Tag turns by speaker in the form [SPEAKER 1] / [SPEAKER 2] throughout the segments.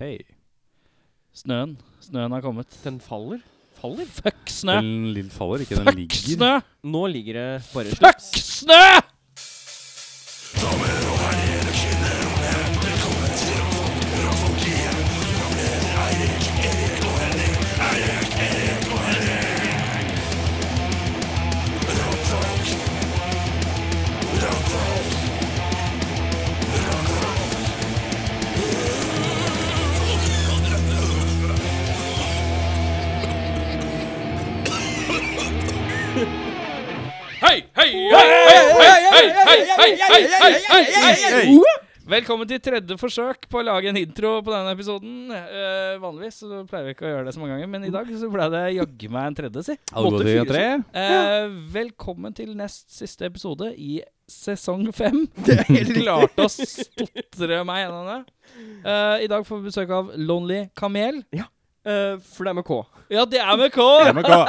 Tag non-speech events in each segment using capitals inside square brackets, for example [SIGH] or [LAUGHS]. [SPEAKER 1] Hei. Snøen. Snøen har kommet.
[SPEAKER 2] Den faller? Faller?
[SPEAKER 1] Fuck snø!
[SPEAKER 3] Den lill- faller ikke, den
[SPEAKER 1] Fuck
[SPEAKER 3] ligger.
[SPEAKER 1] snø!
[SPEAKER 2] Nå ligger det bare
[SPEAKER 1] Fuck
[SPEAKER 2] slips.
[SPEAKER 1] snø! Hei, hei, hei, hei, hei, hei, hei, hei, hei, hei, hei, hei. Velkommen til tredje forsøk på å lage en intro på denne episoden. Eh, vanligvis så pleier vi ikke å gjøre det så mange ganger, men i dag så ble det jaggu meg en tredje, si.
[SPEAKER 3] Alvor i tre.
[SPEAKER 1] Eh, velkommen til nest siste episode i sesong fem.
[SPEAKER 2] Det er helt
[SPEAKER 1] Klarte å stotre meg gjennom det. Eh, I dag får vi besøk av Lonely Kamel.
[SPEAKER 2] Eh, for det er med K.
[SPEAKER 1] Ja, det er med K!
[SPEAKER 2] Ah!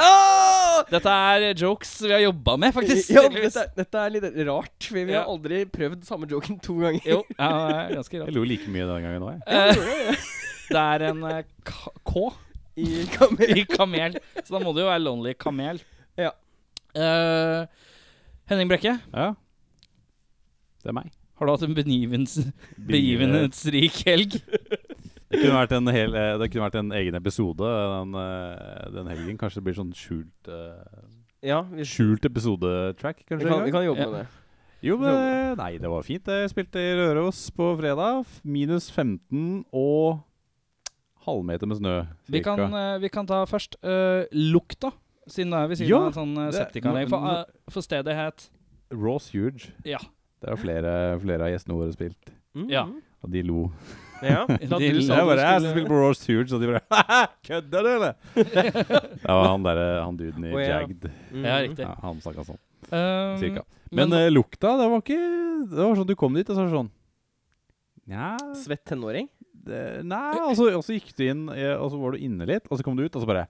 [SPEAKER 1] Dette er jokes vi har jobba med, faktisk.
[SPEAKER 2] Ja,
[SPEAKER 1] heldigvis.
[SPEAKER 2] dette, er- dette er litt rart. Vi, vi har
[SPEAKER 1] Ja.
[SPEAKER 2] aldri prøvd samme joken to ganger.
[SPEAKER 1] Jo, ja, det er ganske rart.
[SPEAKER 3] Jeg lo like mye den gangen òg, jeg.
[SPEAKER 1] Eh, det er en eh, K, K
[SPEAKER 2] I kamera.
[SPEAKER 1] i kamel, så da må det jo være Lonely Kamel.
[SPEAKER 2] Ja.
[SPEAKER 1] Eh, Henning Brekke,
[SPEAKER 3] Ja. Det er meg.
[SPEAKER 1] har du hatt en benivens, begivenhetsrik helg?
[SPEAKER 3] Det kunne vært en, hel, eh, det kunne vært en egen episode den, eh, den helgen. Kanskje det blir sånn skjult eh,
[SPEAKER 2] Ja, vi,
[SPEAKER 3] Skjult episodetrack,
[SPEAKER 2] vi,
[SPEAKER 3] kanskje?
[SPEAKER 2] kan,
[SPEAKER 3] en
[SPEAKER 2] vi
[SPEAKER 3] gang?
[SPEAKER 2] kan jobbe
[SPEAKER 1] Ja.
[SPEAKER 2] med det.
[SPEAKER 3] Jo, men eh, Nei, det var fint. Jeg spilte i Røros på fredag. F- Minus 15 og halvmeter med snø.
[SPEAKER 1] Vi kan,
[SPEAKER 3] cirka.
[SPEAKER 1] eh, vi kan ta først eh, lukta, siden det er ved siden
[SPEAKER 3] Ja,
[SPEAKER 1] av en sånn eh,
[SPEAKER 3] det-
[SPEAKER 1] septikanlegg. For,
[SPEAKER 3] nå-
[SPEAKER 1] eh, for stedet het
[SPEAKER 3] Raw's huge.
[SPEAKER 1] Ja.
[SPEAKER 3] Det har flere, flere av gjestene våre spilt.
[SPEAKER 2] Mm.
[SPEAKER 1] Ja.
[SPEAKER 3] Og de lo.
[SPEAKER 2] Ja, da
[SPEAKER 1] De-
[SPEAKER 2] du
[SPEAKER 3] Jeg
[SPEAKER 2] sa du
[SPEAKER 3] bare, jeg
[SPEAKER 2] skulle-
[SPEAKER 3] skal spille på Raw's huge, og de bare Haha, Kødder du, eller? det var han derre han duden i
[SPEAKER 2] Å, ja.
[SPEAKER 3] Jagged.
[SPEAKER 2] Mm.
[SPEAKER 1] Ja, riktig.
[SPEAKER 3] Ja, han snakka sånn,
[SPEAKER 1] Um,
[SPEAKER 3] cirka.
[SPEAKER 1] men-
[SPEAKER 3] Men, eh, lukta, det var ikke Det var sånn du kom dit, og så var det sånn Nja
[SPEAKER 2] Svett tenåring?
[SPEAKER 3] det- Nei, og så, og så gikk du inn, eh, og så var du inne litt, og så kom du ut, og så bare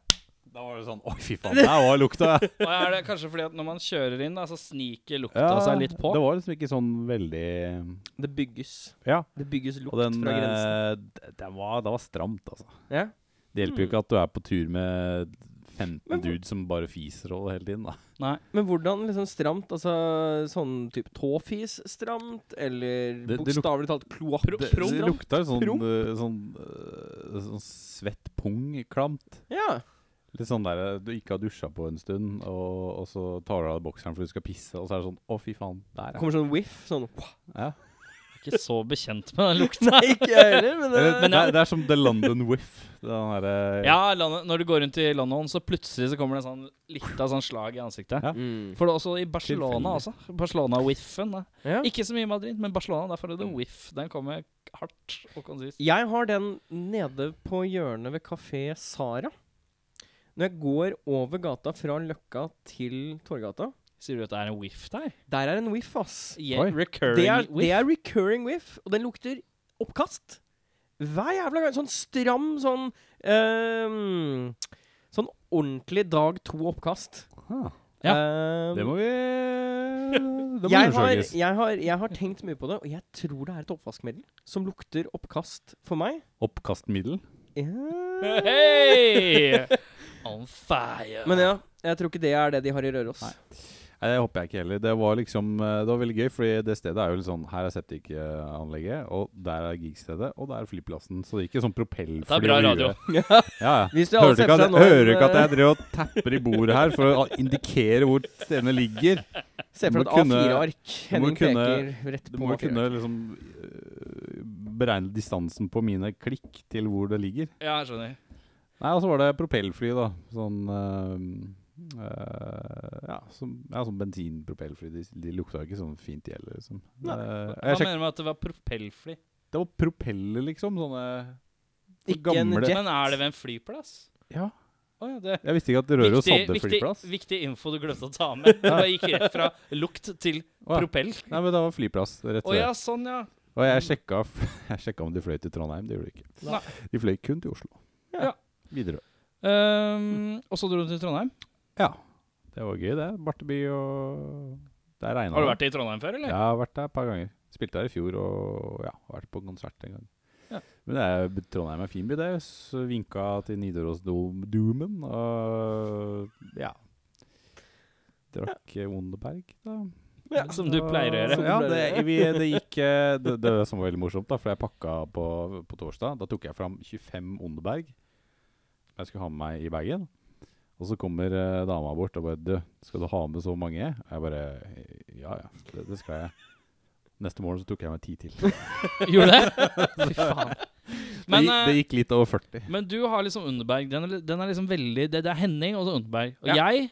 [SPEAKER 3] Da var [LAUGHS] det sånn Oi, fy faen, der var lukta!
[SPEAKER 1] Og er det kanskje fordi at når man kjører inn, da, så sniker lukta seg litt på?
[SPEAKER 3] Det var liksom ikke sånn veldig
[SPEAKER 2] Det bygges.
[SPEAKER 3] Ja.
[SPEAKER 2] Det bygges lukt
[SPEAKER 3] Og den
[SPEAKER 2] fra grensen.
[SPEAKER 3] eh, d- den var, Det var stramt, altså.
[SPEAKER 2] Ja.
[SPEAKER 3] Det hjelper jo ikke at du er på tur med 15
[SPEAKER 2] Mm. Men hvor-
[SPEAKER 3] dudes som bare fiser og hele tiden, da.
[SPEAKER 1] Nei.
[SPEAKER 2] Men hvordan liksom stramt? Altså sånn type tåfis-stramt? Eller
[SPEAKER 3] Det- det luk-
[SPEAKER 2] bokstavelig talt
[SPEAKER 1] Pro-
[SPEAKER 3] Det,
[SPEAKER 2] kloakk?
[SPEAKER 1] promp,
[SPEAKER 3] det
[SPEAKER 1] da.
[SPEAKER 3] lukta jo sånn,
[SPEAKER 2] Promp.
[SPEAKER 3] eh, sånn, eh, sånn svett pung-klamt.
[SPEAKER 2] Ja.
[SPEAKER 3] Litt sånn der eh, du ikke har dusja på en stund, og, og så tar du av deg bokseren for du skal pisse, og så er det sånn Å, fy faen. Der, ja.
[SPEAKER 2] Kommer sånn whiff. Sånn
[SPEAKER 3] ja.
[SPEAKER 1] Ikke så bekjent med den lukta.
[SPEAKER 2] Nei, ikke jeg heller, men eh, det
[SPEAKER 3] Eller, det, er, det er som The London Whiff. Den eh, derre
[SPEAKER 1] Ja, landet, når du går rundt i London, så plutselig så kommer det en sånn litt av sånn slag i ansiktet.
[SPEAKER 3] Ja.
[SPEAKER 2] Mm.
[SPEAKER 1] For det er også i Barcelona også. Barcelona-whiffen. da.
[SPEAKER 2] Ja.
[SPEAKER 1] Ikke så mye i Madrid, men Barcelona, der får du the whiff. Den kommer hardt og konsist.
[SPEAKER 2] Jeg har den nede på hjørnet ved Kafé Sara. Når jeg går over gata fra Løkka til Torgata
[SPEAKER 1] Sier du at det er en whiff der?
[SPEAKER 2] Der er en whiff, ass.
[SPEAKER 1] Yeah,
[SPEAKER 3] Oi.
[SPEAKER 1] recurring
[SPEAKER 2] Det er,
[SPEAKER 1] whiff.
[SPEAKER 2] det er recurring whiff, og den lukter oppkast. Hver jævla gang. Sånn stram, sånn ehm, Sånn ordentlig dag to-oppkast.
[SPEAKER 3] Ah,
[SPEAKER 1] Ja,
[SPEAKER 3] Det må vi
[SPEAKER 2] [LAUGHS]
[SPEAKER 3] Det må
[SPEAKER 2] jeg har,
[SPEAKER 3] undersøkes.
[SPEAKER 2] jeg, har, jeg har tenkt mye på det, og jeg tror det er et oppvaskmiddel som lukter oppkast for meg.
[SPEAKER 3] Oppkastmiddel.
[SPEAKER 2] Ja.
[SPEAKER 1] Hey! On fire.
[SPEAKER 2] Men ja, jeg tror ikke det er det de har i Røros.
[SPEAKER 3] Nei. Nei, Det håper jeg ikke heller. Det var liksom eh, Det var veldig gøy, fordi det stedet er jo litt sånn Her er septikanlegget, og der er gigstedet, og der er flyplassen. Så det gikk jo sånn propellfly.
[SPEAKER 1] Det er bra
[SPEAKER 3] i huet.
[SPEAKER 1] radio.
[SPEAKER 3] [LAUGHS] Ja, ja.
[SPEAKER 2] Hvis de alle
[SPEAKER 3] Hører du ikke
[SPEAKER 2] setter
[SPEAKER 3] at,
[SPEAKER 2] seg nå
[SPEAKER 3] hører du
[SPEAKER 2] en,
[SPEAKER 3] ikke at
[SPEAKER 2] eh,
[SPEAKER 3] jeg driver og tapper i bordet her for å indikere hvor stedene ligger?
[SPEAKER 2] eh, Se for
[SPEAKER 3] Du
[SPEAKER 2] deg
[SPEAKER 3] må
[SPEAKER 2] et A4-ark.
[SPEAKER 3] du må
[SPEAKER 2] Henning
[SPEAKER 3] kunne-
[SPEAKER 2] peker rett
[SPEAKER 3] Du
[SPEAKER 2] på
[SPEAKER 3] må jo kunne
[SPEAKER 2] A4-ark.
[SPEAKER 3] liksom øh, beregne distansen på mine klikk til hvor det ligger.
[SPEAKER 1] Ja, jeg skjønner.
[SPEAKER 3] Nei, og så var det propellfly, da. Sånn øh, øh, ja, som, ja, sånn bensinpropellfly. De, de lukta jo ikke sånn fint, de heller. Liksom.
[SPEAKER 2] Nei.
[SPEAKER 3] Eh,
[SPEAKER 1] Hva
[SPEAKER 3] jeg sjekket,
[SPEAKER 1] mener du med at det var propellfly?
[SPEAKER 3] det var propeller, liksom. Sånne
[SPEAKER 2] Ikke en
[SPEAKER 3] gamle-
[SPEAKER 2] jet.
[SPEAKER 1] Men er det ved en flyplass?
[SPEAKER 3] Ja.
[SPEAKER 1] Å ja, det
[SPEAKER 3] Jeg visste ikke at Røros
[SPEAKER 1] Viktig-
[SPEAKER 3] hadde
[SPEAKER 1] viktig,
[SPEAKER 3] flyplass.
[SPEAKER 1] viktig info du glemte å ta med. Du bare gikk rett fra lukt til
[SPEAKER 3] Å, ja.
[SPEAKER 1] propell.
[SPEAKER 3] Nei, men det var flyplass, rett
[SPEAKER 1] Å
[SPEAKER 3] og slett.
[SPEAKER 1] ja, sånn, ja.
[SPEAKER 3] Og jeg sjekka, f- [LAUGHS] jeg sjekka om de fløy til Trondheim. Det gjorde de ikke.
[SPEAKER 1] Nei.
[SPEAKER 3] De fløy kun til Oslo.
[SPEAKER 1] Ja.
[SPEAKER 3] Widerøe.
[SPEAKER 1] Ehm, og så dro du til Trondheim.
[SPEAKER 3] Ja. Det var gøy, det. Barteby og Der regna
[SPEAKER 1] Har du vært i Trondheim før,
[SPEAKER 3] der?
[SPEAKER 1] eller?
[SPEAKER 3] Ja, jeg har vært der et par ganger. Spilte der i fjor og ja, vært på konsert en gang.
[SPEAKER 1] Ja. Ja.
[SPEAKER 3] Men det er, Trondheim er en fin by, det. Så vinka til Nidarosdomen og ja. Drakk eh, Wunderberg, da.
[SPEAKER 2] Ja.
[SPEAKER 1] Som du pleier å gjøre.
[SPEAKER 3] Ja, det, vi, det gikk eh, det, det som var veldig morsomt, da, for jeg pakka på, på torsdag. Da tok jeg fram 25 Onderberg jeg skulle ha med meg i bagen. Og så kommer eh, dama bort og bare 'Du, skal du ha med så mange?' Og jeg bare 'Ja ja, det, det skal jeg'. Neste morgen så tok jeg meg ti [LAUGHS] til. Det
[SPEAKER 1] [LAUGHS] Gjorde det? [LAUGHS] Fy faen. Men,
[SPEAKER 3] gikk, det gikk litt over 40.
[SPEAKER 1] eh, men du har liksom Underberg. Den er, den er liksom veldig Det, det er Henning og så Underberg. Og jeg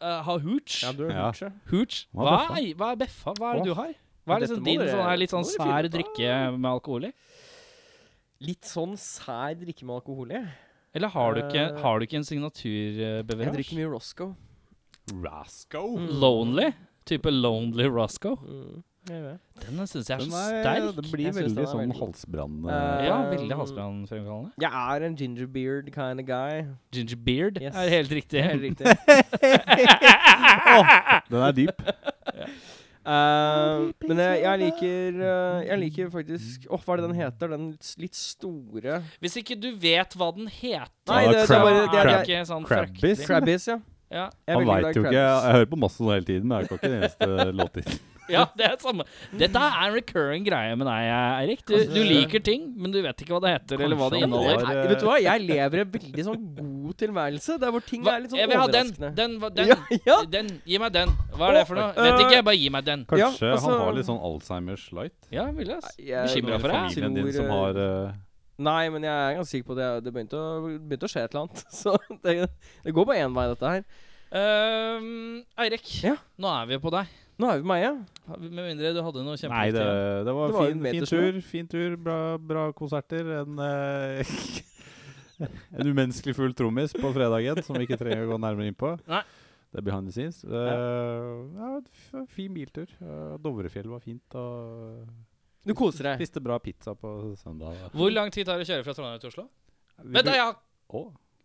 [SPEAKER 1] eh, har Hooch.
[SPEAKER 2] Ja, du er
[SPEAKER 3] Ja.
[SPEAKER 2] lurt, sjø.
[SPEAKER 1] Hooch.
[SPEAKER 3] Hva er Beffa?
[SPEAKER 1] Hva er, hva er Beffa? Hva er
[SPEAKER 3] Åh.
[SPEAKER 1] det du har? Hva er
[SPEAKER 2] Dette
[SPEAKER 1] liksom
[SPEAKER 2] må
[SPEAKER 1] din
[SPEAKER 2] dere-
[SPEAKER 1] sånn, her litt sånn
[SPEAKER 2] må dere
[SPEAKER 1] sær
[SPEAKER 2] finne ut av.
[SPEAKER 1] drikke med alkohol i?
[SPEAKER 2] Litt sånn sær drikke med alkohol i.
[SPEAKER 1] Eller har du ikke,
[SPEAKER 2] Eh,
[SPEAKER 1] har du ikke en eh,
[SPEAKER 2] Jeg
[SPEAKER 1] signaturbevegelse?
[SPEAKER 2] drikker mye Roscoe.
[SPEAKER 3] Rasco.
[SPEAKER 1] Lonely? Type Lonely Roscoe?
[SPEAKER 2] Mm, jeg vet.
[SPEAKER 1] Den syns jeg er
[SPEAKER 3] Den
[SPEAKER 1] så
[SPEAKER 3] er,
[SPEAKER 1] sterk.
[SPEAKER 3] det
[SPEAKER 2] Jeg
[SPEAKER 3] blir
[SPEAKER 2] synes den
[SPEAKER 3] veldig
[SPEAKER 2] er
[SPEAKER 3] sånn
[SPEAKER 2] veldig-
[SPEAKER 3] halsbrannende.
[SPEAKER 2] Eh,
[SPEAKER 1] Ja, veldig
[SPEAKER 2] Um,
[SPEAKER 1] halsbrannfremkallende.
[SPEAKER 2] Jeg er en gingerbeard kind of guy.
[SPEAKER 1] Ginger beard
[SPEAKER 2] Yes.
[SPEAKER 1] er helt riktig.
[SPEAKER 3] [LAUGHS]
[SPEAKER 2] Helt [LAUGHS] riktig.
[SPEAKER 3] Den er dyp.
[SPEAKER 2] Eh, men jeg, jeg liker eh, Jeg liker faktisk Åh, hva er det den heter? Den litt, litt store
[SPEAKER 1] [LAUGHS] Hvis ikke du vet hva den heter
[SPEAKER 2] Nei,
[SPEAKER 3] Ja,
[SPEAKER 2] det, det er
[SPEAKER 3] crab-
[SPEAKER 2] bare det er,
[SPEAKER 3] crab-
[SPEAKER 2] det
[SPEAKER 1] ikke sånn
[SPEAKER 3] Crabbis.
[SPEAKER 1] fryktelig.
[SPEAKER 2] er, Crabbies, ja.
[SPEAKER 1] Ja.
[SPEAKER 2] Jeg er
[SPEAKER 3] Han
[SPEAKER 2] veldig
[SPEAKER 3] veit
[SPEAKER 2] glad i
[SPEAKER 3] jo ikke. Jeg, jeg hører på masse sånn hele tiden, men jeg kan ikke den eneste låttitel.
[SPEAKER 1] ja, det er samme. Dette er en recurring greie med deg, Eirik. Du,
[SPEAKER 2] Altså,
[SPEAKER 1] du liker ting, men du vet ikke hva det heter, eller hva det
[SPEAKER 3] Kanskje han
[SPEAKER 1] inneholder.
[SPEAKER 3] var,
[SPEAKER 2] Nei, vet du hva? Jeg lever en veldig sånn god tilværelse der hvor ting
[SPEAKER 1] Hva?
[SPEAKER 2] er litt sånn
[SPEAKER 1] Jeg vil ha den.
[SPEAKER 2] overraskende.
[SPEAKER 1] Den, hva- den,
[SPEAKER 2] Ja, ja.
[SPEAKER 1] den. Gi meg den. Hva er det for noe?
[SPEAKER 2] Å,
[SPEAKER 1] Vet
[SPEAKER 2] eh,
[SPEAKER 1] ikke, bare gi meg den.
[SPEAKER 3] Kanskje
[SPEAKER 2] Ja, altså-
[SPEAKER 3] han har litt sånn Alzheimers light?
[SPEAKER 1] Ja, vil jeg, ass.
[SPEAKER 2] Jeg-
[SPEAKER 1] Bekymret
[SPEAKER 3] Eller
[SPEAKER 1] for deg?
[SPEAKER 3] Familien din som
[SPEAKER 2] Tror,
[SPEAKER 3] har
[SPEAKER 2] eh,
[SPEAKER 3] eh,
[SPEAKER 2] Nei, men jeg er ganske sikker på det. Det begynte å, begynte å skje et eller annet. [LAUGHS] Så det, det går bare én vei, dette her.
[SPEAKER 1] Ehm, Eirik,
[SPEAKER 2] Ja.
[SPEAKER 1] nå er vi på deg.
[SPEAKER 2] Nå er vi på Meie.
[SPEAKER 1] Med mindre du hadde
[SPEAKER 3] Nei,
[SPEAKER 1] noe
[SPEAKER 3] det,
[SPEAKER 1] kjempeviktig.
[SPEAKER 3] det var,
[SPEAKER 2] Det var jo
[SPEAKER 3] fin,
[SPEAKER 2] en
[SPEAKER 3] fin
[SPEAKER 2] metersnø.
[SPEAKER 3] tur. Fin tur, bra, bra konserter. En, eh, [LAUGHS] en umenneskelig full trommis på fredagen, som vi ikke trenger å gå nærmere inn på.
[SPEAKER 1] Nei.
[SPEAKER 3] Det er behind the scenes. Eh, ja, f- fin biltur. Eh, Dovrefjell var fint. Og
[SPEAKER 2] Du koser deg.
[SPEAKER 3] spiste bra pizza på søndag.
[SPEAKER 1] Hvor lang tid tar det å kjøre fra Trondheim til Oslo?
[SPEAKER 3] Vi
[SPEAKER 1] Vent, da,
[SPEAKER 3] bru-
[SPEAKER 1] jeg har
[SPEAKER 3] Å,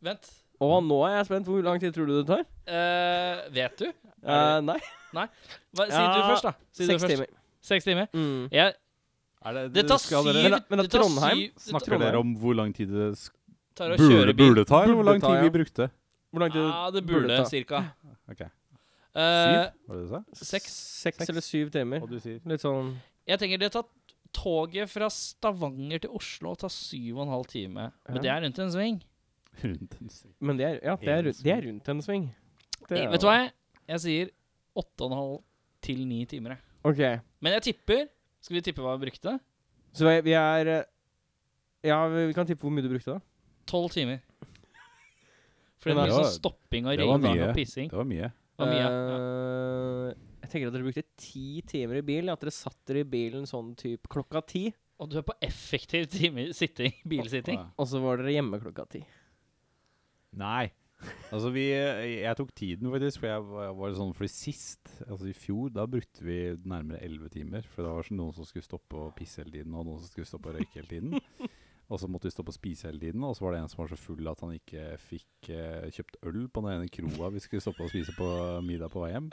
[SPEAKER 1] Vent.
[SPEAKER 2] Og nå er jeg spent. Hvor lang tid tror du det tar?
[SPEAKER 1] Eh, vet du?
[SPEAKER 2] Eh, nei,
[SPEAKER 1] Hva, si du
[SPEAKER 2] Ja,
[SPEAKER 1] først, da. Si du
[SPEAKER 2] seks
[SPEAKER 1] først.
[SPEAKER 2] timer.
[SPEAKER 1] Seks timer.
[SPEAKER 2] Mm.
[SPEAKER 1] Jeg,
[SPEAKER 3] er det,
[SPEAKER 1] det tar
[SPEAKER 3] skal
[SPEAKER 1] syv
[SPEAKER 3] dere-
[SPEAKER 2] Men- men at
[SPEAKER 1] det tar
[SPEAKER 2] Trondheim
[SPEAKER 1] syv- det
[SPEAKER 3] Snakker dere om hvor lang tid det sk-
[SPEAKER 1] tar å
[SPEAKER 3] burde,
[SPEAKER 1] kjøre bil.
[SPEAKER 3] burde ta, eller hvor lang
[SPEAKER 2] Burde ta,
[SPEAKER 3] tid vi
[SPEAKER 2] ja.
[SPEAKER 3] brukte?
[SPEAKER 2] Hvor lang tid
[SPEAKER 1] Ja, det burde,
[SPEAKER 2] ta?
[SPEAKER 1] cirka.
[SPEAKER 3] Ok.
[SPEAKER 1] Eh,
[SPEAKER 3] Syv, var det det du sa?
[SPEAKER 1] seks.
[SPEAKER 2] Seks eller syv timer.
[SPEAKER 3] Og du sier
[SPEAKER 2] Litt sånn
[SPEAKER 1] Jeg tenker det tar toget fra Stavanger til Oslo tar syv og en halv time. Men
[SPEAKER 2] Ja.
[SPEAKER 1] det er rundt en sving.
[SPEAKER 3] rundt en sving.
[SPEAKER 2] Men det er, ja, det er, rundt- det er rundt en sving. Det
[SPEAKER 1] Eh,
[SPEAKER 2] er-
[SPEAKER 1] Vet du hva? Jeg, jeg sier åtte og en halv til ni timer. jeg.
[SPEAKER 2] Ok.
[SPEAKER 1] Men jeg tipper Skal vi tippe hva vi brukte?
[SPEAKER 2] Så vi- vi er eh, Ja, vi vi kan tippe hvor mye du brukte, da.
[SPEAKER 1] Tolv timer. For det
[SPEAKER 2] Men
[SPEAKER 1] var
[SPEAKER 3] det
[SPEAKER 1] sånn
[SPEAKER 3] var-
[SPEAKER 1] stopping og
[SPEAKER 3] det var
[SPEAKER 1] ringing
[SPEAKER 3] mye.
[SPEAKER 1] og pissing.
[SPEAKER 3] Det var mye.
[SPEAKER 1] Det var mye. ja.
[SPEAKER 2] Eh, jeg tenker at dere brukte ti timer i bil. At dere satt dere i bilen sånn typ klokka ti,
[SPEAKER 1] Og du er på effektiv time sitting, bilsitting.
[SPEAKER 3] Åh.
[SPEAKER 2] og så var dere hjemme klokka ti.
[SPEAKER 3] Nei. Altså, vi Jeg tok tiden, faktisk, for jeg var, jeg var sånn For sist, altså i fjor, da brukte vi nærmere 11 timer. For det var sånn noen som skulle stoppe og pisse hele tiden, og noen som skulle stoppe og røyke hele
[SPEAKER 1] [LAUGHS]
[SPEAKER 3] tiden. Og så måtte vi stoppe og spise hele tiden, og så var det en som var så full at han ikke fikk eh, kjøpt øl på den ene kroa vi skulle stoppe og spise på middag på vei hjem.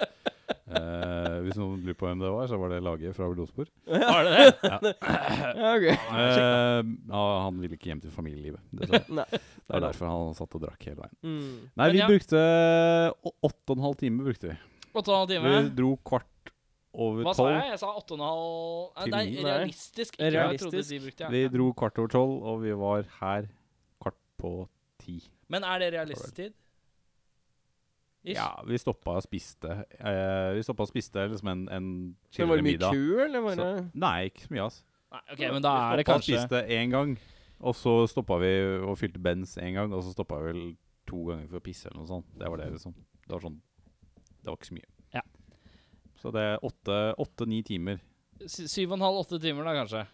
[SPEAKER 3] Eh, hvis noen lurer på hvem det var, så var det Lage fra Blodspor.
[SPEAKER 1] Var det det?
[SPEAKER 2] Ja, ok.
[SPEAKER 3] Eh, ja, han ville ikke hjem til familielivet. dessverre.
[SPEAKER 2] Nei.
[SPEAKER 3] Det er derfor han satt og drakk hele veien.
[SPEAKER 2] Mm.
[SPEAKER 3] Nei,
[SPEAKER 1] Men
[SPEAKER 3] vi
[SPEAKER 1] ja.
[SPEAKER 3] brukte eh, å- åtte og en halv time. brukte vi.
[SPEAKER 1] Åtte og en halv time?
[SPEAKER 3] Vi dro kvart over
[SPEAKER 1] Hva sa
[SPEAKER 3] tolv.
[SPEAKER 1] jeg? Jeg sa åtte og en halv Nei, det
[SPEAKER 3] Til-
[SPEAKER 1] er realistisk. Ikke hva jeg trodde
[SPEAKER 2] Realistisk.
[SPEAKER 1] de brukte.
[SPEAKER 3] Vi
[SPEAKER 1] Ja.
[SPEAKER 3] dro kvart over tolv, og vi var her kvart på ti.
[SPEAKER 1] Men er det realistisk tid? Ish.
[SPEAKER 3] Ja, vi stoppa og spiste. Eh, vi stoppa og spiste liksom en, en
[SPEAKER 2] Men var
[SPEAKER 3] chillere
[SPEAKER 2] det mye
[SPEAKER 3] middag.
[SPEAKER 2] ku, eller var det
[SPEAKER 3] Nei, ikke så mye, ass.
[SPEAKER 1] Nei, ok, men da er det
[SPEAKER 3] Vi stoppa og
[SPEAKER 1] kanskje
[SPEAKER 3] spiste én gang, og så stoppa vi og fylte Benz én gang, og så stoppa vi vel to ganger for å pisse eller noe sånt. Det var det, liksom. Det var sånn Det var ikke så mye.
[SPEAKER 1] Ja.
[SPEAKER 3] Så det er åtte- åtte-ni timer.
[SPEAKER 1] sy- syv og en halv, åtte timer, da kanskje.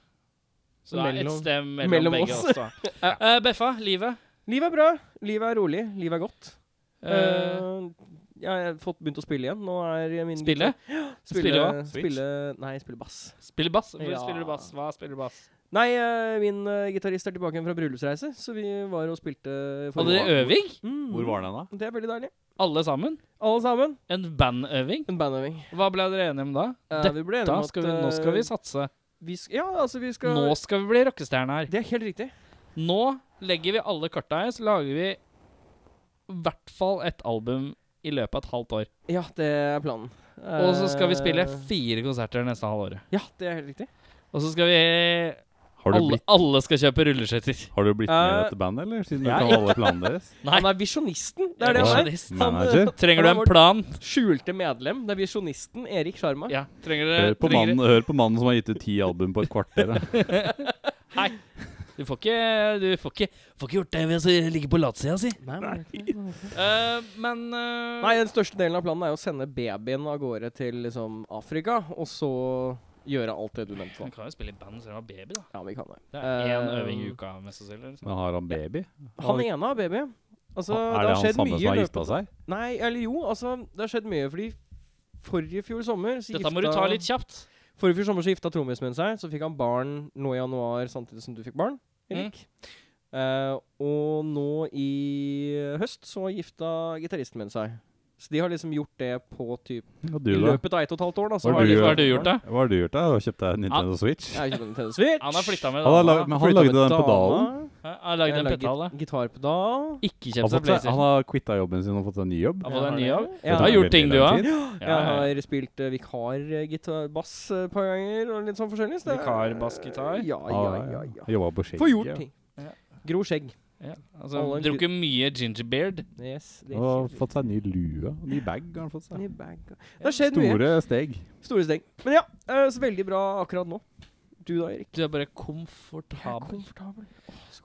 [SPEAKER 1] Så det er et
[SPEAKER 2] Mellom-
[SPEAKER 1] sted mellom,
[SPEAKER 2] mellom
[SPEAKER 1] begge
[SPEAKER 2] oss.
[SPEAKER 1] oss. da. Eh, Beffa, livet.
[SPEAKER 2] [LAUGHS] Livet er bra. Livet er rolig. Livet er godt.
[SPEAKER 1] Eh,
[SPEAKER 2] Eh, jeg har fått begynt å spille igjen. Nå er min
[SPEAKER 1] spille?
[SPEAKER 2] Spille,
[SPEAKER 1] Spille hva?
[SPEAKER 3] Switch?
[SPEAKER 2] Spille, nei, spille bass.
[SPEAKER 1] Spille bass? Hvor
[SPEAKER 2] Ja.
[SPEAKER 1] spiller du bass? Hva spiller du bass?
[SPEAKER 2] Nei, eh, min eh, gitarist er tilbake igjen fra bryllupsreise, så vi var og spilte
[SPEAKER 1] Hadde dere øving?
[SPEAKER 2] Mm.
[SPEAKER 3] Hvor var den, da?
[SPEAKER 2] Det er veldig deilig.
[SPEAKER 1] Alle sammen?
[SPEAKER 2] Alle sammen.
[SPEAKER 1] En bandøving?
[SPEAKER 2] En bandøving.
[SPEAKER 1] Hva ble dere enige om da?
[SPEAKER 2] Eh,
[SPEAKER 1] Dette
[SPEAKER 2] vi ble enige
[SPEAKER 1] Da
[SPEAKER 2] om at
[SPEAKER 1] skal vi, nå skal
[SPEAKER 2] eh,
[SPEAKER 1] vi satse.
[SPEAKER 2] Vi sk ja, altså, vi skal
[SPEAKER 1] Nå skal vi bli rockestjerner.
[SPEAKER 2] Det er helt riktig.
[SPEAKER 1] Nå legger vi alle karta her, så lager vi i hvert fall et album i løpet av et halvt år.
[SPEAKER 2] Ja, det er planen.
[SPEAKER 1] Og så skal vi spille
[SPEAKER 2] Eh,
[SPEAKER 1] fire konserter neste halvåret.
[SPEAKER 2] Ja, det er helt riktig.
[SPEAKER 1] Og så skal vi
[SPEAKER 3] Har du
[SPEAKER 1] alle,
[SPEAKER 3] blitt,
[SPEAKER 1] alle skal kjøpe rulleskøyter.
[SPEAKER 3] har du blitt med i
[SPEAKER 2] Eh,
[SPEAKER 3] dette bandet, eller? Siden du
[SPEAKER 2] jeg-
[SPEAKER 3] ikke har alle planene deres?
[SPEAKER 1] Nei.
[SPEAKER 2] Han er visjonisten. Det er det han er.
[SPEAKER 1] Visjonist.
[SPEAKER 2] Han, eh,
[SPEAKER 3] Manager?
[SPEAKER 1] Trenger du
[SPEAKER 2] Han er
[SPEAKER 1] en
[SPEAKER 2] vår
[SPEAKER 1] plan?
[SPEAKER 2] Skjulte medlem. Det er visjonisten Erik Sjarma.
[SPEAKER 1] Ja. Trenger du,
[SPEAKER 3] Hør på,
[SPEAKER 1] trenger
[SPEAKER 3] mannen, hør på mannen som har gitt ut ti album på et kvarter. da.
[SPEAKER 1] Nei. Du får ikke, du får ikke, får ikke gjort det ved å ligge på latsida si.
[SPEAKER 2] Nei, men-
[SPEAKER 1] Eh, men eh,
[SPEAKER 2] Nei, den største delen av planen er jo å sende babyen av gårde til liksom Afrika, og så gjøre alt det du nevnte. da.
[SPEAKER 1] Man kan jo spille i band selv om man er baby, da.
[SPEAKER 2] Ja, vi kan det.
[SPEAKER 1] Det er én
[SPEAKER 2] Eh,
[SPEAKER 1] øving i uka, mest sannsynlig. liksom.
[SPEAKER 3] Men har han baby?
[SPEAKER 2] Han ene har baby. Altså,
[SPEAKER 3] er
[SPEAKER 2] det
[SPEAKER 3] det
[SPEAKER 2] har
[SPEAKER 3] han
[SPEAKER 2] skjedd
[SPEAKER 3] samme som
[SPEAKER 2] mye i
[SPEAKER 3] har
[SPEAKER 2] løpet
[SPEAKER 3] gifta seg?
[SPEAKER 2] Nei, eller jo, altså Det har skjedd mye, fordi forrige fjor sommer så
[SPEAKER 1] Dette må du ta litt kjapt.
[SPEAKER 2] Forrige fjor sommer så gifta trommismenn seg, så fikk han barn nå i januar samtidig som du fikk barn. Erik. Eh, og nå i høst så gifta gitaristen min seg. Så de har liksom gjort det på typ
[SPEAKER 3] Og
[SPEAKER 2] I
[SPEAKER 3] du, da?
[SPEAKER 2] løpet av ett og et halvt år, da. Så
[SPEAKER 3] Hva
[SPEAKER 1] Hva har
[SPEAKER 3] du
[SPEAKER 1] du,
[SPEAKER 3] gjør-
[SPEAKER 1] hva har du gjort, da?
[SPEAKER 3] Hva har du gjort, da? Du har kjøpt deg Nintendo Switch?
[SPEAKER 2] Jeg har ikke Nintendo Switch.
[SPEAKER 1] Han har flytta med
[SPEAKER 3] Han har
[SPEAKER 1] dama.
[SPEAKER 3] lag- men han lagde den pedalen.
[SPEAKER 1] Hæ? Han har lagd en pedal. da.
[SPEAKER 2] Gitarpedal.
[SPEAKER 1] Ikke
[SPEAKER 3] Han
[SPEAKER 1] kjøpt
[SPEAKER 3] har,
[SPEAKER 1] seg
[SPEAKER 3] fått seg- han
[SPEAKER 1] PlayStation.
[SPEAKER 3] har quitta jobben sin og fått seg en ny jobb.
[SPEAKER 1] Han har
[SPEAKER 2] Ja,
[SPEAKER 1] fått en ny
[SPEAKER 2] har
[SPEAKER 1] jobb.
[SPEAKER 2] det.
[SPEAKER 1] Du
[SPEAKER 2] Ja.
[SPEAKER 1] har gjort ting, du òg.
[SPEAKER 2] Jeg har spilt uh, vikarbass eh, et par ganger og litt sånn forskjellig. så det er-
[SPEAKER 1] Vikarbassgitar?
[SPEAKER 2] Ja, ja,
[SPEAKER 3] Ah,
[SPEAKER 2] ja. ja.
[SPEAKER 3] Jobba på skjegget.
[SPEAKER 2] Få gjort ting.
[SPEAKER 1] Ja.
[SPEAKER 2] Gro skjegg.
[SPEAKER 1] Ja, altså,
[SPEAKER 2] Alle-
[SPEAKER 1] Drukket mye gingerbeard.
[SPEAKER 2] Yes, det er
[SPEAKER 3] Og
[SPEAKER 2] helt
[SPEAKER 3] fått seg ny lue. og Ny bag har han fått
[SPEAKER 2] riktig.
[SPEAKER 3] seg.
[SPEAKER 2] I bag. Det har skjedd mye.
[SPEAKER 3] Store steg.
[SPEAKER 2] Store steg. Men ja, eh, så veldig bra akkurat nå. Du da, Erik?
[SPEAKER 1] Du er bare
[SPEAKER 2] Jeg Mm. er
[SPEAKER 1] komfortabel.
[SPEAKER 2] komfortabel.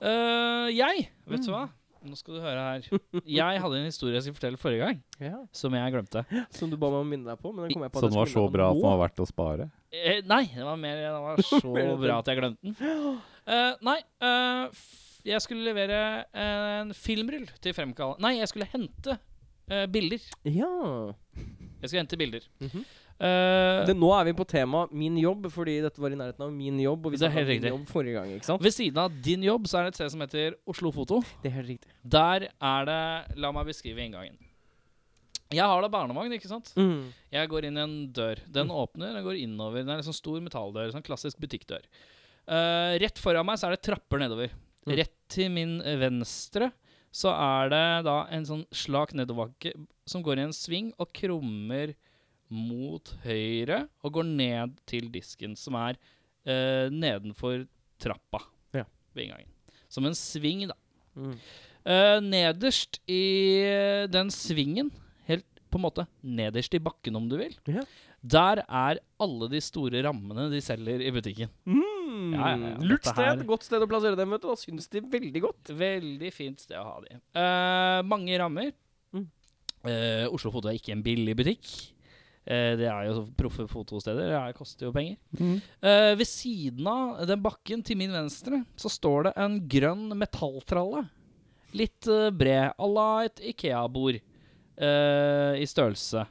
[SPEAKER 1] Eh, jeg, vet du hva? Nå skal du høre her. Jeg hadde en historie jeg skulle fortelle forrige gang,
[SPEAKER 2] Ja.
[SPEAKER 1] som jeg glemte.
[SPEAKER 2] Som du ba meg om å minne deg på. Men den kom jeg på at
[SPEAKER 3] Så
[SPEAKER 2] jeg
[SPEAKER 3] den var så
[SPEAKER 2] skulle minne
[SPEAKER 3] bra at
[SPEAKER 2] deg
[SPEAKER 3] den
[SPEAKER 2] på
[SPEAKER 3] var verdt å spare.
[SPEAKER 1] Eh, nei, det var mer Det var så
[SPEAKER 2] [LAUGHS] Mer enn
[SPEAKER 1] bra at
[SPEAKER 2] [GASPS]
[SPEAKER 1] jeg glemte den. Eh, nei, eh, f jeg skulle levere en filmrull til fremkall... Nei, jeg skulle hente eh, bilder.
[SPEAKER 2] nå. Ja.
[SPEAKER 1] Jeg skulle hente bilder.
[SPEAKER 2] Mhm.
[SPEAKER 1] Eh,
[SPEAKER 2] Det, nå er vi på tema min jobb, fordi dette var i nærheten av min jobb. Og vi
[SPEAKER 1] Det er
[SPEAKER 2] snakket om
[SPEAKER 1] helt
[SPEAKER 2] min
[SPEAKER 1] riktig.
[SPEAKER 2] jobb forrige gang, ikke sant?
[SPEAKER 1] ved siden av din jobb så er det et sted som heter Oslo Foto.
[SPEAKER 2] Det er helt riktig.
[SPEAKER 1] Der er det La meg beskrive inngangen. Jeg har da barnevogn, ikke sant?
[SPEAKER 2] Mm.
[SPEAKER 1] Jeg går inn i en dør. Den åpner, den går innover. Den er en sånn stor metalldør. Sånn klassisk butikkdør. Eh, rett foran meg så er det trapper nedover.
[SPEAKER 2] Mm.
[SPEAKER 1] Rett til min venstre så er det da en sånn slak nedoverbakke som går i en sving og krummer mot høyre og går ned til disken, som er eh, nedenfor trappa
[SPEAKER 2] Ja.
[SPEAKER 1] ved inngangen. Som en sving, da.
[SPEAKER 2] Mm.
[SPEAKER 1] Eh, nederst i eh, den svingen, helt på en måte nederst i bakken om du vil,
[SPEAKER 2] Ja.
[SPEAKER 1] der er alle de store rammene de selger i butikken.
[SPEAKER 2] Mm.
[SPEAKER 1] Ja, ja, ja.
[SPEAKER 2] Lurt
[SPEAKER 1] Dette
[SPEAKER 2] sted.
[SPEAKER 1] her-
[SPEAKER 2] Godt sted å plassere dem, vet du. Da syns de veldig godt.
[SPEAKER 1] Veldig fint sted å ha de. Eh, mange rammer.
[SPEAKER 2] Mm.
[SPEAKER 1] Eh, Oslo Foto er ikke en billig butikk. Eh, det er jo proffe fotosteder. Det er- koster jo penger. Eh, ved siden av den bakken til min venstre så står det en grønn metalltralle. Litt eh, bred, à la et Ikea-bord eh, i størrelse.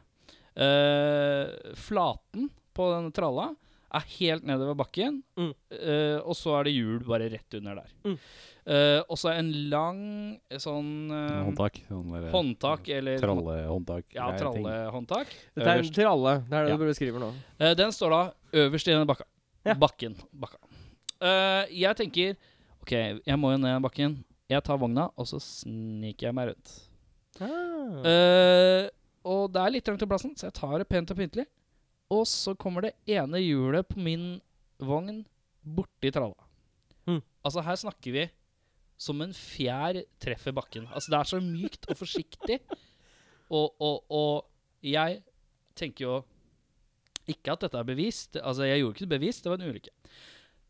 [SPEAKER 1] Eh, flaten på den tralla er helt nedover bakken,
[SPEAKER 2] Mm.
[SPEAKER 1] eh, og så er det hjul bare rett under der.
[SPEAKER 2] Mm.
[SPEAKER 1] Eh, og så en lang eh, sånn eh,
[SPEAKER 3] Håndtak. sånn der-
[SPEAKER 1] håndtak eller
[SPEAKER 3] Trallehåndtak.
[SPEAKER 1] Ja,
[SPEAKER 3] greier, ting.
[SPEAKER 1] trallehåndtak. Eh,
[SPEAKER 2] Dette er
[SPEAKER 1] Øverst.
[SPEAKER 2] til alle. Det er det
[SPEAKER 1] Ja.
[SPEAKER 2] du beskriver nå.
[SPEAKER 1] Eh, den står da øverst i denne bakka.
[SPEAKER 2] Ja.
[SPEAKER 1] Bakken. Bakka. Eh, jeg tenker OK, jeg må jo ned bakken. Jeg tar vogna, og så sniker jeg meg rundt.
[SPEAKER 2] Ah.
[SPEAKER 1] Eh, og det er litt trangt i plassen, så jeg tar det pent og pyntelig. Og så kommer det ene hjulet på min vogn borti tralla.
[SPEAKER 2] Mm.
[SPEAKER 1] Altså, her snakker vi som en fjær treffer bakken. Altså, det er så mykt og forsiktig. [LAUGHS] og, og, og jeg tenker jo ikke at dette er bevist. Altså, jeg gjorde ikke det bevist, det var en ulykke.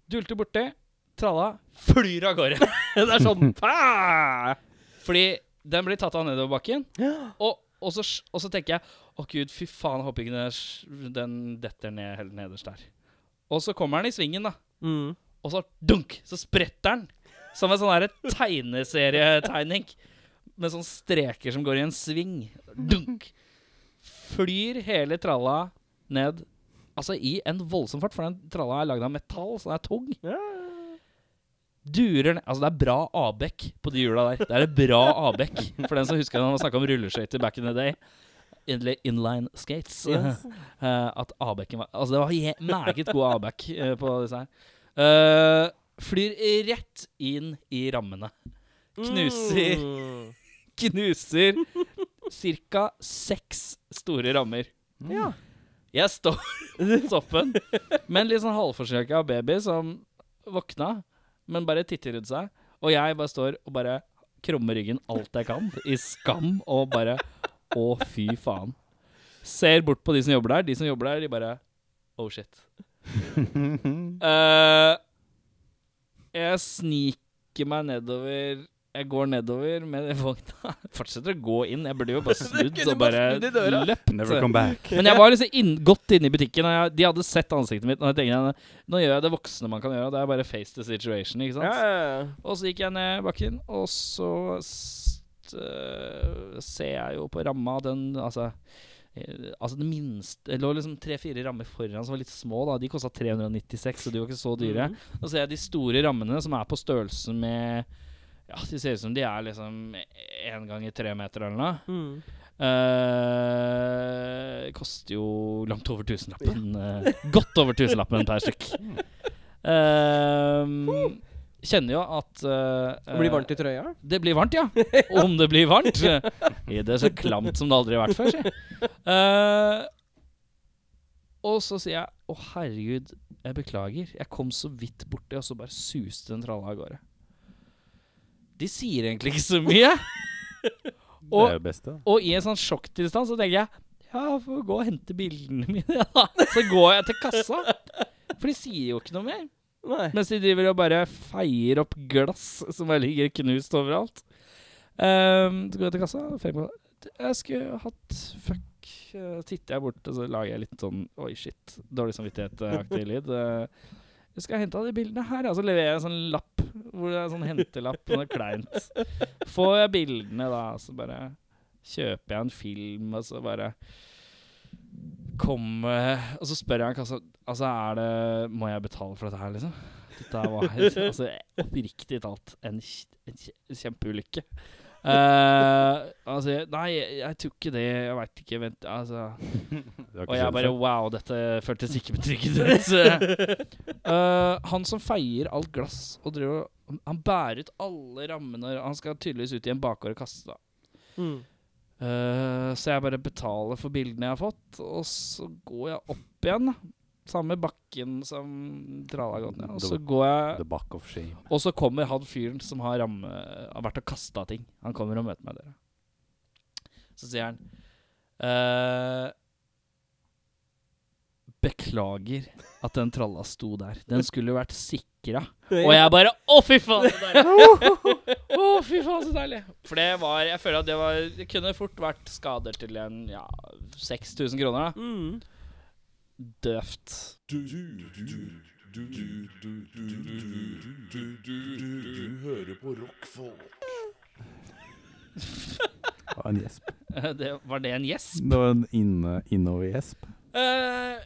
[SPEAKER 1] Dulter borti, tralla flyr av gårde. [LAUGHS]
[SPEAKER 2] det er sånn ah!
[SPEAKER 1] Fordi den blir tatt av nedoverbakken.
[SPEAKER 2] Ja.
[SPEAKER 1] Og, og, så, s- og så tenker jeg Å gud, fy faen, jeg håper ikke den, s- den detter ned helt nederst der. Og så kommer den i svingen, da.
[SPEAKER 2] Mm.
[SPEAKER 1] Og så dunk, så spretter den. Som en sånn her tegneserietegning. Med sånne streker som går i en sving. Dunk. Flyr hele tralla ned. Altså i en voldsom fart, for den tralla er lagd av metall, så den er tung.
[SPEAKER 2] Ja.
[SPEAKER 1] Durer ned Altså, det er bra Abek på de hjula der. Det er et bra Abek, for den som husker når man snakka om rulleskøyter back in the day. Eller inline skates. Eh, at A-backen var Altså, det var je- meget god A-back eh, på disse her. Eh, flyr rett inn i rammene. Knuser.
[SPEAKER 2] Mm.
[SPEAKER 1] Knuser ca. seks store rammer.
[SPEAKER 2] Ja.
[SPEAKER 1] Jeg står [LAUGHS] på toppen, men litt sånn halvforskrekka baby som våkna, men bare titter rundt seg. Og jeg bare står og bare krummer ryggen alt jeg kan, i skam, og bare Å, fy faen. Ser bort på de som jobber der. De som jobber der, de bare Oh,
[SPEAKER 2] [LAUGHS]
[SPEAKER 1] shit. Eh, jeg sniker meg nedover Jeg går nedover med vogna. [LAUGHS] Fortsetter å gå inn. Jeg burde jo
[SPEAKER 2] [LAUGHS]
[SPEAKER 1] bare snudd
[SPEAKER 2] kunne
[SPEAKER 1] og
[SPEAKER 2] bare
[SPEAKER 1] bare
[SPEAKER 2] snudd i døra.
[SPEAKER 1] løpt.
[SPEAKER 3] Never come [LAUGHS] back.
[SPEAKER 1] Men jeg var liksom inn, godt inne i butikken, og jeg, de hadde sett ansiktet mitt. Og jeg tenkte, nå gjør jeg det voksne man kan gjøre, og det er bare face the situation. ikke sant?
[SPEAKER 2] Ja, ja, ja.
[SPEAKER 1] Og så gikk jeg ned bakken, og så st- øh, ser jeg jo på ramma den Altså, eh, altså det minste Det lå liksom tre-fire rammer foran som var litt små. da De kosta 396, så de var ikke så dyre.
[SPEAKER 2] Mhm.
[SPEAKER 1] Og så ser jeg de store rammene som er på størrelse med Ja, de ser ut som de er liksom én ganger tre meter eller noe.
[SPEAKER 2] Mm.
[SPEAKER 1] Eh, koster jo langt over tusenlappen. eh, godt over tusenlappen
[SPEAKER 2] [LAUGHS]
[SPEAKER 1] per stykk.
[SPEAKER 2] Mm.
[SPEAKER 1] Eh, kjenner jo at eh,
[SPEAKER 2] Det blir varmt i trøya.
[SPEAKER 1] Det blir varmt,
[SPEAKER 2] [LAUGHS]
[SPEAKER 1] ja. Om det blir varmt. I det er så klamt som det aldri har vært før, sier jeg. Eh, og så sier jeg å herregud, jeg beklager. Jeg kom så vidt borti, og så bare suste den tralla av gårde. De sier egentlig ikke så
[SPEAKER 2] [LAUGHS]
[SPEAKER 1] mye.
[SPEAKER 3] Det
[SPEAKER 1] Og
[SPEAKER 3] er det beste.
[SPEAKER 1] og i en sånn sjokktilstand så tenker jeg Ja, jeg får gå og hente bildene mine, [LAUGHS] da. Så går jeg til kassa. For de sier jo ikke noe mer.
[SPEAKER 2] Nei.
[SPEAKER 1] Mens de driver og bare feier opp glass som bare ligger knust overalt. Ehm, så går jeg til kassa. Fem, jeg skulle hatt Fuck. eh, titter jeg bort, og så lager jeg litt sånn Oi, shit. Dårlig samvittighet-aktig lyd. Eh, jeg skal hente av de bildene her. Og så leverer jeg en sånn lapp. Hvor det er en sånn hentelapp. Noe kleint. Får jeg bildene, da, så bare kjøper jeg en film, og så bare Kom eh, Og så spør jeg han kassa Altså, er det Må jeg betale for dette her, liksom? Dette her var altså, oppriktig talt en, kj- en kj- kjempeulykke. Eh, altså, jeg- nei, jeg, jeg tror ikke det. Jeg veit ikke. Vent, altså
[SPEAKER 3] Det har
[SPEAKER 1] og
[SPEAKER 3] ikke
[SPEAKER 1] jeg
[SPEAKER 3] skjedd
[SPEAKER 1] bare
[SPEAKER 3] før.
[SPEAKER 1] Wow, dette føltes ikke betryggende ut. Eh, han som feier alt glass og driver og- Han bærer ut alle rammene. og Han skal tydeligvis ut i en bakgård og kaste, da.
[SPEAKER 2] Mm.
[SPEAKER 1] Eh, så jeg bare betaler for bildene jeg har fått, og så går jeg opp igjen. da. Samme bakken som tralla har gått ned. Og så går jeg
[SPEAKER 3] The back of [LAUGHS] shame.
[SPEAKER 1] Og så kommer han fyren som har ramme Har vært og kasta ting. Han kommer og møter meg der. Så sier han eh, Beklager at den tralla sto der. Den skulle jo vært sikra. Og
[SPEAKER 2] [LAUGHS]
[SPEAKER 1] jeg bare Å, fy faen! så deilig!» Å, fy faen, så deilig. For det var Jeg føler at det var Det kunne fort vært skader til en ja, 6000 kroner. da.
[SPEAKER 2] Mm.
[SPEAKER 1] Døvt.
[SPEAKER 4] Du, du, du, du, du, du, du, du, du, du, du hører på rockfolk.
[SPEAKER 3] Det var en gjesp.
[SPEAKER 1] Eh, Det, var det en gjesp?
[SPEAKER 3] Det var en inne- innover-gjesp.
[SPEAKER 1] Eh,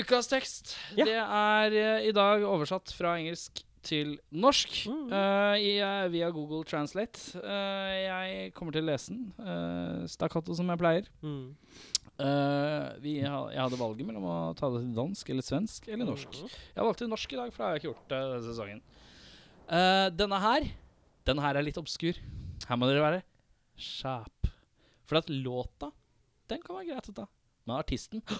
[SPEAKER 1] ukas tekst.
[SPEAKER 2] Ja.
[SPEAKER 1] Det er eh, i dag oversatt fra engelsk til norsk
[SPEAKER 2] Mm.
[SPEAKER 1] eh, i, eh, via Google Translate. Eh, jeg kommer til å lese den. eh, stakkato som jeg pleier.
[SPEAKER 2] Mm.
[SPEAKER 1] Eh, vi, ha- jeg hadde valget mellom å ta det til dansk eller svensk eller norsk. Jeg valgte norsk i dag, for det har jeg ikke gjort eh, denne sesongen. Eh, denne her Den her er litt obskur. Her må dere være kjæp. For at låta, den kan være greit å ta. Men artisten [GASPS]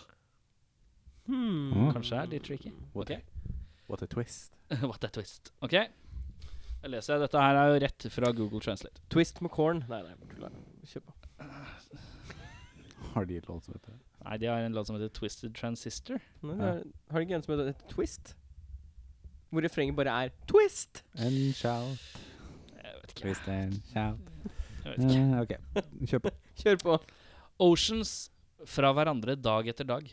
[SPEAKER 2] Mm.
[SPEAKER 1] kanskje er litt tricky.
[SPEAKER 3] What,
[SPEAKER 1] Ok.
[SPEAKER 3] what a twist.
[SPEAKER 1] What a twist. OK. Jeg leser. Dette her er jo rett fra Google Translate.
[SPEAKER 2] Twist med corn. Nei, nei, bare tulla. Kjør på.
[SPEAKER 3] Har de et lån som heter det?
[SPEAKER 1] Nei, de har en låt som heter Twisted Transistor.
[SPEAKER 2] Nei, det er- Har de ikke en som heter Twist? Hvor refrenget bare er Twist!
[SPEAKER 3] And shout,
[SPEAKER 1] Jeg vet ikke.
[SPEAKER 3] twist and shout.
[SPEAKER 1] Jeg vet ikke.
[SPEAKER 3] Eh, ok, kjør på.
[SPEAKER 2] Kjør på.
[SPEAKER 1] Oceans fra hverandre dag etter dag.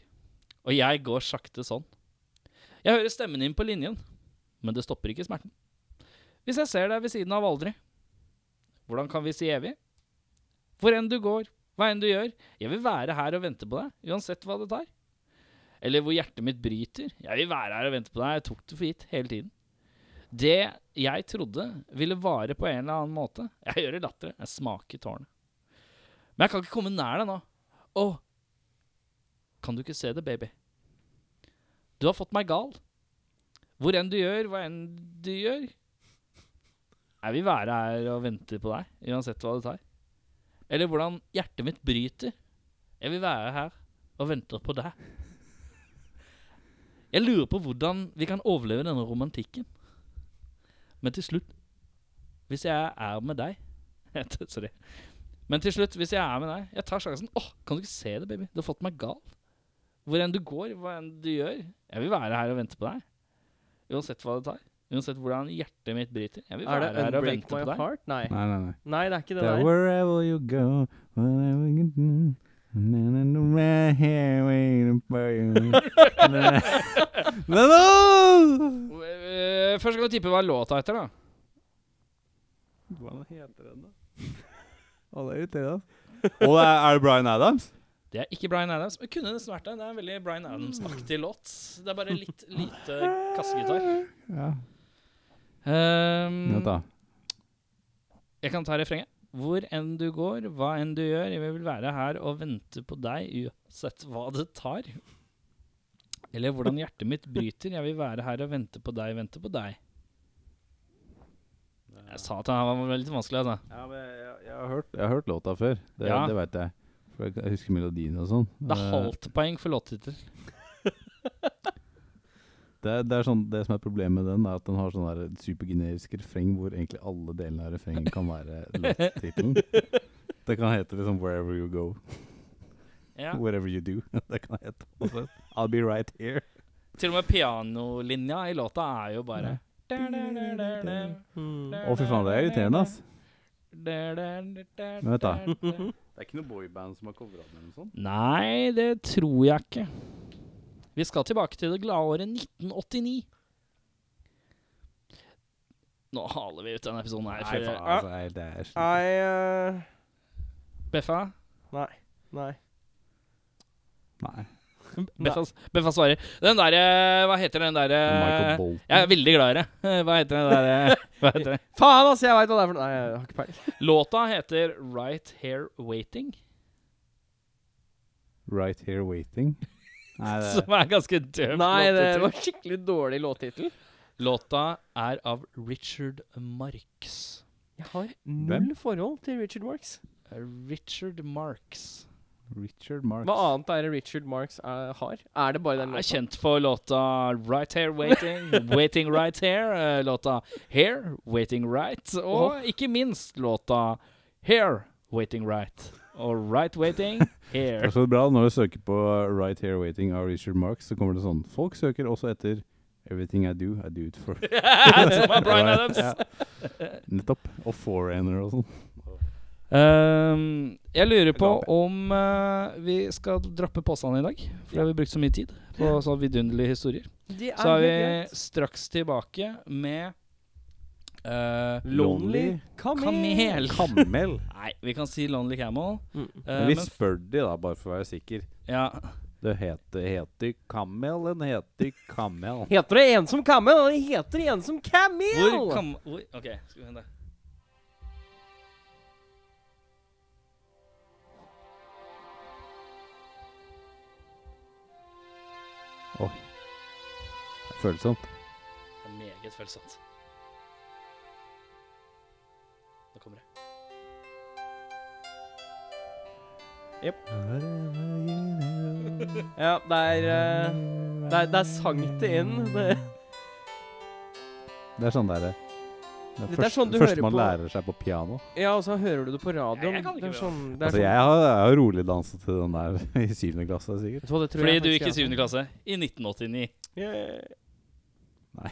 [SPEAKER 1] Og jeg går sakte sånn. Jeg hører stemmen din på linjen, men det stopper ikke smerten. Hvis jeg ser deg ved siden av aldri, hvordan kan vi si evig? Hvor enn du går, hva enn du gjør, jeg vil være her og vente på deg, uansett hva det tar. Eller hvor hjertet mitt bryter, jeg vil være her og vente på deg, jeg tok det for gitt hele tiden. Det jeg trodde ville vare på en eller annen måte, jeg hører latter, jeg smaker tårnet. Men jeg kan ikke komme nær deg nå. Å, kan du ikke se det, baby? Du har fått meg gal. Hvor enn du gjør, hva enn du gjør, jeg vil være her og vente på deg, uansett hva det tar. Eller hvordan hjertet mitt bryter. Jeg vil være her og vente på deg. Jeg lurer på hvordan vi kan overleve denne romantikken. Men til slutt Hvis jeg er med deg [LAUGHS] Sorry. Men til slutt, hvis jeg er med deg Jeg tar sjansen. Åh, kan du ikke se det, baby? Du har fått meg gal. Hvor enn du går, hva enn du gjør. Jeg vil være her og vente på deg. Uansett hva det tar. Uansett hvordan hjertet mitt bryter. Jeg vil
[SPEAKER 2] Er
[SPEAKER 1] være
[SPEAKER 2] det
[SPEAKER 1] her og
[SPEAKER 2] 'Unbreak
[SPEAKER 1] vente
[SPEAKER 2] My
[SPEAKER 1] på deg.
[SPEAKER 2] Heart'? Nei.
[SPEAKER 3] Nei, nei, nei.
[SPEAKER 2] Nei, det er ikke det
[SPEAKER 3] Det er
[SPEAKER 2] der.
[SPEAKER 3] wherever you go, wherever you do. Men I'm right here waiting for you. Men- Men åh!
[SPEAKER 1] Eh, Først kan du tippe hva låta heter, da.
[SPEAKER 3] Hvordan heter den, da? Å, det er irriterende. Og er, er det Bryan Adams?
[SPEAKER 1] Det er ikke Bryan Adams. Men kunne nesten vært det. Det er en veldig Bryan Adams-aktig låt. Det er bare litt lite kassegitar.
[SPEAKER 3] Ja.
[SPEAKER 1] Ehm,
[SPEAKER 3] Vent, da.
[SPEAKER 1] jeg kan ta refrenget. Hvor enn du går, hva enn du gjør, jeg vil være her og vente på deg uansett hva det tar. Eller hvordan hjertet mitt bryter, jeg vil være her og vente på deg, vente på deg. Jeg sa at den var litt vanskelig, altså.
[SPEAKER 3] Ja, men jeg, jeg, har hørt, jeg har hørt låta før. Det,
[SPEAKER 1] Ja.
[SPEAKER 3] det veit jeg. For jeg, jeg husker melodien og sånn.
[SPEAKER 1] Det er
[SPEAKER 3] Eh,
[SPEAKER 1] halvt poeng for låttittel.
[SPEAKER 3] Det, er- det er sånn, det som er problemet med den, er at den har sånn der supergenerisk refreng hvor egentlig alle delene av refrenget kan være [LAUGHS] låttittelen. Det kan hete liksom 'Wherever You Go'.
[SPEAKER 1] Ja.
[SPEAKER 3] Whatever You Do. [LAUGHS] det kan hete. også. I'll Be Right Here.
[SPEAKER 1] Til og med pianolinja i låta er jo bare
[SPEAKER 2] Hmm.
[SPEAKER 3] Å, fy faen, det er irriterende, ass.
[SPEAKER 1] Men
[SPEAKER 3] Men vent da. Det er ikke noe boyband som har covra den eller noe sånt?
[SPEAKER 1] [LAUGHS] Nei, det tror jeg ikke. Vi skal tilbake til det glade året 1989. Nå haler vi ut denne episoden her.
[SPEAKER 3] Nei,
[SPEAKER 1] for-
[SPEAKER 3] faen, altså. Jeg, det er slik.
[SPEAKER 2] Nei eh,
[SPEAKER 1] Beffa,
[SPEAKER 2] Nei.
[SPEAKER 3] Nei.
[SPEAKER 1] Beffa, Beffa svarer. Den derre Hva heter den derre
[SPEAKER 2] Eh.
[SPEAKER 3] Michael Bolton.
[SPEAKER 1] Jeg er veldig glad i det. [LAUGHS] Hva heter den derre
[SPEAKER 3] [LAUGHS]
[SPEAKER 1] Hva heter den?
[SPEAKER 2] Faen, ass! Jeg veit hva det er for noe. Nei, jeg har ikke peiling.
[SPEAKER 1] Låta heter Right Here Waiting,
[SPEAKER 3] Right Here Waiting. Nei, det
[SPEAKER 1] som er ganske døv.
[SPEAKER 2] Nei, det
[SPEAKER 1] låttittel.
[SPEAKER 2] var skikkelig dårlig låttittel.
[SPEAKER 1] Låta er av Richard Marks.
[SPEAKER 2] Jeg har
[SPEAKER 3] null
[SPEAKER 2] null forhold til Richard Marks.
[SPEAKER 1] Richard Marks.
[SPEAKER 3] Richard Marks.
[SPEAKER 2] Hva annet er det Richard Marks eh, har? Er det bare den
[SPEAKER 1] Er
[SPEAKER 2] låta?
[SPEAKER 1] kjent for låta Right Here
[SPEAKER 2] [LAUGHS]
[SPEAKER 1] Waiting, Waiting Right Here, eh, låta Here, Waiting Right, og ikke minst låta Here, Waiting Right, og Right
[SPEAKER 2] [LAUGHS]
[SPEAKER 1] Waiting
[SPEAKER 3] Det
[SPEAKER 1] Here.
[SPEAKER 3] er så bra når du søker på Right Here Waiting av Richard Marks, så kommer det sånn Folk søker også etter Everything I Do, I Do It
[SPEAKER 2] [LAUGHS]
[SPEAKER 3] For.
[SPEAKER 1] [LAUGHS] Som er Bryan
[SPEAKER 3] Ja,
[SPEAKER 1] Adams.
[SPEAKER 3] ja. Nettopp. Og Foreigner og sånn.
[SPEAKER 1] Ehm, jeg lurer på om eh, vi skal droppe påstandene i dag, for det har vi brukt så mye tid på sånne vidunderlige historier.
[SPEAKER 2] Det er
[SPEAKER 1] Så er vi
[SPEAKER 2] helt greit.
[SPEAKER 1] straks tilbake med eh,
[SPEAKER 3] Lonely
[SPEAKER 1] Kamel.
[SPEAKER 3] Kamel.
[SPEAKER 1] Nei, vi kan si Lonely Camel.
[SPEAKER 2] Mm.
[SPEAKER 1] eh,
[SPEAKER 3] Men vi
[SPEAKER 1] men-
[SPEAKER 3] spør de da, bare for å være sikker.
[SPEAKER 1] Ja.
[SPEAKER 3] Det heter, heter Kamel, den heter Kamel.
[SPEAKER 2] Heter det en som Kamel? Det heter en som Kamel!
[SPEAKER 1] Hvor kam... Hvor, ok, skal vi hente.
[SPEAKER 3] Følsomt.
[SPEAKER 1] Det er meget følsomt. Nå kommer det.
[SPEAKER 2] Ja, det er, eh, det er Det er sangt det inn. Det,
[SPEAKER 3] Det er sånn derre det
[SPEAKER 2] Dette er sånn du hører
[SPEAKER 3] man
[SPEAKER 2] på-
[SPEAKER 3] lærer seg på piano.
[SPEAKER 2] ja, og så hører du det på
[SPEAKER 1] Ja,
[SPEAKER 2] radioen.
[SPEAKER 1] jeg kan ikke
[SPEAKER 2] det er
[SPEAKER 1] det.
[SPEAKER 2] sånn, det er
[SPEAKER 3] Altså,
[SPEAKER 2] sånn.
[SPEAKER 3] jeg har, jeg har rolig danset til den der [LAUGHS] i syvende klasse, sikkert.
[SPEAKER 2] Vet du hva, det tror
[SPEAKER 1] Fordi
[SPEAKER 2] jeg
[SPEAKER 1] du
[SPEAKER 2] faktisk
[SPEAKER 1] gikk i
[SPEAKER 2] jeg har.
[SPEAKER 1] syvende klasse i 1989.
[SPEAKER 2] Jeg-
[SPEAKER 1] [LAUGHS]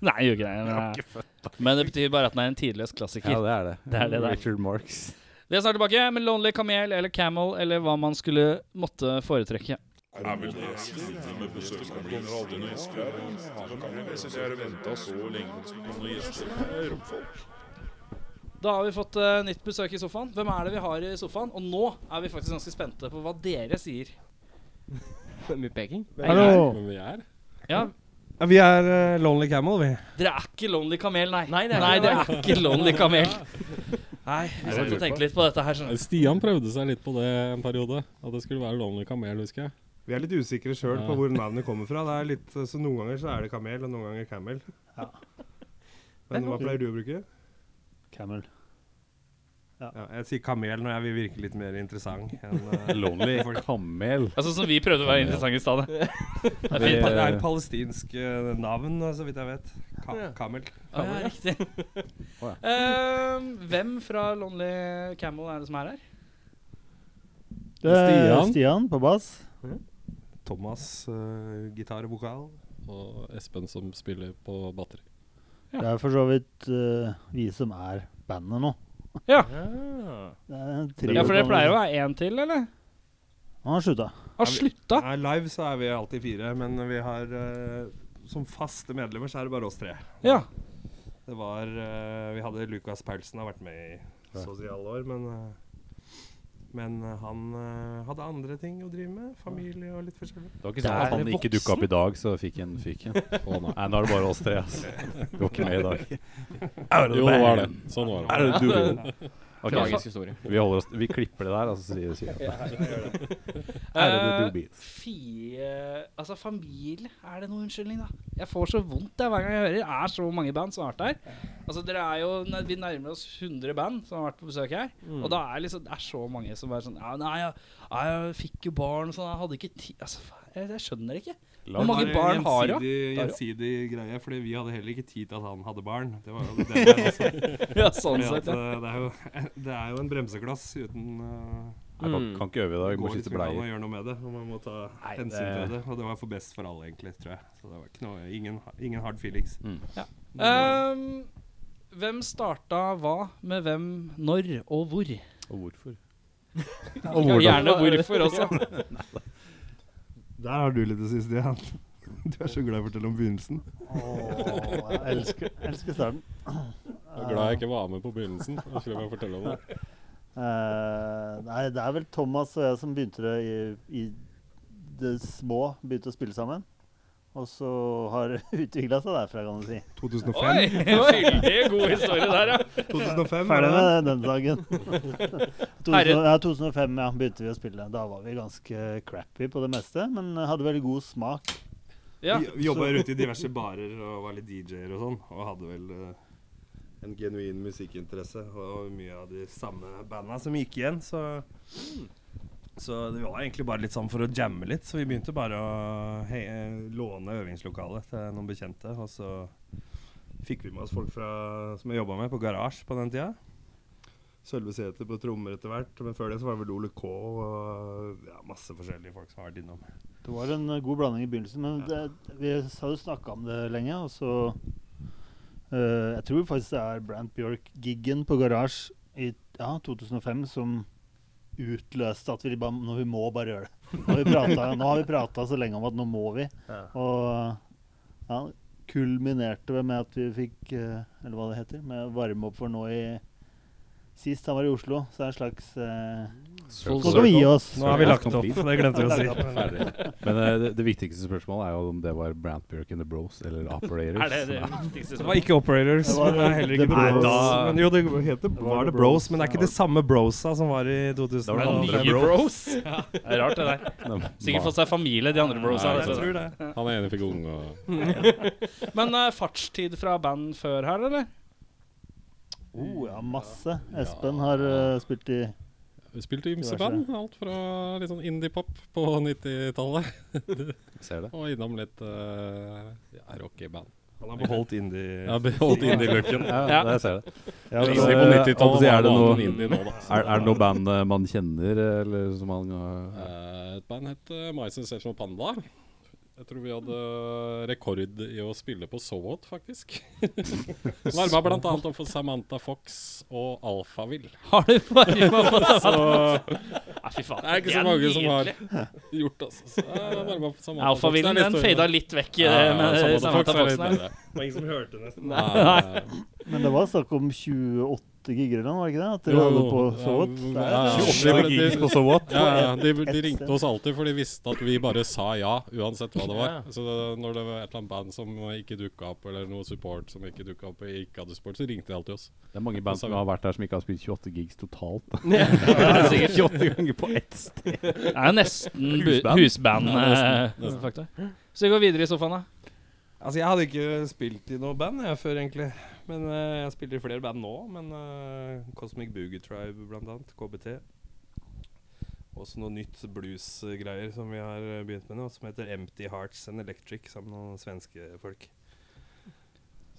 [SPEAKER 1] Nei, jeg gjorde ikke det. men- eh, Men det betyr bare at den er en tidløs klassiker.
[SPEAKER 3] Ja, det er det.
[SPEAKER 1] Det er det det er.
[SPEAKER 3] Richard Marks.
[SPEAKER 1] Vi er snart tilbake med Lonely Camel eller Camel eller hva man skulle måtte foretrekke.
[SPEAKER 4] Er vi gjester med besøkskomplett? Aldri noen gjester her. Jeg synes jeg har ventet så lenge på noen gjester. Jeg er romfolk.
[SPEAKER 1] Da har vi fått eh, nytt besøk i sofaen. Hvem er det vi har i sofaen? Og nå er vi faktisk ganske spente på hva dere sier.
[SPEAKER 2] Det er Mye peking.
[SPEAKER 5] Hallo.
[SPEAKER 6] Hvem vi er?
[SPEAKER 1] Ja,
[SPEAKER 5] Ja, Vi er eh, Lonely Camel, vi.
[SPEAKER 1] Dere er ikke Lonely Kamel, nei.
[SPEAKER 2] Nei, det er
[SPEAKER 1] nei
[SPEAKER 2] ikke
[SPEAKER 1] dere er ikke Lonely Kamel. Nei, vi satt og tenkte litt på dette her. skjønner du.
[SPEAKER 5] Stian prøvde seg litt på det en periode. At det skulle være Lonely Kamel, husker jeg.
[SPEAKER 6] Vi er litt usikre sjøl
[SPEAKER 5] Ja.
[SPEAKER 6] på hvor navnet kommer fra. Det er litt, eh, så Noen ganger så er det kamel, og noen ganger camel. Men hva pleier du å bruke?
[SPEAKER 7] Camel.
[SPEAKER 6] Ja, jeg sier kamel når jeg vil virke litt mer interessant. Enn,
[SPEAKER 3] [LAUGHS] [LAUGHS]
[SPEAKER 6] eh,
[SPEAKER 3] Lonely Kamel.
[SPEAKER 1] Altså Som vi prøvde å være interessante i stad. Det Det er
[SPEAKER 6] det
[SPEAKER 1] fint.
[SPEAKER 3] Eh.
[SPEAKER 6] er et palestinsk eh, navn, så vidt jeg vet. Ka
[SPEAKER 2] Ja.
[SPEAKER 6] kamel.
[SPEAKER 1] Ah, ja, riktig.
[SPEAKER 3] Å,
[SPEAKER 1] Ehm, hvem fra Lonely Camel er det som er her?
[SPEAKER 7] Det er
[SPEAKER 5] Stian.
[SPEAKER 7] Stian på bass.
[SPEAKER 6] Thomas, eh, gitar og vokal.
[SPEAKER 5] Og Espen som spiller på batteri.
[SPEAKER 7] Det er for så vidt eh, vi som er bandet nå. Det er en trio
[SPEAKER 1] Ja, For det
[SPEAKER 7] kan-
[SPEAKER 1] pleier å være én til, eller?
[SPEAKER 7] Han har slutta.
[SPEAKER 1] Har slutta?
[SPEAKER 6] Nei, Eh, live så er vi alltid fire, men vi har eh, som faste medlemmer så er det bare oss tre.
[SPEAKER 1] Ja.
[SPEAKER 6] Det var eh, Vi hadde Lukas Paulsen, har vært med i så å si alle år, men eh, men eh, han eh, hadde andre ting å drive med. Familie og litt forskjellig.
[SPEAKER 3] Det var ikke
[SPEAKER 1] Der
[SPEAKER 3] sånn at
[SPEAKER 1] er
[SPEAKER 3] han
[SPEAKER 1] det
[SPEAKER 3] ikke dukka opp i dag, så fikk en fyk en. Nei, nå er det bare oss tre. ass. Du var ikke med i dag.
[SPEAKER 5] Jo, det var det. Sånn var det.
[SPEAKER 3] Er det du? Ok,
[SPEAKER 2] Tragisk historie.
[SPEAKER 3] vi, holder oss, vi klipper det der, og så sier sier jeg
[SPEAKER 1] Eh,
[SPEAKER 3] Ærede dubis.
[SPEAKER 1] Fie Altså, familie Er det noen unnskyldning, da? Jeg får så vondt jeg, hver gang jeg hører. Det er så mange band som har vært her. Altså, dere er jo ne- Vi nærmer oss 100 band som har vært på besøk her. Og da er liksom, det er så mange som bare sånn Ja, nei, jeg, ja, jeg fikk jo barn og sånn. Jeg hadde ikke tid Altså, fa- jeg, jeg skjønner det ikke. Hvor mange
[SPEAKER 6] Det var
[SPEAKER 1] barn har du? Har
[SPEAKER 6] Gjensidig,
[SPEAKER 1] du?
[SPEAKER 6] gjensidig greie, fordi vi hadde heller ikke tid til at han hadde barn. Det var
[SPEAKER 1] [LAUGHS]
[SPEAKER 6] jo det der, altså.
[SPEAKER 1] Ja, sånn
[SPEAKER 6] Fordi
[SPEAKER 1] sett.
[SPEAKER 6] at,
[SPEAKER 1] [LAUGHS] Ja.
[SPEAKER 6] eh, det, er jo, [LAUGHS] det er jo en bremsekloss uten uh,
[SPEAKER 3] Jeg kan, kan ikke øve i dag, må
[SPEAKER 6] går
[SPEAKER 3] skifte
[SPEAKER 6] liksom ikke an å
[SPEAKER 3] bleier.
[SPEAKER 6] gjøre noe med det. og Man må ta
[SPEAKER 3] Nei,
[SPEAKER 6] hensyn
[SPEAKER 3] det-
[SPEAKER 6] til det. Og det var for best for alle, egentlig, tror jeg. Så det var ikke noe, ingen, ingen hard feelings.
[SPEAKER 1] Mm. Ehm, hvem starta hva med hvem når og hvor?
[SPEAKER 3] Og hvorfor?
[SPEAKER 1] Og Gjerne
[SPEAKER 2] [LAUGHS]
[SPEAKER 1] hvorfor også.
[SPEAKER 6] Der har du litt det siste igjen. [LAUGHS] Du er så glad i å fortelle om begynnelsen.
[SPEAKER 7] Åh, jeg elsker, elsker starten.
[SPEAKER 5] Jeg er glad jeg ikke var med på begynnelsen. Jeg skulle bare
[SPEAKER 7] Ah.
[SPEAKER 5] fortelle om det.
[SPEAKER 7] Eh, nei, det er vel Thomas og jeg som begynte det i, i det små. Begynte å spille sammen. Og så har [LAUGHS] det utvikla seg derfra, kan du si.
[SPEAKER 6] 2005.
[SPEAKER 1] Oi! Veldig [LAUGHS] god historie der, ja.
[SPEAKER 6] 2005 var
[SPEAKER 7] Ferdig
[SPEAKER 6] det.
[SPEAKER 7] med den
[SPEAKER 1] [LAUGHS]
[SPEAKER 7] dagen. 2000, ja, 2005 ja, begynte vi å spille. Da var vi ganske crappy på det meste, men hadde veldig god smak.
[SPEAKER 1] ja.
[SPEAKER 6] Vi, vi jobba rundt i diverse barer og var litt DJ-er og sånn, og hadde vel eh, en genuin musikkinteresse og mye av de samme banda som gikk igjen, så så det var egentlig bare litt sånn for å jamme litt, så vi begynte bare å he låne øvingslokalet til noen bekjente, og så fikk vi med oss folk fra, som jeg jobba med på Garasje på den tida. Sølve Sæther på trommer etter hvert, men før det så var det vel Ole K og ja, masse forskjellige folk som har vært innom.
[SPEAKER 7] Det var en eh, god blanding i begynnelsen, men det, vi hadde snakka om det lenge, og så eh, Jeg tror faktisk det er Brant Bjørk-giggen på Garage i ja, 2005 som utløste at vi bare Nå vi må bare gjøre det. Nå har vi pratet- Nå har vi prata så lenge om at nå må vi.
[SPEAKER 6] Ja.
[SPEAKER 7] Og ja, kulminerte det med at vi fikk eh, Eller hva det heter. Med å varme opp for nå i Sist han var i Oslo, så er det en slags eh, Nå skal vi gi oss.
[SPEAKER 6] Nå har vi lagt opp, det glemte vi [LAUGHS] å si.
[SPEAKER 3] Ferdig. [LAUGHS] Men eh, det, det viktigste spørsmålet er jo om det var Brant Bjørk and the Bros eller Operators.
[SPEAKER 1] [LAUGHS] Er det det viktigste
[SPEAKER 6] Det var ikke Operators.
[SPEAKER 7] Det var
[SPEAKER 6] men det er heller ikke
[SPEAKER 7] The
[SPEAKER 6] Bros.
[SPEAKER 7] Bros.
[SPEAKER 6] men jo, det heter, var det Bros, men det er ikke det samme Brosa som var i
[SPEAKER 3] Da var det
[SPEAKER 1] Nye
[SPEAKER 6] 2005.
[SPEAKER 3] andre bros.
[SPEAKER 1] bros. Det er rart, det der. [LAUGHS] Sikkert fått seg familie, de andre brosa. altså.
[SPEAKER 6] Jeg tror det.
[SPEAKER 5] Han ene fikk unge og
[SPEAKER 1] Men eh, fartstid fra band før her, eller?
[SPEAKER 7] Oh, ja, masse. Espen har eh, spilt i
[SPEAKER 5] Vi spilte i ymse band. Alt fra litt sånn indie-pop på 90-tallet
[SPEAKER 3] Ser det.
[SPEAKER 5] og innom litt uh, ja, rockeband.
[SPEAKER 6] Han har beholdt indie.
[SPEAKER 5] Jeg har beholdt indie-looken.
[SPEAKER 3] Ja,
[SPEAKER 1] Ja.
[SPEAKER 3] det ser det.
[SPEAKER 7] ja,
[SPEAKER 3] det
[SPEAKER 5] Indie
[SPEAKER 7] så-
[SPEAKER 3] er-
[SPEAKER 5] på 90-tallet
[SPEAKER 3] altså, er
[SPEAKER 5] var
[SPEAKER 3] det
[SPEAKER 5] noe
[SPEAKER 3] noe-
[SPEAKER 5] annet enn indie nå, da. Så
[SPEAKER 3] Er, er det noe band eh, man kjenner, eller som man har
[SPEAKER 5] Eh, Et band het eh, My Sensational Panda. Jeg tror vi hadde rekord i å spille på So What,
[SPEAKER 3] [LAUGHS]
[SPEAKER 5] faktisk. Varma blant annet opp for Samantha Fox og Alphaville.
[SPEAKER 1] Har du bare
[SPEAKER 5] Så
[SPEAKER 1] Nei, fy faen.
[SPEAKER 5] det er ikke så mange som har [LAUGHS] gjort altså. Så jeg var varma opp for Samantha Fox. Det er
[SPEAKER 1] Alfavillen,
[SPEAKER 5] litt
[SPEAKER 1] den
[SPEAKER 5] større.
[SPEAKER 1] fada litt vekk i
[SPEAKER 5] Ja,
[SPEAKER 1] det
[SPEAKER 5] ja,
[SPEAKER 1] med
[SPEAKER 5] eh, Samantha
[SPEAKER 1] Samantha
[SPEAKER 5] Fox er litt
[SPEAKER 1] Foxen.
[SPEAKER 5] bedre.
[SPEAKER 6] Det var ingen som hørte nesten.
[SPEAKER 5] Nei,
[SPEAKER 7] Men det var snakk om 28 gigger eller noe, var det ikke det? At dere hadde på Sovot? Det
[SPEAKER 5] Ja, ja,
[SPEAKER 7] er-
[SPEAKER 5] ja.
[SPEAKER 3] 28 gigs på so what?
[SPEAKER 5] Ja, ja, de, de ringte oss alltid, for de visste at vi bare sa ja, uansett hva det var.
[SPEAKER 2] Ja.
[SPEAKER 5] Så det- når det var et eller annet band som ikke dukka opp, eller noe support som ikke dukka opp, og ikke hadde support, så ringte de alltid oss.
[SPEAKER 3] Det er mange band som har vært der som ikke har spilt 28 gigs
[SPEAKER 1] [LAUGHS]
[SPEAKER 3] totalt.
[SPEAKER 2] Ja.
[SPEAKER 3] Det er [LAUGHS] sikkert 28 ganger på ett sted.
[SPEAKER 1] Det er jo nesten eh.
[SPEAKER 3] Husband.
[SPEAKER 1] husband-fakta. Så vi går videre i sofaen, da.
[SPEAKER 6] Altså, jeg hadde ikke spilt i noe band jeg før, egentlig. Men eh, jeg spiller i flere band nå. Men eh, Cosmic Boogie Tribe, blant annet. KBT. Også noe nytt bluesgreier som vi har eh, begynt med nå, som heter Empty Hearts and Electric, sammen med noen svenske folk.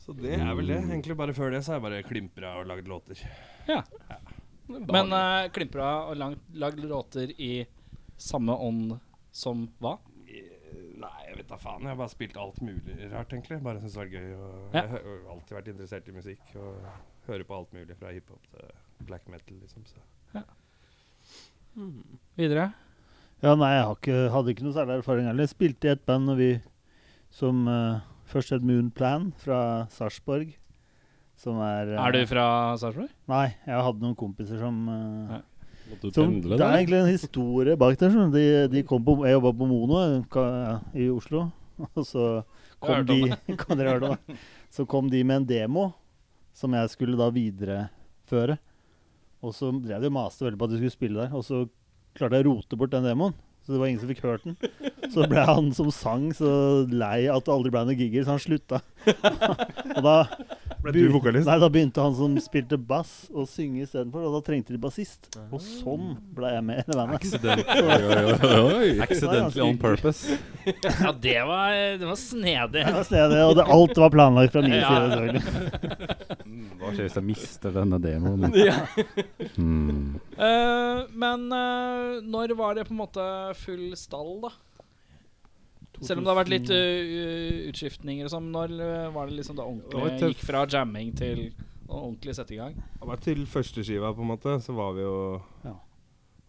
[SPEAKER 6] Så det er vel det. Egentlig bare før det så har jeg bare klimpra og lagd låter.
[SPEAKER 1] Men uh, klimpra og langt, lagd låter i samme ånd som hva?
[SPEAKER 6] Eh, Nei, jeg vet da faen. Jeg har bare spilt alt mulig rart, egentlig. Bare syntes det var gøy. Og
[SPEAKER 1] Ja.
[SPEAKER 6] Jeg har jo alltid vært interessert i musikk og hører på alt mulig, fra hiphop til black metal, liksom. Så.
[SPEAKER 1] Videre?
[SPEAKER 7] Ja, nei, jeg har ikke, hadde ikke noe særlig erfaring heller. Jeg spilte i et band når vi, som eh, først het Moon Plan fra Sarpsborg. Som er eh,
[SPEAKER 1] Er du fra Sarpsborg?
[SPEAKER 7] Nei, jeg hadde noen kompiser som eh,
[SPEAKER 1] Nei.
[SPEAKER 5] Måtte du
[SPEAKER 7] som,
[SPEAKER 5] pendle,
[SPEAKER 7] Det er
[SPEAKER 5] da?
[SPEAKER 7] egentlig en historie bak der. skjønner du. De, de kom på, jeg jobba på Mono eh, ka- i Oslo, [LAUGHS] og så
[SPEAKER 1] Jeg har
[SPEAKER 7] kom
[SPEAKER 1] hørt
[SPEAKER 7] de [LAUGHS]
[SPEAKER 1] om
[SPEAKER 7] kan dere høre det, da? Så kom de med en demo som jeg skulle da videreføre. Og så drev de og maste veldig på at de skulle spille der, og så klarte jeg å rote bort den demoen. Så det var ingen som fikk hørt den. Så ble han som sang så lei at det aldri ble noen gigger, så han slutta. [LAUGHS] og da
[SPEAKER 6] Ble du vokalist?
[SPEAKER 7] Nei, da begynte han som spilte bass, å synge istedenfor, og da trengte de bassist.
[SPEAKER 1] Ah.
[SPEAKER 7] Og sånn ble jeg med i det bandet.
[SPEAKER 3] [LAUGHS] Accidentally on purpose.
[SPEAKER 1] Ja, det var, det var snedig.
[SPEAKER 7] Det var stedet, og det, alt var planlagt fra min
[SPEAKER 1] Ja.
[SPEAKER 7] side, selvfølgelig.
[SPEAKER 3] Hva skjer hvis jeg mister denne demoen?
[SPEAKER 1] [LAUGHS]
[SPEAKER 3] Hmm.
[SPEAKER 1] Eh, men eh, når var det på en måte full stall, da? [LAUGHS] Selv om det har vært litt eh, utskiftninger og sånn, når eh, var det liksom da
[SPEAKER 6] Det
[SPEAKER 1] ordentlig
[SPEAKER 6] var tøff.
[SPEAKER 1] gikk fra jamming til ordentlig sette i gang?
[SPEAKER 6] Det var til førsteskiva, på en måte, så var vi jo
[SPEAKER 7] Ja.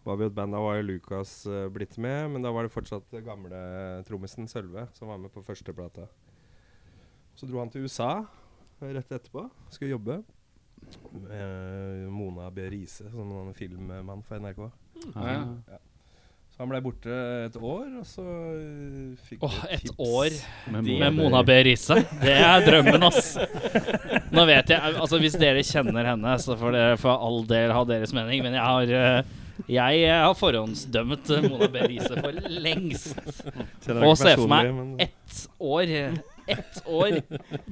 [SPEAKER 6] var vi jo et band. Da var jo Lukas eh, blitt med, men da var det fortsatt det gamle trommisen Sølve som var med på førsteplata. Så dro han til USA eh, rett etterpå. Skulle jobbe med Mona B. Riise, som var en filmmann for NRK.
[SPEAKER 1] Ja.
[SPEAKER 6] Så han ble borte et år, og så eh, fikk
[SPEAKER 1] Åh,
[SPEAKER 6] vi
[SPEAKER 1] et
[SPEAKER 6] tips.
[SPEAKER 1] år
[SPEAKER 3] Mona
[SPEAKER 1] med Mona B. Riise. Det er drømmen, ass. [LAUGHS] Nå vet jeg Altså, hvis dere kjenner henne, så får dere for all del ha deres mening, men jeg har eh, jeg eh, har forhåndsdømmet eh, Mona B. Riise for lengst.
[SPEAKER 6] Kjenner
[SPEAKER 1] Og
[SPEAKER 6] ikke
[SPEAKER 1] se for meg
[SPEAKER 6] personlig, men-
[SPEAKER 1] ett år Ett år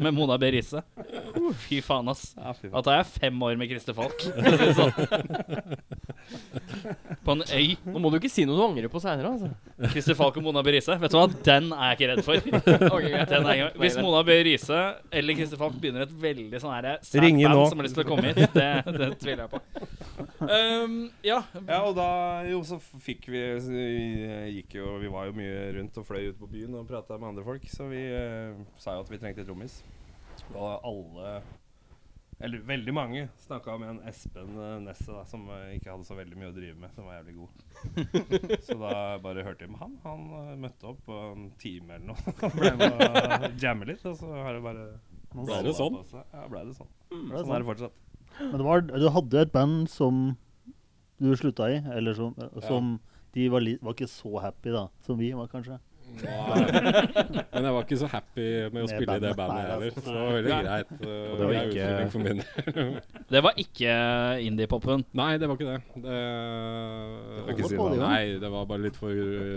[SPEAKER 1] med Mona B. Riise. Fy faen, ass.
[SPEAKER 6] Ja, fy faen.
[SPEAKER 1] At det er fem år med Christer Falk. for å si det sånn. På en øy.
[SPEAKER 2] Nå må du ikke si noe du angrer på seinere, altså.
[SPEAKER 1] Christer Falk og Mona B. Riise. Vet du hva, den er jeg ikke redd for. Den er jeg ikke- Hvis Mona B. Riise eller Christer Falk begynner et veldig sånn her sært
[SPEAKER 6] Ring inn
[SPEAKER 1] band
[SPEAKER 6] nå.
[SPEAKER 1] som har lyst til å komme hit, det, det tviler jeg på. Um, ja.
[SPEAKER 6] Ja, og da jo, så fikk vi så vi gikk jo, Vi var jo mye rundt og fløy ut på byen og prata med andre folk, så vi eh, sa jo at vi trengte trommis. Og alle, eller veldig mange, snakka med en Espen eh, Nesse da, som eh, ikke hadde så veldig mye å drive med, som var jævlig god. så da bare hørte jeg med han. Han eh, møtte opp på en time eller noe. [LAUGHS] Han ble med og jamme litt, og så har det bare
[SPEAKER 5] Ble det sånn?
[SPEAKER 6] på seg. Ja, ble det sånn.
[SPEAKER 7] Det er
[SPEAKER 6] Sånn er
[SPEAKER 7] sant.
[SPEAKER 6] det fortsatt.
[SPEAKER 7] Men det var, du hadde et band som du slutta i, eller som, eh, som De var, li, var ikke så happy, da, som vi var, kanskje.
[SPEAKER 5] Nei. Men jeg var ikke så happy med å
[SPEAKER 7] Med
[SPEAKER 5] spille i det
[SPEAKER 7] bandet.
[SPEAKER 5] bandet
[SPEAKER 7] Nei,
[SPEAKER 5] heller.
[SPEAKER 7] altså.
[SPEAKER 5] Så det var veldig greit. eh,
[SPEAKER 3] Og det var
[SPEAKER 5] grei
[SPEAKER 3] ikke-
[SPEAKER 5] utvikling for min.
[SPEAKER 1] Det var ikke indie-popen.
[SPEAKER 5] Nei, det var ikke det. Det,
[SPEAKER 7] Det holder på, det, jo.
[SPEAKER 5] Nei, det var bare litt for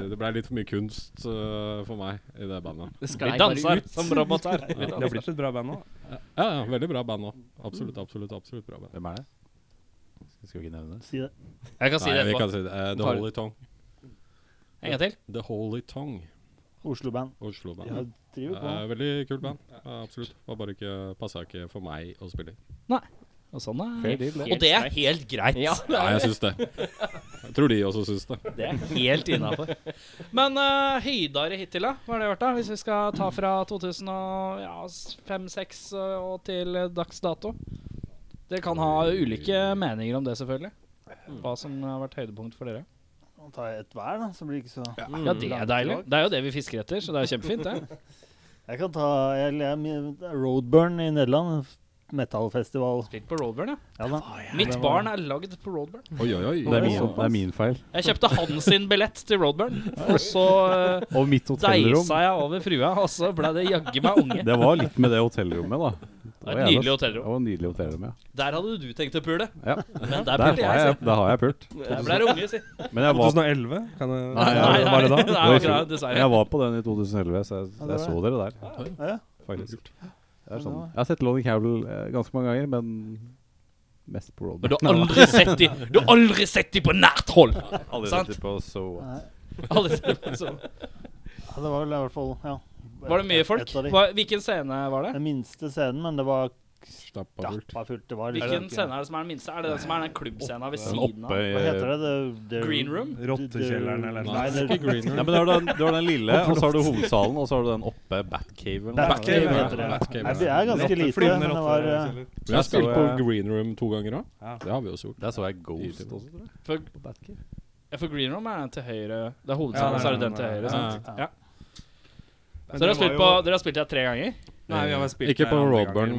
[SPEAKER 5] Det ble litt for mye kunst eh, for meg i det bandet.
[SPEAKER 2] Det
[SPEAKER 1] Vi
[SPEAKER 2] sklei bare
[SPEAKER 1] danser
[SPEAKER 2] ut.
[SPEAKER 1] som roboter. Vi
[SPEAKER 6] Det har
[SPEAKER 1] danser.
[SPEAKER 6] blitt et bra band nå.
[SPEAKER 5] Ja, ja, veldig bra band òg. Absolutt, absolutt, absolutt bra band.
[SPEAKER 3] Hvem er det? Skal vi ikke nevne det?
[SPEAKER 7] Si det.
[SPEAKER 1] Jeg kan si
[SPEAKER 5] Nei,
[SPEAKER 1] det
[SPEAKER 5] vi
[SPEAKER 1] etterpå.
[SPEAKER 5] kan si det. Eh, The
[SPEAKER 2] Tar-
[SPEAKER 5] Holy Tongue.
[SPEAKER 1] En gang til.
[SPEAKER 5] The Holy Tongue,
[SPEAKER 7] Oslo-band.
[SPEAKER 5] Oslo-band.
[SPEAKER 7] Ja, driver på.
[SPEAKER 5] Eh, veldig kult band. Ja, absolutt. Var bare ikke Passa ikke for meg å
[SPEAKER 6] [LAUGHS]
[SPEAKER 5] spille i.
[SPEAKER 1] Og sånn
[SPEAKER 3] Fair
[SPEAKER 1] er
[SPEAKER 3] deal, det.
[SPEAKER 1] Og det er helt greit.
[SPEAKER 2] Ja, det
[SPEAKER 5] Nei,
[SPEAKER 2] er
[SPEAKER 5] jeg syns det. Jeg tror de også syns det.
[SPEAKER 1] Det er helt innafor. Men eh, høydere hittil, da? Hva har det vært, da? Hvis vi skal ta fra 2005-2006 og til eh, dags dato? Dere kan ha ulike meninger om det, selvfølgelig. Hva som har vært høydepunkt for dere.
[SPEAKER 7] Nå tar jeg et hver, da, så blir det ikke så
[SPEAKER 1] Ja, det er deilig. Det er jo det vi fisker [LAUGHS] etter, så det er jo kjempefint, det.
[SPEAKER 7] Jeg kan ta jeg, jeg, Roadburn i Nederland. metallfestival.
[SPEAKER 1] Spilt på Roadburn, ja.
[SPEAKER 7] Ja, da.
[SPEAKER 1] Mitt
[SPEAKER 7] Det var-
[SPEAKER 1] barn er lagd på Roadburn.
[SPEAKER 3] Oi, oi, oi.
[SPEAKER 1] Det
[SPEAKER 3] Det
[SPEAKER 1] er
[SPEAKER 3] er
[SPEAKER 1] min-
[SPEAKER 3] min,
[SPEAKER 5] Sånn
[SPEAKER 3] feil.
[SPEAKER 1] Jeg kjøpte han sin billett til Roadburn, og så eh,
[SPEAKER 3] Og mitt hotellrom.
[SPEAKER 1] deisa jeg over frua, og så ble det jaggu meg unge.
[SPEAKER 3] Det var litt med det hotellrommet, da.
[SPEAKER 1] Det
[SPEAKER 3] var
[SPEAKER 1] var et
[SPEAKER 3] jævla-
[SPEAKER 1] nydelig
[SPEAKER 3] Det
[SPEAKER 1] hotellrom.
[SPEAKER 3] var en nydelig hotellrom, ja.
[SPEAKER 1] Der hadde du tenkt å pule,
[SPEAKER 3] ja.
[SPEAKER 1] men der
[SPEAKER 3] Der,
[SPEAKER 1] pulte
[SPEAKER 3] har
[SPEAKER 1] jeg.
[SPEAKER 3] jeg, der har jeg pult.
[SPEAKER 1] så Der ble det unge, si.
[SPEAKER 3] Men jeg var,
[SPEAKER 6] 2011? Kan jeg
[SPEAKER 3] Nei, ja,
[SPEAKER 1] Nei, nei,
[SPEAKER 3] var det da?
[SPEAKER 1] det er
[SPEAKER 3] var i
[SPEAKER 1] akkurat
[SPEAKER 3] fjor.
[SPEAKER 1] det sa jeg.
[SPEAKER 3] jeg var på den i 2011, så jeg,
[SPEAKER 7] det
[SPEAKER 3] jeg
[SPEAKER 7] var
[SPEAKER 3] så dere der.
[SPEAKER 7] Ja,
[SPEAKER 3] Faktisk. Det er
[SPEAKER 7] det
[SPEAKER 3] sånn.
[SPEAKER 7] var-
[SPEAKER 3] Jeg har sett Lonnie Cowell eh, ganske mange ganger, men mest på
[SPEAKER 1] Men du
[SPEAKER 3] Roadburn.
[SPEAKER 1] har aldri sett de Du har aldri sett de på nært hold!
[SPEAKER 3] Aldri
[SPEAKER 1] sant?
[SPEAKER 3] sett det på So What.
[SPEAKER 7] Nei.
[SPEAKER 1] Aldri sett de så-
[SPEAKER 7] ja, det var vel i hvert fall ja.
[SPEAKER 1] Var det mye folk?
[SPEAKER 7] Et av de.
[SPEAKER 1] Hva, hvilken scene var det?
[SPEAKER 7] Den minste scenen, men det var
[SPEAKER 5] Stappa bort.
[SPEAKER 7] dappa fullt. Det var
[SPEAKER 1] Hvilken
[SPEAKER 7] ikke-
[SPEAKER 1] scene er det som er den minste? Er det den som er den klubbscena ved
[SPEAKER 3] Den
[SPEAKER 1] siden
[SPEAKER 3] oppe
[SPEAKER 1] av?
[SPEAKER 3] i
[SPEAKER 7] Hva heter det? det, det
[SPEAKER 1] Green Room?
[SPEAKER 6] Rottekjelleren eller noe?
[SPEAKER 7] Nei, det
[SPEAKER 5] Ikke green
[SPEAKER 3] Nei, Mm.
[SPEAKER 5] room.
[SPEAKER 3] men du har, den, du har den lille, og så har du hovedsalen, og så har du den oppe, Batcave eller noe.
[SPEAKER 7] Batcave
[SPEAKER 5] Batcave,
[SPEAKER 7] heter det.
[SPEAKER 5] ja. Batcave,
[SPEAKER 7] Nei, det er ganske lite, men det var eh,
[SPEAKER 5] Vi har spilt på
[SPEAKER 3] Så jeg-
[SPEAKER 5] green room to ganger òg.
[SPEAKER 6] Ja.
[SPEAKER 5] Det har vi også gjort.
[SPEAKER 3] Der så jeg Ghost også, tror jeg.
[SPEAKER 1] For,
[SPEAKER 3] På Batcave.
[SPEAKER 1] ja, for Green Room er den til høyre. Det er
[SPEAKER 6] Ja,
[SPEAKER 1] hovedscenen,
[SPEAKER 6] nei,
[SPEAKER 1] så er det
[SPEAKER 6] nei,
[SPEAKER 1] den til
[SPEAKER 6] nei,
[SPEAKER 1] høyre.
[SPEAKER 5] nei.
[SPEAKER 1] Sant? Ja. Så dere har, spilt på, dere har spilt der tre ganger?
[SPEAKER 6] Nei, vi har spilt
[SPEAKER 5] Ikke
[SPEAKER 6] der
[SPEAKER 5] på
[SPEAKER 6] andre ganger
[SPEAKER 5] Roadburn, men-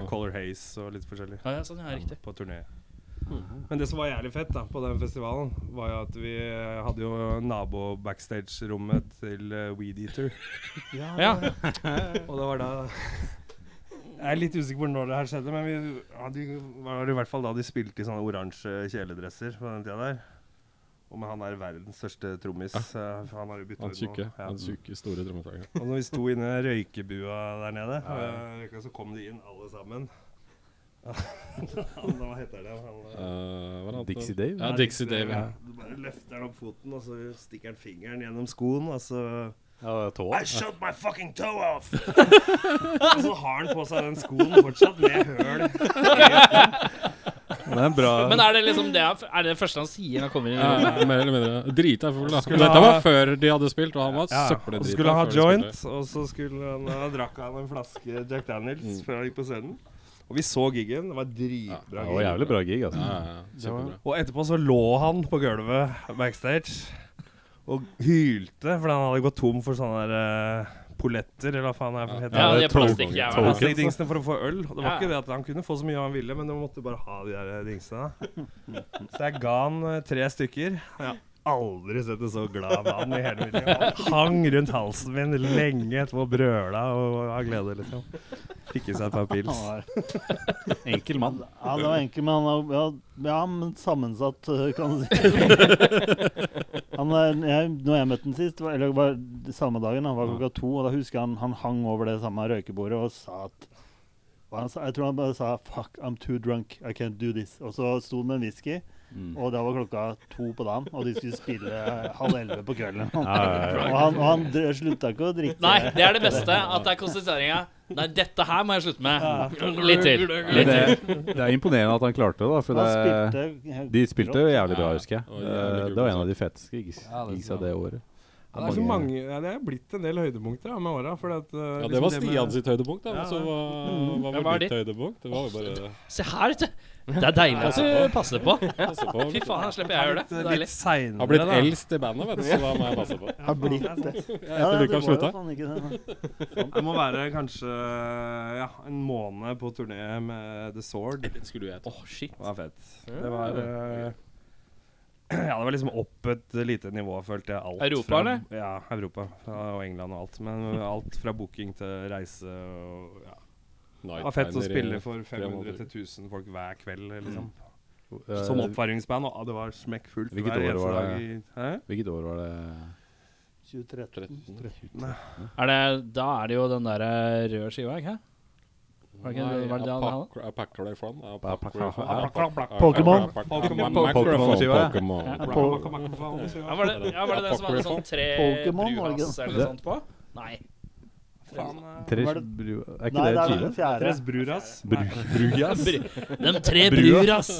[SPEAKER 6] med Color Haze og litt forskjellig.
[SPEAKER 1] Ja, ja, sånn, ja, riktig. Mhm.
[SPEAKER 6] På turné. Men det som var jævlig fett da, på den festivalen, var jo at vi eh, hadde jo nabo-backstage-rommet til eh, Weed Eater.
[SPEAKER 1] [LAUGHS] Ja.
[SPEAKER 6] [LAUGHS] Og det var da Jeg er litt usikker på når det her skjedde, men vi hadde, jo- var det i hvert fall da de spilte i sånne oransje kjeledresser på den tida der. Og med han der verdens største trommis. eh, for Han har jo bytta
[SPEAKER 5] Han
[SPEAKER 6] ut nå.
[SPEAKER 5] syke,
[SPEAKER 6] Ja.
[SPEAKER 5] han syke store trommeslageren.
[SPEAKER 6] Og når vi sto inne i røykebua der nede, eh, røyka, så kom de inn alle sammen. [LAUGHS] han, hva heter det? Han, eh,
[SPEAKER 5] Eh, hva er det?
[SPEAKER 3] Dixie Dave?
[SPEAKER 5] Ja, Dixie Dave. Ja.
[SPEAKER 6] Du bare løfter den opp foten, og så stikker han fingeren gjennom skoen, og så
[SPEAKER 3] Ja, det er tå.
[SPEAKER 6] I shot my fucking toe off! [LAUGHS] og så har han på seg den skoen fortsatt, med høl.
[SPEAKER 3] Men det er en bra
[SPEAKER 1] Men er det liksom det, er det første han sier når han kommer inn i rommet?
[SPEAKER 5] Ja, mer eller mindre. Drita full, da.
[SPEAKER 6] Skulle
[SPEAKER 5] Dette
[SPEAKER 6] ha-
[SPEAKER 5] var før de hadde spilt, og han var
[SPEAKER 6] Og
[SPEAKER 5] søppeldrita.
[SPEAKER 6] så skulle han
[SPEAKER 5] før
[SPEAKER 6] ha
[SPEAKER 5] de
[SPEAKER 6] joint,
[SPEAKER 5] spilte.
[SPEAKER 6] og så skulle han ha drakk han en flaske Jack Daniels før han gikk på scenen. Og vi så giggen. Det var
[SPEAKER 3] Det
[SPEAKER 6] dritbra.
[SPEAKER 3] var
[SPEAKER 6] gig.
[SPEAKER 3] jævlig bra gig, altså.
[SPEAKER 5] Ja, ja, ja. Kjempebra.
[SPEAKER 6] Og etterpå så lå han på gulvet backstage og hylte fordi han hadde gått tom for sånne der, eh, poletter, eller hva faen det er for heter.
[SPEAKER 1] Ja,
[SPEAKER 3] det er
[SPEAKER 1] det er plastikk. Ja,
[SPEAKER 3] tog-
[SPEAKER 1] ja.
[SPEAKER 3] tog.
[SPEAKER 6] Altså, de dingsene for å få øl. Og det var
[SPEAKER 1] Ja.
[SPEAKER 6] ikke det at han kunne få så mye han ville, men du måtte bare ha de der eh, dingsene. Så jeg ga han eh, tre stykker. Jeg har aldri sett en så glad mann i hele mitt liv. Han hang rundt halsen min lenge etterpå og brøla og av glede, liksom. Fikk i seg et par
[SPEAKER 7] Han
[SPEAKER 6] pils.
[SPEAKER 7] var,
[SPEAKER 3] Enkel mann.
[SPEAKER 7] ja, det var enkelt, men han var ja, ja, men sammensatt, øh,
[SPEAKER 3] [LAUGHS]
[SPEAKER 7] kan du si. Han er, jeg, når jeg møtte han sist, var, eller var det samme dagen, han var klokka to, og da husker jeg han, han hang over det samme røykebordet og sa at hva han sa, Jeg tror han bare sa 'fuck, I'm too drunk, I can't do this'. Og så sto han med en whisky,
[SPEAKER 3] Mm.
[SPEAKER 7] og da var klokka to på dagen, og de skulle spille eh, halv elleve på kvelden.
[SPEAKER 3] Ja, ja, ja.
[SPEAKER 7] [LAUGHS] Og han, og han dr- slutta ikke å drikke.
[SPEAKER 1] Nei, det er det beste. At det er konsentreringa. Nei, dette her må jeg slutte med. Litt til.
[SPEAKER 3] Men
[SPEAKER 1] Litt til.
[SPEAKER 3] det, det er imponerende at han klarte det, da. For
[SPEAKER 7] Han
[SPEAKER 3] det,
[SPEAKER 7] spilte helt
[SPEAKER 3] de spilte jo jævlig bra, husker jeg.
[SPEAKER 5] Ja, og jævlig
[SPEAKER 3] Eh,
[SPEAKER 5] kul
[SPEAKER 3] Det var en
[SPEAKER 5] konsert.
[SPEAKER 3] av de feteste gigs-
[SPEAKER 6] Ja, det
[SPEAKER 3] gigsa det året.
[SPEAKER 6] Ja, det, er så mange, ja, det er blitt en del høydepunkter da, med åra. fordi at, eh,
[SPEAKER 5] Ja, det
[SPEAKER 6] liksom
[SPEAKER 5] var
[SPEAKER 6] med-
[SPEAKER 5] Stian sitt høydepunkt, da.
[SPEAKER 6] Ja, Mm.
[SPEAKER 5] Men så
[SPEAKER 6] ja.
[SPEAKER 5] hva
[SPEAKER 1] Ja,
[SPEAKER 5] hva
[SPEAKER 1] hva er
[SPEAKER 5] var ditt høydepunkt? Det var jo bare
[SPEAKER 1] Se her, vet du. Det er deilig altså. at du passer på.
[SPEAKER 5] passe på.
[SPEAKER 1] Fy faen, her slipper jeg å gjøre det. Det er
[SPEAKER 6] Litt
[SPEAKER 1] Deilig.
[SPEAKER 6] seinere,
[SPEAKER 5] Har blitt eldst i bandet, vet du, så da må jeg passe på.
[SPEAKER 7] Har blitt det. Ja,
[SPEAKER 5] etter
[SPEAKER 7] det var jo
[SPEAKER 5] Lukas slutta.
[SPEAKER 7] faen ikke
[SPEAKER 3] [LAUGHS]
[SPEAKER 7] det.
[SPEAKER 6] Jeg må være kanskje ja, en måned på turné med The Sword. Det
[SPEAKER 5] Skulle jeg ta.
[SPEAKER 1] shit.
[SPEAKER 6] var fett. Det var eh, [CLEARS THROAT] Ja, det var liksom opp et lite nivå, følte jeg. Alt
[SPEAKER 1] Europa,
[SPEAKER 6] fra,
[SPEAKER 1] eller?
[SPEAKER 6] Ja, Europa ja, og England og alt. Men alt fra booking til reise og ja. Det var fett å spille for 500 til 1000 folk hver kveld, liksom.
[SPEAKER 3] Eh,
[SPEAKER 6] Som oppvarmingsband, og ah, det var smekkfullt
[SPEAKER 3] Hvilket
[SPEAKER 6] hver
[SPEAKER 3] år
[SPEAKER 6] eneste
[SPEAKER 3] var
[SPEAKER 6] dag.
[SPEAKER 3] det?
[SPEAKER 6] i- Hæ?
[SPEAKER 3] Hvilket år var det?
[SPEAKER 7] 2013.
[SPEAKER 1] Er det, da er det jo den der eh, røde skiva, ikke Var det ikke det- var det det han hadde?
[SPEAKER 7] Pokémon.
[SPEAKER 5] Pokémon.
[SPEAKER 1] Ja, var det, ja, var det den som hadde sånn tre
[SPEAKER 7] Pokémon, var det ikke
[SPEAKER 1] bruas eller noe sånt på? Nei.
[SPEAKER 3] Tre
[SPEAKER 7] Var det-
[SPEAKER 3] bru... Er ikke
[SPEAKER 7] Nei,
[SPEAKER 3] det
[SPEAKER 7] det er
[SPEAKER 3] skive?
[SPEAKER 7] den fjerde.
[SPEAKER 6] Deres Bruras.
[SPEAKER 3] Bru, brujas?
[SPEAKER 1] Bru- De tre
[SPEAKER 3] Brua.
[SPEAKER 1] bruras.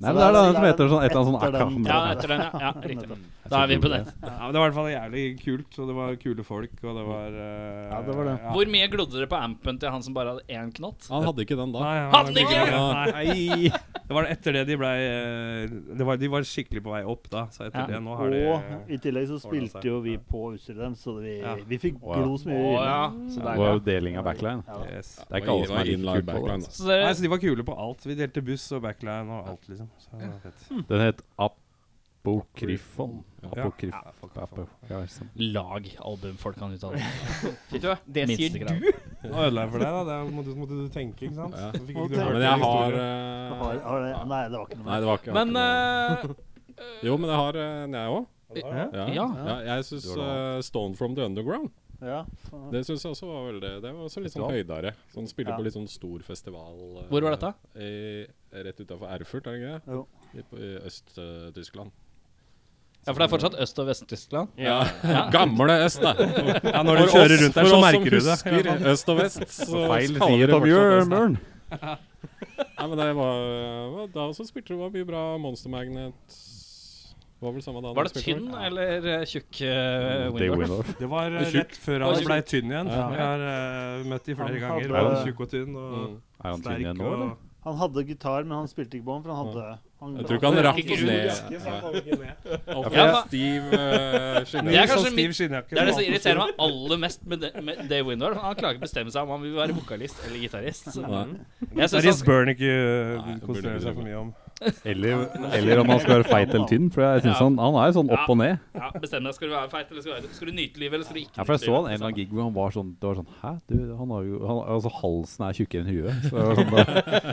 [SPEAKER 3] Nei, men det er den som heter sånn et eller annet sånn
[SPEAKER 7] Etter
[SPEAKER 1] Ja,
[SPEAKER 7] den.
[SPEAKER 3] Akam.
[SPEAKER 1] [LAUGHS] etter den, ja. ja riktig.
[SPEAKER 3] Jeg
[SPEAKER 1] Da er vi på det.
[SPEAKER 6] Ja, men Det var i hvert fall jævlig kult, og det var kule folk, og det var eh,
[SPEAKER 7] Ja, det var det.
[SPEAKER 6] ja.
[SPEAKER 1] Hvor mye glodde dere på ampen til han som bare hadde én knott?
[SPEAKER 5] Han hadde ikke den da.
[SPEAKER 6] Nei, han
[SPEAKER 1] Hadde
[SPEAKER 6] var
[SPEAKER 1] de ikke
[SPEAKER 6] ikke-
[SPEAKER 5] det?
[SPEAKER 6] Nei. Det var etter det de blei eh, det var- De var skikkelig på vei opp da, så etter
[SPEAKER 1] Ja.
[SPEAKER 6] det nå har de
[SPEAKER 7] Og i tillegg så spilte
[SPEAKER 6] seg.
[SPEAKER 7] jo vi på utstyret deres, så vi,
[SPEAKER 6] Ja.
[SPEAKER 7] vi fikk
[SPEAKER 3] Å, ja.
[SPEAKER 7] glo så
[SPEAKER 1] Å
[SPEAKER 7] mye. vi ville.
[SPEAKER 1] ja. Så,
[SPEAKER 3] Det
[SPEAKER 1] der,
[SPEAKER 3] var
[SPEAKER 1] ja.
[SPEAKER 3] jo deling av backline.
[SPEAKER 7] Ja.
[SPEAKER 6] Yes.
[SPEAKER 3] Det er ikke alle som er like
[SPEAKER 5] inline
[SPEAKER 3] kule på det.
[SPEAKER 5] backline.
[SPEAKER 3] altså.
[SPEAKER 1] så
[SPEAKER 6] Nei,
[SPEAKER 1] dere
[SPEAKER 6] så de var kule på alt. Vi delte buss og backline og alt, liksom. Så det var fett.
[SPEAKER 3] Den het Apokryfon. Apokryf...
[SPEAKER 6] Ja, fuck, fuck, fuck.
[SPEAKER 3] Ja, ikke sant.
[SPEAKER 1] Lag album folk kan uttale.
[SPEAKER 2] Vet du hva? Det
[SPEAKER 1] Minste
[SPEAKER 2] sier du?
[SPEAKER 1] grad.
[SPEAKER 6] Nå ødela jeg for deg, da. Det måtte, måtte du tenke, ikke sant?
[SPEAKER 5] Ja.
[SPEAKER 6] Så fikk ikke du
[SPEAKER 7] Ja,
[SPEAKER 6] hørt
[SPEAKER 5] Men
[SPEAKER 6] hele
[SPEAKER 5] jeg har
[SPEAKER 6] historien.
[SPEAKER 5] eh,
[SPEAKER 7] Har, har det, nei, det var ikke noe
[SPEAKER 5] Nei, det var ikke
[SPEAKER 1] Men eh,
[SPEAKER 5] Jo, men jeg har eh, en, jeg òg.
[SPEAKER 2] Hæ?
[SPEAKER 5] Ja.
[SPEAKER 1] Ja.
[SPEAKER 5] Ja, jeg syns eh, Stone from the Underground
[SPEAKER 7] Ja.
[SPEAKER 5] Det synes jeg også var veldig Det var også litt sånn høydere. Sånn spiller
[SPEAKER 7] Ja.
[SPEAKER 5] på litt sånn stor festival. eh,
[SPEAKER 1] Hvor var dette?
[SPEAKER 5] I, rett utafor Erfurt, er det ikke det?
[SPEAKER 7] Jo.
[SPEAKER 5] I, på- i Øst-Tyskland.
[SPEAKER 1] Ja, for det er fortsatt Øst- og Vest-Tyskland.
[SPEAKER 5] Ja. Gamle øst, da!
[SPEAKER 6] Ja, når du kjører rundt der,
[SPEAKER 5] sånn
[SPEAKER 6] så merker du sånn det.
[SPEAKER 5] For oss som husker øst og vest, så
[SPEAKER 3] Feil
[SPEAKER 5] [LAUGHS] kaller
[SPEAKER 3] side av
[SPEAKER 5] vi det fortsatt øst.
[SPEAKER 3] Bjørmøren.
[SPEAKER 5] Nei, men det var, var Da også spilte det var mye bra Monster Magnet Var vel samme da
[SPEAKER 1] Var det
[SPEAKER 5] de spilte
[SPEAKER 1] tynn
[SPEAKER 5] vel?
[SPEAKER 1] eller eh, tjukk eh,
[SPEAKER 3] Day
[SPEAKER 1] Windorf? [LAUGHS]
[SPEAKER 3] Windorf.
[SPEAKER 6] Mm, Det var eh,
[SPEAKER 5] Og tjukk.
[SPEAKER 6] rett
[SPEAKER 1] Og
[SPEAKER 6] før han
[SPEAKER 1] tjukk.
[SPEAKER 6] blei tynn igjen.
[SPEAKER 7] Ja.
[SPEAKER 6] Vi har eh, møtt de flere
[SPEAKER 7] Han
[SPEAKER 6] ganger.
[SPEAKER 7] hadde-
[SPEAKER 6] Han tjukk og tynn og
[SPEAKER 5] Mm.
[SPEAKER 3] Er han tynn
[SPEAKER 6] sterk.
[SPEAKER 3] igjen nå, eller?
[SPEAKER 6] og-
[SPEAKER 7] Han hadde gitar, men han spilte ikke på den, for han hadde han,
[SPEAKER 5] Jeg tror ikke han rakk
[SPEAKER 1] Ikke
[SPEAKER 5] ned.
[SPEAKER 6] Ja,
[SPEAKER 5] Altfor
[SPEAKER 1] Ja, for-
[SPEAKER 5] stiv eh, skinne.
[SPEAKER 1] Det er
[SPEAKER 6] Litt sånn
[SPEAKER 1] kanskje
[SPEAKER 6] stiv
[SPEAKER 1] mitt-
[SPEAKER 6] skinnjakke.
[SPEAKER 1] Det er det som irriterer meg aller mest med, de, med Dave Windor. Han klarer ikke bestemme seg om han vil være vokalist eller gitarist. Så
[SPEAKER 5] Nei.
[SPEAKER 1] jeg synes han
[SPEAKER 6] Riss
[SPEAKER 1] skal,
[SPEAKER 6] Bernick
[SPEAKER 5] Nei, det burde
[SPEAKER 6] konsentrerer
[SPEAKER 5] vi
[SPEAKER 6] eh, seg for
[SPEAKER 5] gjøre.
[SPEAKER 6] mye om.
[SPEAKER 3] Eller, eller om han skal være feit eller tynn, for jeg synes han, han er jo sånn opp og ned.
[SPEAKER 1] ja, bestemme deg. Skal du være feit, eller skal du, være- skal du nyte livet, eller skal du ikke
[SPEAKER 3] Ja, for jeg så
[SPEAKER 1] nyte
[SPEAKER 3] han en eller annen gig hvor han var sånn Det var sånn Hæ, du, han har jo han, Altså, halsen er tjukkere enn huet. Så det var sånn, da,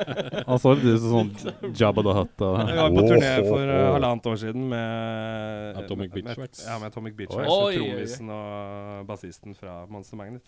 [SPEAKER 6] [LAUGHS]
[SPEAKER 3] han så litt ut som sånn Jabba the Hutt. og-
[SPEAKER 6] Vi var på turné
[SPEAKER 3] Åh,
[SPEAKER 6] for eh,
[SPEAKER 3] åh.
[SPEAKER 6] halvannet år siden med
[SPEAKER 5] Atomic Bitch
[SPEAKER 6] med-
[SPEAKER 5] Wax.
[SPEAKER 6] Ja, med Atomic Bitch
[SPEAKER 1] Oi.
[SPEAKER 6] Wax og
[SPEAKER 1] Oi, oi, oi.
[SPEAKER 6] trommisen og bassisten fra Monster Magnet.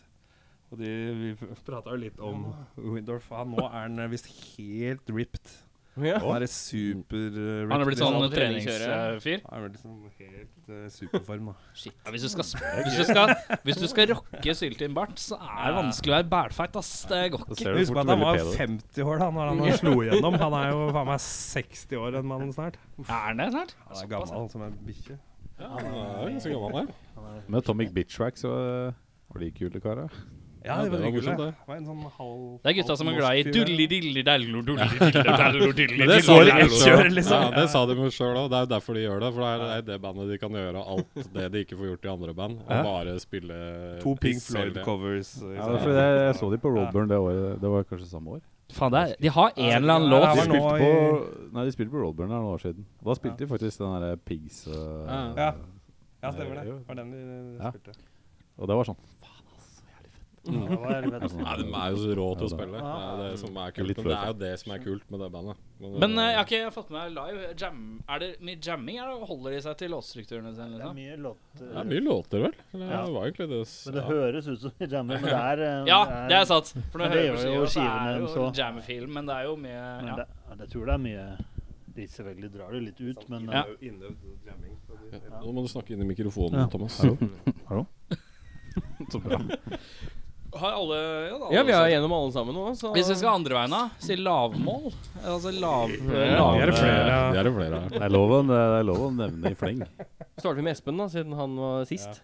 [SPEAKER 6] Og de, vi prata jo litt om Windorf. Han, nå er han eh, visst helt ripped.
[SPEAKER 2] Ja.
[SPEAKER 6] Han er super eh,
[SPEAKER 1] Han har blitt sånn
[SPEAKER 6] liksom.
[SPEAKER 1] treningsfyr.
[SPEAKER 6] Han er liksom helt eh, superform, da.
[SPEAKER 1] Ja, hvis, du skal, sp- hvis, du skal, hvis du skal rocke Syltin Bart, så er det vanskelig å være bælfeit, ass. Det går
[SPEAKER 3] Da
[SPEAKER 1] ikke.
[SPEAKER 3] ser du
[SPEAKER 6] Husk
[SPEAKER 3] fort
[SPEAKER 6] på at han
[SPEAKER 3] veldig
[SPEAKER 6] var
[SPEAKER 3] pen ut.
[SPEAKER 6] 50 år da når
[SPEAKER 1] [LAUGHS]
[SPEAKER 6] han slo igjennom. Han er jo faen meg 60 år, den mannen snart.
[SPEAKER 1] Er han det snart?
[SPEAKER 6] Han er gammel som en bikkje.
[SPEAKER 5] Ja, han er ganske gammel, han.
[SPEAKER 3] Med Atomic Bitchwack så øh, var de kule karer.
[SPEAKER 6] Ja, det var
[SPEAKER 5] var
[SPEAKER 6] hyggelig.
[SPEAKER 5] morsomt, det.
[SPEAKER 6] Det var en sånn halv
[SPEAKER 1] Det er gutta som er glad i
[SPEAKER 6] halvmåsfyr.
[SPEAKER 5] Men det
[SPEAKER 1] dulli-dilli-dallo-dilli-dilli-dallo.
[SPEAKER 5] sa de
[SPEAKER 6] Kjører,
[SPEAKER 5] jo selv.
[SPEAKER 6] liksom.
[SPEAKER 5] Ja, det sa de jo sjøl òg. Det er jo derfor de gjør det. For det er det, er det bandet de kan gjøre alt det de ikke får gjort i andre band. Og
[SPEAKER 3] Hæ?
[SPEAKER 5] bare spille
[SPEAKER 6] To Pink
[SPEAKER 5] piss hele tiden.
[SPEAKER 6] Floyd-covers.
[SPEAKER 3] Ja, for jeg, jeg så de på Roadburn det året. Det var kanskje samme år.
[SPEAKER 1] Faen, det er, de har en eller annen
[SPEAKER 6] Ja,
[SPEAKER 3] De
[SPEAKER 1] låt.
[SPEAKER 6] det var nå
[SPEAKER 3] spilte
[SPEAKER 6] i-
[SPEAKER 3] på, nei, de spilte på Roadburn her noen år siden. Da spilte de faktisk den derre Pigs øh,
[SPEAKER 5] Ja.
[SPEAKER 6] Ja, stemmer det. Det var den de
[SPEAKER 3] Ja.
[SPEAKER 6] spilte.
[SPEAKER 3] Og det var sånn
[SPEAKER 7] Ja, det var jævlig
[SPEAKER 6] [LAUGHS]
[SPEAKER 7] fett.
[SPEAKER 5] Nei, de er jo så rå til
[SPEAKER 3] Ja,
[SPEAKER 5] å
[SPEAKER 3] det-
[SPEAKER 5] spille. Det er det som er
[SPEAKER 3] Litt
[SPEAKER 5] kult. Men det
[SPEAKER 3] fløyte.
[SPEAKER 5] er jo det som er kult med det bandet.
[SPEAKER 1] Men eh, jeg har ikke fått med meg live. Jam, er det mye jamming, eller holder de seg til låtstrukturene sine?
[SPEAKER 7] Det er
[SPEAKER 1] Liksom?
[SPEAKER 7] mye låter.
[SPEAKER 5] det er mye låter, vel? Eller,
[SPEAKER 7] Ja.
[SPEAKER 5] Det var egentlig det s-
[SPEAKER 7] Men det
[SPEAKER 5] ja.
[SPEAKER 7] høres ut som [LAUGHS] vi jammer, men det er eh,
[SPEAKER 1] Ja, det er sant. For når
[SPEAKER 7] Men
[SPEAKER 1] jeg
[SPEAKER 7] det
[SPEAKER 1] hører på
[SPEAKER 7] gjør jo
[SPEAKER 1] skiva, så er
[SPEAKER 7] skivene
[SPEAKER 1] det jo
[SPEAKER 7] dem så.
[SPEAKER 1] jammefilm, men det er jo mye
[SPEAKER 7] men
[SPEAKER 1] ja.
[SPEAKER 7] det, ja, jeg tror det er mye de Selvfølgelig drar det litt ut, men
[SPEAKER 1] Ja.
[SPEAKER 7] eh,
[SPEAKER 6] Innøvd jamming. så de-
[SPEAKER 5] Nå må du snakke inn i mikrofonen,
[SPEAKER 7] Ja.
[SPEAKER 5] Thomas. Eh,
[SPEAKER 3] Hallo? Hallo? Så bra.
[SPEAKER 1] Har alle Ja, da, alle
[SPEAKER 2] Ja, vi er
[SPEAKER 1] også.
[SPEAKER 2] gjennom alle sammen nå, så
[SPEAKER 1] Hvis vi skal andre veien, da? Si lavmål? Altså lav...
[SPEAKER 5] Ja,
[SPEAKER 1] lav
[SPEAKER 5] vi er det flere.
[SPEAKER 6] ja.
[SPEAKER 5] Vi er det flere her.
[SPEAKER 3] Det er lov å- det er lov å nevne i fleng.
[SPEAKER 2] starter vi med Espen, da, siden han var sist.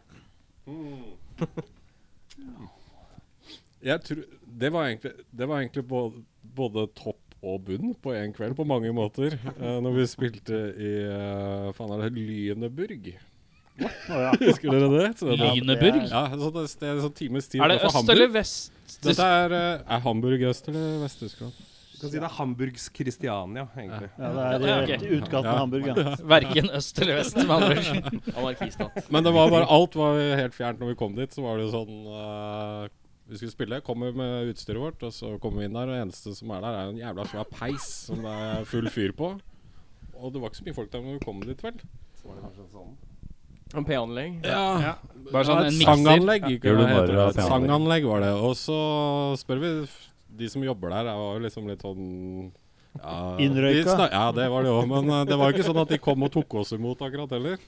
[SPEAKER 5] jeg tror, det var egentlig, det var egentlig både, både topp og bunn på én kveld, på mange måter. Eh, når vi spilte i eh, faen er det Lüneburg.
[SPEAKER 7] å ja.
[SPEAKER 5] Husker dere det? Så det
[SPEAKER 1] Lyneburg?
[SPEAKER 5] ja, så det, det er sånn times tid
[SPEAKER 1] Er det
[SPEAKER 5] utenfor
[SPEAKER 1] øst
[SPEAKER 5] Hamburg.
[SPEAKER 1] eller vest?
[SPEAKER 5] Dette er, eh, er Hamburg øst eller Vest-Tyskland?
[SPEAKER 6] Du kan si det er Hamburgs Christiania, egentlig.
[SPEAKER 7] ja, det
[SPEAKER 1] Ja,
[SPEAKER 7] er
[SPEAKER 1] ok.
[SPEAKER 7] rett i utkanten av Hamburg, ja.
[SPEAKER 1] Verken øst eller vest, med andre ord.
[SPEAKER 2] [LAUGHS] Anarkistat.
[SPEAKER 5] Men det var bare alt var jo helt fjernt når vi kom dit. Så var det jo sånn eh, Vi skulle spille, kommer med utstyret vårt, og så kommer vi inn der, og det eneste som er der, er en jævla svær peis som det er full fyr på. Og det var ikke så mye folk der når vi kom dit, vel?
[SPEAKER 2] Om P-anlegg.
[SPEAKER 5] Ja,
[SPEAKER 1] Bare sånn
[SPEAKER 5] Ja,
[SPEAKER 1] en
[SPEAKER 5] et
[SPEAKER 1] mikser.
[SPEAKER 5] Sanganlegg, ikke
[SPEAKER 3] Gjør du
[SPEAKER 5] hva det heter.
[SPEAKER 3] narr av
[SPEAKER 5] Et
[SPEAKER 3] teater?
[SPEAKER 5] Sanganlegg var det. Og så spør vi f- de som jobber der, jeg var jo liksom litt sånn ja,
[SPEAKER 7] Innrøyka?
[SPEAKER 5] vi snak- Ja, det var det òg. Men eh, det var jo ikke sånn at de kom og tok oss imot akkurat heller.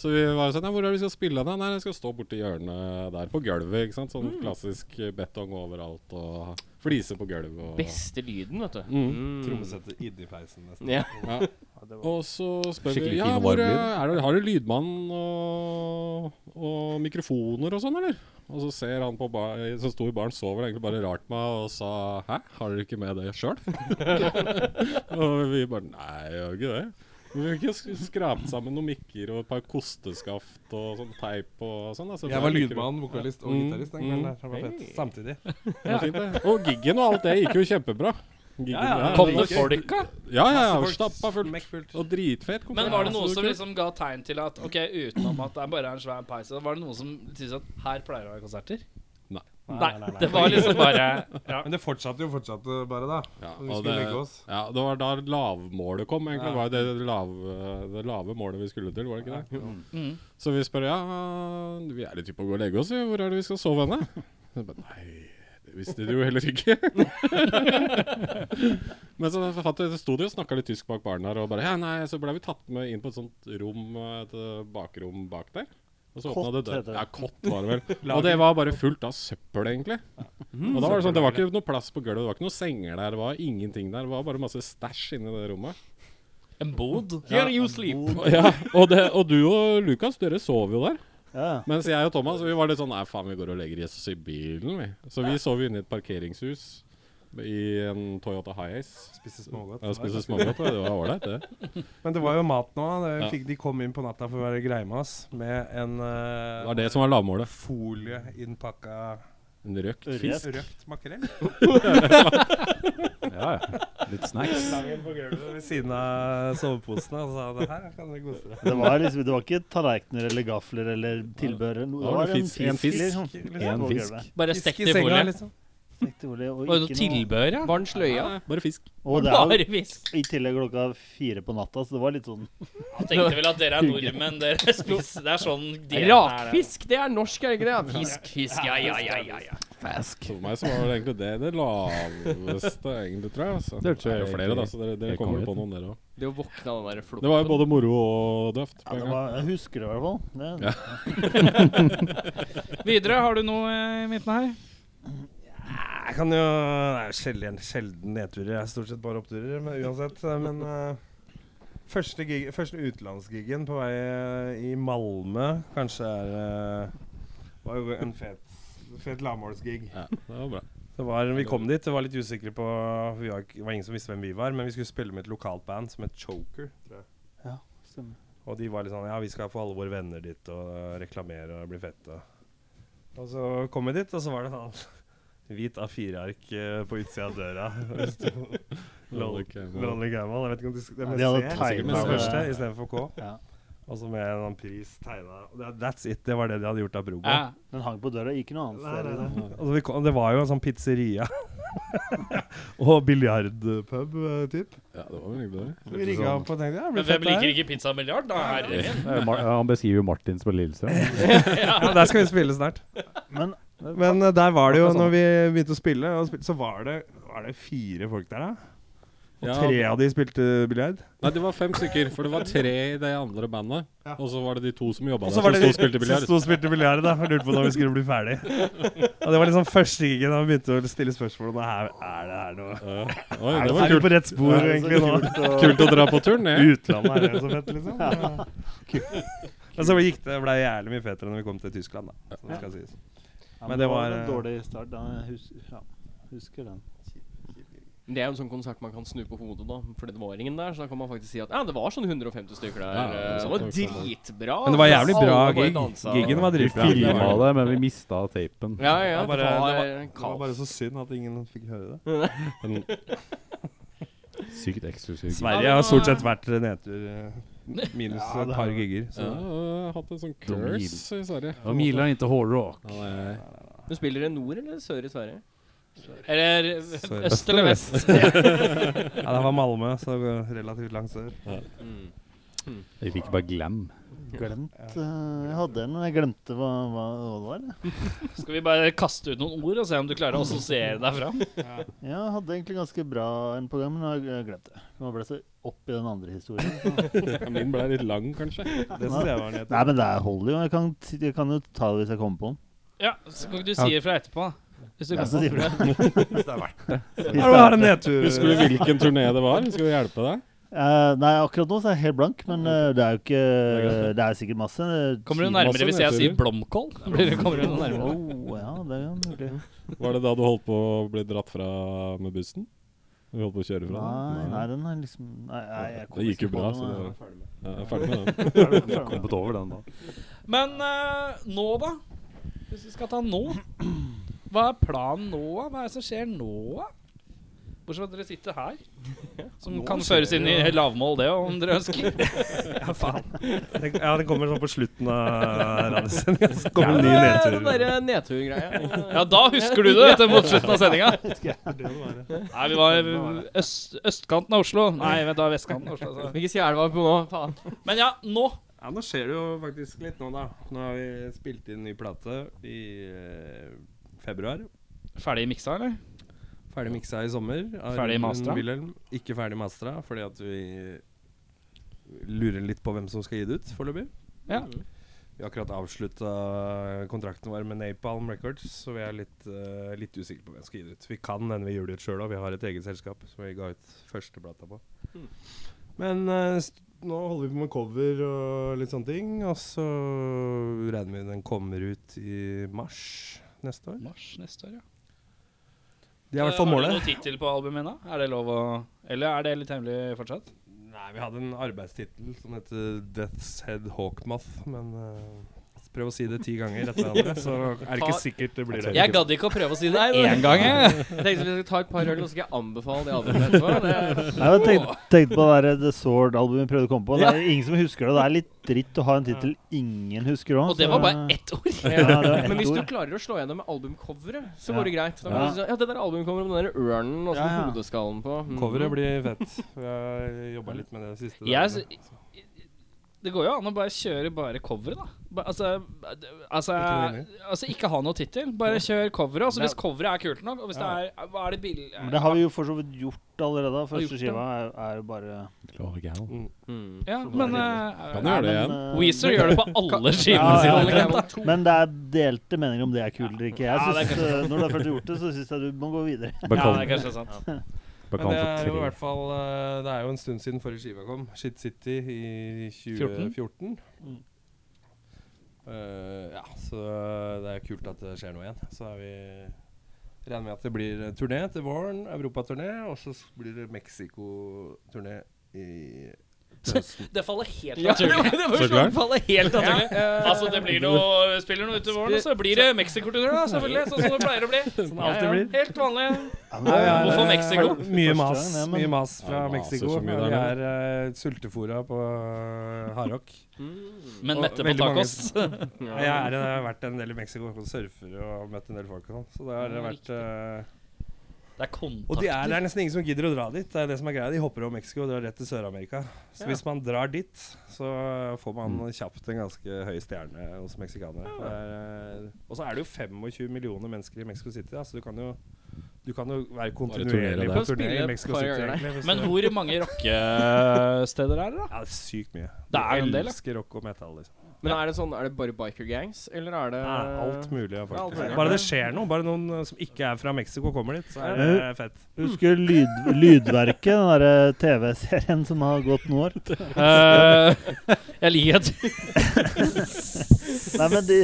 [SPEAKER 5] Så vi var jo sånn ja, Hvor er det vi skal spille? Da? Nei, jeg skal stå borti hjørnet der på gulvet. ikke sant? Sånn klassisk eh, betong overalt og fliser på gulvet. Og,
[SPEAKER 2] Beste lyden, vet du.
[SPEAKER 5] Mm.
[SPEAKER 6] Trommesetter inni peisen, nesten.
[SPEAKER 2] Ja.
[SPEAKER 5] ja.
[SPEAKER 6] Ja, det
[SPEAKER 5] Og så spør vi
[SPEAKER 3] Skikkelig
[SPEAKER 5] ja,
[SPEAKER 3] fin
[SPEAKER 5] hvor,
[SPEAKER 3] varm lyd.
[SPEAKER 5] eh, er det, har du lydmann og, og mikrofoner og sånn, eller? Og så ser han på bar, som sto i baren, så vel egentlig bare rart på meg og sa hæ, har dere ikke med det sjøl? [LAUGHS] og vi bare nei, jeg har ikke det. Men vi har ikke sk- skrapt sammen noen mikker og et par kosteskaft og sånn teip og sånn. da, så
[SPEAKER 6] Jeg
[SPEAKER 5] det
[SPEAKER 6] var
[SPEAKER 5] er mikro-
[SPEAKER 6] lydmann, vokalist og
[SPEAKER 5] Mm,
[SPEAKER 6] gitarist den
[SPEAKER 5] mm.
[SPEAKER 6] kvelden der. Det var fett.
[SPEAKER 8] Samtidig.
[SPEAKER 5] Det var fint, det. Og giggen og alt det gikk jo kjempebra. Giggen,
[SPEAKER 8] Ja, ja,
[SPEAKER 5] ja,
[SPEAKER 1] Kom det
[SPEAKER 5] gikk-
[SPEAKER 1] folka?
[SPEAKER 5] Ja, ja, ja.
[SPEAKER 8] Masse folk,
[SPEAKER 5] Stappa fullt.
[SPEAKER 8] mekkfullt.
[SPEAKER 5] Og dritfet konferanse.
[SPEAKER 1] Men var det noen
[SPEAKER 5] så
[SPEAKER 1] som
[SPEAKER 5] kult.
[SPEAKER 1] liksom ga tegn til at Ok, utenom at det er bare er en svær peis, var det noen som syntes at her pleier det å være konserter?
[SPEAKER 5] Nei.
[SPEAKER 1] Nei, det var liksom bare ja.
[SPEAKER 6] Men det fortsatte jo fortsatte bare, da.
[SPEAKER 5] Ja,
[SPEAKER 6] Og vi
[SPEAKER 5] og
[SPEAKER 6] skulle
[SPEAKER 5] det-
[SPEAKER 6] legge oss.
[SPEAKER 5] Ja, det var da lavmålet kom, egentlig. Det var jo det lave, det lave målet vi skulle til, var det ikke det?
[SPEAKER 1] Mm.
[SPEAKER 5] Så vi spør ja, vi er litt type å gå og legge oss, vi. Hvor er det vi skal sove henne? Så bare, Nei, det visste de jo heller [LAUGHS] ikke. Men så fant vi sto de og snakka litt tysk bak baren her, og bare ja, nei, så ble vi tatt med inn på et sånt rom, et eh, bakrom bak der. Og så åpna
[SPEAKER 7] Kott
[SPEAKER 5] det døra.
[SPEAKER 7] heter det.
[SPEAKER 5] Ja, kott var [LAUGHS] det vel. Og det var bare fullt av søppel, egentlig. Og da var Det sånn, det var ikke noe plass på gulvet, det var ikke noen senger der, det var ingenting der. Det var bare masse stæsj inni det rommet.
[SPEAKER 1] En bod?
[SPEAKER 5] Here you sleep. Ja, og, det, og du og Lukas, dere sov jo der.
[SPEAKER 7] Ja.
[SPEAKER 5] Mens jeg og Thomas vi var litt sånn Nei, faen, vi går og legger oss i bilen, vi. Så vi sov jo inne i et parkeringshus i en Toyota Hiace.
[SPEAKER 6] Spise smågodt.
[SPEAKER 5] Jeg spiste smågodt, og det var ålreit, det.
[SPEAKER 6] Men det var jo mat nå. Det
[SPEAKER 5] Ja.
[SPEAKER 6] fikk, de kom inn på natta for å være greie med oss med en eh,
[SPEAKER 5] Det var det som var lavmålet.
[SPEAKER 6] folieinnpakka
[SPEAKER 5] En røkt
[SPEAKER 7] Ørret.
[SPEAKER 5] fisk.
[SPEAKER 6] røkt makrell.
[SPEAKER 3] Ja, ja. Litt snacks.
[SPEAKER 6] Slangen på gulvet ved siden av soveposene og sa det her kan dere kose dere
[SPEAKER 7] Det var, liksom, det var ikke tallerkener eller gafler eller tilbehør. eller noe. Det
[SPEAKER 5] var
[SPEAKER 7] var
[SPEAKER 5] det
[SPEAKER 7] en
[SPEAKER 5] fisk-
[SPEAKER 7] fisk.
[SPEAKER 5] en fisk.
[SPEAKER 7] liksom.
[SPEAKER 6] med.
[SPEAKER 3] En
[SPEAKER 7] På
[SPEAKER 3] fisk.
[SPEAKER 7] gulvet.
[SPEAKER 1] Bare
[SPEAKER 6] Fisk
[SPEAKER 1] stekt
[SPEAKER 6] i
[SPEAKER 1] i
[SPEAKER 6] senga,
[SPEAKER 1] folie?
[SPEAKER 6] liksom.
[SPEAKER 7] Stekt i olje, og
[SPEAKER 1] Var det
[SPEAKER 7] ikke
[SPEAKER 1] noe
[SPEAKER 7] noe-
[SPEAKER 1] tilbehør, ja?
[SPEAKER 2] Var den sløya?
[SPEAKER 5] Ja, bare fisk.
[SPEAKER 7] Og det er
[SPEAKER 1] Bare
[SPEAKER 7] jo
[SPEAKER 1] fisk.
[SPEAKER 7] i tillegg klokka fire på natta, så det var litt sånn
[SPEAKER 1] Jeg tenkte vel at dere er nordmenn, dere spiser Det er sånn
[SPEAKER 2] Rakfisk! Det er norsk, er det ikke det? Fisk.
[SPEAKER 1] Fisk, ja, ja, ja, ja, ja.
[SPEAKER 5] For meg så var det egentlig det det laveste, egentlig, tror jeg. Altså. Det
[SPEAKER 3] Det tror
[SPEAKER 5] er
[SPEAKER 3] jeg
[SPEAKER 5] jo flere, da,
[SPEAKER 3] egentlig-
[SPEAKER 5] så dere, dere
[SPEAKER 3] helt
[SPEAKER 5] kommer
[SPEAKER 3] konge.
[SPEAKER 5] på noen, dere òg.
[SPEAKER 2] Det å våkne av den der
[SPEAKER 5] Det var jo
[SPEAKER 2] floppen.
[SPEAKER 5] både moro og døvt.
[SPEAKER 7] ja, det var, Jeg husker det i hvert fall. Det,
[SPEAKER 1] Videre, har du noe eh, i midten her?
[SPEAKER 6] Jeg kan jo Det er jo sjelden, sjelden nedturer. Jeg er stort sett bare oppturer, men uansett. Men eh, første, gig, første utenlandsgigen på vei eh, i Malmö kanskje er eh, Var jo en fet, fet lavmålsgig.
[SPEAKER 5] Ja, det var bra.
[SPEAKER 6] Det var, vi kom dit, det var litt usikre på vi var, ikke- Det var ingen som visste hvem vi var, men vi skulle spille med et lokalt band som het Choker. Tror jeg.
[SPEAKER 7] stemmer.
[SPEAKER 6] Og de var litt sånn Ja, vi skal få alle våre venner dit og øh, reklamere og bli fette. Og så kom vi dit, og så var det sånn [LAUGHS] hvit A4-ark øh, på utsida av døra. [LAUGHS] Det sto Lonely
[SPEAKER 5] Lonely Camel.
[SPEAKER 6] Lonely Camel. Jeg vet ikke om de sk- det er
[SPEAKER 7] Ja, de hadde
[SPEAKER 6] med C,
[SPEAKER 7] tegnet
[SPEAKER 6] med
[SPEAKER 7] det.
[SPEAKER 6] første istedenfor K.
[SPEAKER 7] Ja.
[SPEAKER 6] Og så med en sånn pris tegna. That's it. Det var det de hadde gjort av Brogo.
[SPEAKER 1] Ja.
[SPEAKER 7] Den hang på døra, ikke noe annet
[SPEAKER 6] Nei,
[SPEAKER 7] sted.
[SPEAKER 6] nei,
[SPEAKER 7] Liksom.
[SPEAKER 6] nei. Altså, vi kom, det var jo en sånn pizzeria [LAUGHS] og biljardpub, eh, typ.
[SPEAKER 5] Ja, det var vel egentlig det.
[SPEAKER 6] Så vi ringa opp og tenkte ja,
[SPEAKER 1] Men
[SPEAKER 6] det blir
[SPEAKER 1] hvem
[SPEAKER 6] fett
[SPEAKER 1] liker
[SPEAKER 6] der.
[SPEAKER 1] ikke pizza milliard, da? Herre min.
[SPEAKER 3] Eh, Mar- Han beskriver jo Martins på Lillestrøm.
[SPEAKER 6] Ja, der skal vi spille snart.
[SPEAKER 7] Men
[SPEAKER 6] Men eh, der var det jo, når vi begynte å spille, og spil- så var det, var det fire folk der, da. Og
[SPEAKER 5] Ja.
[SPEAKER 6] tre av de spilte biljard.
[SPEAKER 5] Nei, det var fem stykker, for det var tre i det andre bandet.
[SPEAKER 6] Ja.
[SPEAKER 5] Og så var det de to som jobba
[SPEAKER 6] Og så
[SPEAKER 5] der, som
[SPEAKER 6] var det
[SPEAKER 5] sto
[SPEAKER 6] de
[SPEAKER 5] og spilte
[SPEAKER 6] som
[SPEAKER 5] biljard.
[SPEAKER 6] sto og spilte biljard, da. Og lurte på når vi skulle bli ferdig. Og det var liksom første gigen da vi begynte å stille spørsmål om det her er det her noe
[SPEAKER 5] Ja. Oi,
[SPEAKER 6] Er
[SPEAKER 5] det
[SPEAKER 6] vi
[SPEAKER 5] var kult,
[SPEAKER 6] på rett spor,
[SPEAKER 7] det er så
[SPEAKER 6] egentlig, nå?
[SPEAKER 7] kult å-
[SPEAKER 5] [LAUGHS] kult å dra på turné.
[SPEAKER 6] [LAUGHS] Utlandet er det så fett, liksom. Men så gikk det, ble det jævlig mye fetere når vi kom til Tyskland, da. Så det skal sies.
[SPEAKER 7] Ja,
[SPEAKER 6] Men
[SPEAKER 7] men
[SPEAKER 6] det
[SPEAKER 7] det var
[SPEAKER 6] var,
[SPEAKER 7] en
[SPEAKER 6] eh,
[SPEAKER 7] dårlig start. da. Jeg hus ja, husker den.
[SPEAKER 2] Det er jo en sånn konsert man kan snu på hodet, da. Fordi det var ingen der, så da kan man faktisk si at ja, det var sånn 150 stykker der.
[SPEAKER 5] Ja,
[SPEAKER 2] eh,
[SPEAKER 5] ja,
[SPEAKER 2] det var
[SPEAKER 5] det var
[SPEAKER 2] dritbra.
[SPEAKER 6] Men det var jævlig
[SPEAKER 2] Alle bare
[SPEAKER 6] bra gig.
[SPEAKER 2] dansa.
[SPEAKER 6] Giggen var
[SPEAKER 3] Vi
[SPEAKER 6] dritbra.
[SPEAKER 3] filma det, men vi mista tapen.
[SPEAKER 2] Ja, ja.
[SPEAKER 6] Det var
[SPEAKER 2] Det
[SPEAKER 6] bare-
[SPEAKER 2] var,
[SPEAKER 6] Det var bare
[SPEAKER 2] kaos.
[SPEAKER 6] så synd at ingen fikk høre det.
[SPEAKER 2] [LAUGHS]
[SPEAKER 3] Sykt eksklusiv.
[SPEAKER 6] Sverige har stort sett vært nedtur, eh, minus
[SPEAKER 7] Ja, det
[SPEAKER 6] et
[SPEAKER 7] har
[SPEAKER 6] par gigger.
[SPEAKER 5] Ja,
[SPEAKER 6] Så.
[SPEAKER 5] og øh, jeg har hatt en sånn curse i Sverige.
[SPEAKER 3] Och Milan inte hårdrock.
[SPEAKER 5] Ja, nei,
[SPEAKER 2] Du spiller i nord eller sør i Sverige?
[SPEAKER 1] Eller
[SPEAKER 6] Sorry.
[SPEAKER 1] øst eller vest?
[SPEAKER 6] Ja, det var Malmö, så relativt langt sør.
[SPEAKER 3] Vi fikk bare glam.
[SPEAKER 7] Glemt eh, Jeg hadde en, men jeg glemte hva, hva, hva det var. jeg.
[SPEAKER 1] Skal vi bare kaste ut noen ord og se om du klarer å assosiere deg fram?
[SPEAKER 7] Ja, jeg hadde egentlig ganske bra en på gang, men jeg har glemt det. Man ble så opp i den andre historien.
[SPEAKER 5] [LAUGHS]
[SPEAKER 1] [LAUGHS]
[SPEAKER 5] Ja, Min ble litt lang, kanskje.
[SPEAKER 6] Det synes jeg var nedtur.
[SPEAKER 7] Nei, men det holder jo. Jeg kan, t- jeg kan jo ta det hvis jeg kommer på den.
[SPEAKER 1] Ja, så kan ikke du si ifra etterpå, da. Hvis du
[SPEAKER 7] Ja,
[SPEAKER 1] kan.
[SPEAKER 7] så sier vi det.
[SPEAKER 1] [LAUGHS]
[SPEAKER 6] Ja, det var en nedtur.
[SPEAKER 5] Husker du hvilken turné det var? Skal vi hjelpe deg?
[SPEAKER 7] Eh, nei, akkurat nå så er jeg helt blank, men eh, det er jo ikke Det er sikkert masse. eh,
[SPEAKER 1] Kommer du
[SPEAKER 7] Ti-
[SPEAKER 5] Masse
[SPEAKER 1] nærmere hvis jeg
[SPEAKER 5] nedturer.
[SPEAKER 1] sier blomkål? Blir du, kommer du noe nærmere?
[SPEAKER 7] Oh, ja, det er mulig.
[SPEAKER 5] Var det da du holdt på å bli dratt fra med bussen? Du holdt på å kjøre fra?
[SPEAKER 7] Nei, nei, den er liksom Nei, nei jeg
[SPEAKER 5] Det gikk jo
[SPEAKER 7] ikke på
[SPEAKER 5] bra,
[SPEAKER 7] den,
[SPEAKER 5] så det
[SPEAKER 7] nei.
[SPEAKER 5] var Ja, jeg er ferdig med den.
[SPEAKER 7] Jeg er ferdig med den.
[SPEAKER 3] Kommet over den, da.
[SPEAKER 1] Men eh, nå, da? Hvis vi skal ta nå Hva er planen nå, da? Hva er det som skjer nå, da? Bortsett fra at dere sitter her. Som kan føres inn i lavmål, det, om dere [LAUGHS] ønsker.
[SPEAKER 6] Ja, faen. Det, ja, det kommer sånn på slutten av radiosendinga. Så
[SPEAKER 2] Ja,
[SPEAKER 6] kommer det en ny
[SPEAKER 2] Den
[SPEAKER 6] nedtur.
[SPEAKER 2] derre
[SPEAKER 1] [LAUGHS]
[SPEAKER 2] nedturgreia.
[SPEAKER 1] Ja, da husker du det etter mot slutten av [LAUGHS] sendinga. Nei, vi var i øst, østkanten av Oslo. Nei, vent, da vestkanten av Oslo.
[SPEAKER 2] Hvilken side er det var på nå? Faen.
[SPEAKER 1] altså. Men ja, nå.
[SPEAKER 6] Ja, nå skjer det jo faktisk litt nå, da. Nå har vi spilt inn ny plate i eh, februar.
[SPEAKER 1] Ferdig miksa, eller?
[SPEAKER 6] Ferdig miksa i sommer. av
[SPEAKER 1] Ferdig
[SPEAKER 6] Ruben
[SPEAKER 1] mastra?
[SPEAKER 6] Wilhelm. Ikke ferdig mastra, fordi at vi lurer litt på hvem som skal gi det ut foreløpig.
[SPEAKER 1] Ja.
[SPEAKER 6] Vi har akkurat avslutta kontrakten vår med Napalm Records, så vi er litt, eh, litt usikre på hvem som skal gi det ut. Vi kan hende vi gjør det ut sjøl òg, vi har et eget selskap som vi ga ut første plata på.
[SPEAKER 1] Hmm.
[SPEAKER 6] Men eh, st nå holder vi på med cover og litt sånne ting, og så regner vi den kommer ut i mars neste år.
[SPEAKER 1] Mars neste år, ja.
[SPEAKER 6] Det er i hvert fall
[SPEAKER 1] Eh, Har du
[SPEAKER 6] målet.
[SPEAKER 1] noen tittel på albumet ennå? Er det lov å Eller er det litt hemmelig fortsatt?
[SPEAKER 6] Nei, vi hadde en arbeidstittel som heter Death's Head Hawkmoth, men eh, prøv å si det ti ganger etter
[SPEAKER 1] [LAUGHS]
[SPEAKER 6] hverandre, så er det
[SPEAKER 2] Ta-
[SPEAKER 6] ikke sikkert det blir det.
[SPEAKER 1] Jeg gadd ikke å prøve å si det
[SPEAKER 2] Nei, det-
[SPEAKER 1] én gang, jeg.
[SPEAKER 2] Jeg tenkte vi skulle ta et par øl, og så skal jeg anbefale det albumet etterpå. Det,
[SPEAKER 7] Nei, jeg tenkte, tenkte på det der eh, The Sword-albumet vi prøvde å komme på. Det er ingen som husker det. Det er litt dritt å ha en tittel ingen husker òg.
[SPEAKER 1] Og det var bare ett ord.
[SPEAKER 7] Ja, det var ett
[SPEAKER 2] Men hvis du
[SPEAKER 7] ord.
[SPEAKER 2] klarer å slå gjennom med albumcoveret, så
[SPEAKER 7] Ja.
[SPEAKER 2] går det greit. Da kan
[SPEAKER 7] Ja.
[SPEAKER 2] du si, ja, det der albumcoveret med den der ørnen og så
[SPEAKER 7] Ja, ja.
[SPEAKER 2] hodeskallen på. Mm.
[SPEAKER 6] Coveret blir fett. Vi har jobba litt med det siste.
[SPEAKER 1] Jeg
[SPEAKER 6] dagene.
[SPEAKER 7] altså.
[SPEAKER 1] Det går jo an å bare kjøre bare coveret, da. Ba, altså, altså,
[SPEAKER 6] Jeg
[SPEAKER 1] altså ikke ha noe tittel. Bare kjør coveret. Altså, hvis coveret er kult nok, og hvis det er Hva er det bill...
[SPEAKER 7] Men det har vi jo for så vidt gjort allerede.
[SPEAKER 1] gjort
[SPEAKER 7] Første
[SPEAKER 1] det.
[SPEAKER 7] skiva er, er jo bare
[SPEAKER 2] Mm.
[SPEAKER 1] Ja, men
[SPEAKER 5] Kan
[SPEAKER 1] uh,
[SPEAKER 5] du gjøre det
[SPEAKER 7] Nei,
[SPEAKER 5] igjen?
[SPEAKER 7] men, eh,
[SPEAKER 1] Weezer gjør det på alle skivene
[SPEAKER 7] [LAUGHS] Ja, ja.
[SPEAKER 1] sine. liksom. omtrent.
[SPEAKER 2] Campbell 2.
[SPEAKER 7] Men det er delte meninger om det er kult eller ikke. Jeg
[SPEAKER 1] Ja, det er
[SPEAKER 7] synes, eh, når du har først gjort det, så syns jeg du må gå videre.
[SPEAKER 1] Ja,
[SPEAKER 3] Bakan
[SPEAKER 1] det er kanskje sant.
[SPEAKER 6] Men det er jo i
[SPEAKER 3] for
[SPEAKER 6] hvert fall eh, Det er jo en stund siden forrige skiva kom. Shit City i 2014.
[SPEAKER 7] Mm.
[SPEAKER 6] Eh, ja, så det er kult at det skjer noe igjen. Så er vi regner med at det blir turné til våren, europaturné, og så s- blir det Mexico-turné i
[SPEAKER 7] [LAUGHS]
[SPEAKER 6] til høsten.
[SPEAKER 1] Det faller helt
[SPEAKER 2] Ja, det var,
[SPEAKER 1] naturlig.
[SPEAKER 2] det var
[SPEAKER 5] Så
[SPEAKER 2] sånn,
[SPEAKER 5] klart.
[SPEAKER 2] faller helt naturlig.
[SPEAKER 1] Altså, det blir noe Spiller noe utover våren, og så blir det Mexico-turné, da, selvfølgelig. Sånn som det pleier
[SPEAKER 2] [LAUGHS]
[SPEAKER 1] å bli.
[SPEAKER 6] Som alltid blir.
[SPEAKER 1] Helt vanlig.
[SPEAKER 7] [LAUGHS] Ja,
[SPEAKER 6] Ja, ja,
[SPEAKER 1] Hvorfor
[SPEAKER 6] det er
[SPEAKER 1] Mexico?
[SPEAKER 6] eh, Mye
[SPEAKER 7] Første
[SPEAKER 6] mas,
[SPEAKER 7] gang, ja, men-
[SPEAKER 6] mye mas fra
[SPEAKER 5] Ja, det maser
[SPEAKER 6] Mexico.
[SPEAKER 5] så mye
[SPEAKER 6] Vi er
[SPEAKER 5] der
[SPEAKER 6] uh, sultefora på uh, hardrock.
[SPEAKER 1] Men
[SPEAKER 2] Mm.
[SPEAKER 6] Og
[SPEAKER 1] mette på
[SPEAKER 6] veldig mange-
[SPEAKER 1] tacos. [LAUGHS]
[SPEAKER 6] Ja, Jeg er, eh, har vært en del i Mexico og surfer og møtt en del folk og sånn. Så det har
[SPEAKER 1] Ja,
[SPEAKER 6] vært eh,
[SPEAKER 1] Det er kontakt.
[SPEAKER 6] Og de er, det er nesten ingen som gidder å dra dit. Det er det som er greia. De hopper over Mexico og drar rett til Sør-Amerika. Så hvis man drar dit, så får man kjapt en ganske høy stjerne hos meksikanere. Det er, eh, Og så er det jo 25 millioner mennesker i Mexico City, da, så du kan jo du kan jo være
[SPEAKER 5] turnere
[SPEAKER 6] kontinuerlig
[SPEAKER 5] der.
[SPEAKER 6] på
[SPEAKER 2] Kan
[SPEAKER 6] turné
[SPEAKER 2] spille
[SPEAKER 6] i
[SPEAKER 2] et
[SPEAKER 6] Mexico
[SPEAKER 2] par
[SPEAKER 6] City.
[SPEAKER 2] ganger der.
[SPEAKER 6] egentlig,
[SPEAKER 1] [LAUGHS]
[SPEAKER 6] hvis
[SPEAKER 1] Men
[SPEAKER 6] du-
[SPEAKER 1] hvor mange rockesteder
[SPEAKER 7] [LAUGHS]
[SPEAKER 1] er det, da?
[SPEAKER 6] Ja, det er sykt mye.
[SPEAKER 1] Det er jo en
[SPEAKER 6] de
[SPEAKER 1] del, ja.
[SPEAKER 6] elsker rock og metal. liksom.
[SPEAKER 2] Men er det sånn, er det bare biker gangs, eller er det
[SPEAKER 6] Det er alt mulig. ja,
[SPEAKER 2] Eh, alt
[SPEAKER 6] faktisk.
[SPEAKER 2] mulig.
[SPEAKER 6] Bare det skjer noe. Bare noen eh, som ikke er fra Mexico, kommer dit, så er det
[SPEAKER 7] Ja.
[SPEAKER 6] eh, fett.
[SPEAKER 7] Husker lyd, Lydverket, den derre TV-serien som har gått noen år?
[SPEAKER 1] [LAUGHS] Eh, [LAUGHS] jeg liker at
[SPEAKER 7] Nei, men de,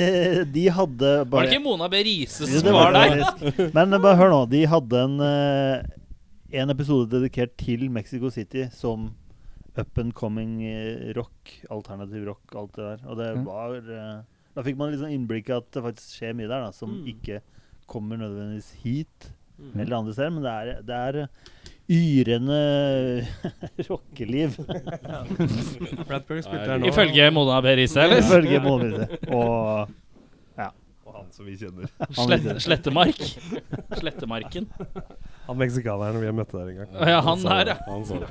[SPEAKER 7] de hadde
[SPEAKER 1] Var
[SPEAKER 7] bare
[SPEAKER 1] det ikke Mona B. Riise
[SPEAKER 7] Jo,
[SPEAKER 1] som
[SPEAKER 7] det
[SPEAKER 1] var
[SPEAKER 7] var
[SPEAKER 1] der?
[SPEAKER 7] det faktisk. Men eh, bare hør nå. De hadde en, eh, en episode dedikert til Mexico City som up and coming eh, rock, alternativ rock, alt det der. Og det
[SPEAKER 1] Ja.
[SPEAKER 7] var eh, Da fikk man litt sånn innblikk i at det faktisk skjer mye der, da, som
[SPEAKER 1] Mm.
[SPEAKER 7] ikke kommer nødvendigvis hit
[SPEAKER 2] Mm.
[SPEAKER 7] eller andre steder. Men det er, det er eh, yrende [LAUGHS] rockeliv,
[SPEAKER 6] Bradbury spilte
[SPEAKER 5] Nei,
[SPEAKER 6] her nå.
[SPEAKER 1] Ifølge Mona B. Riise, eller?
[SPEAKER 7] ifølge Månelyset. Og
[SPEAKER 6] Og han som vi kjenner.
[SPEAKER 7] han
[SPEAKER 1] Slett,
[SPEAKER 7] videre.
[SPEAKER 1] slettemark. Slettemarken.
[SPEAKER 6] Han meksikaneren vi har møtt der en gang.
[SPEAKER 1] Ja, han
[SPEAKER 5] sa
[SPEAKER 1] der,
[SPEAKER 5] det,
[SPEAKER 1] ja.
[SPEAKER 5] Han sa det.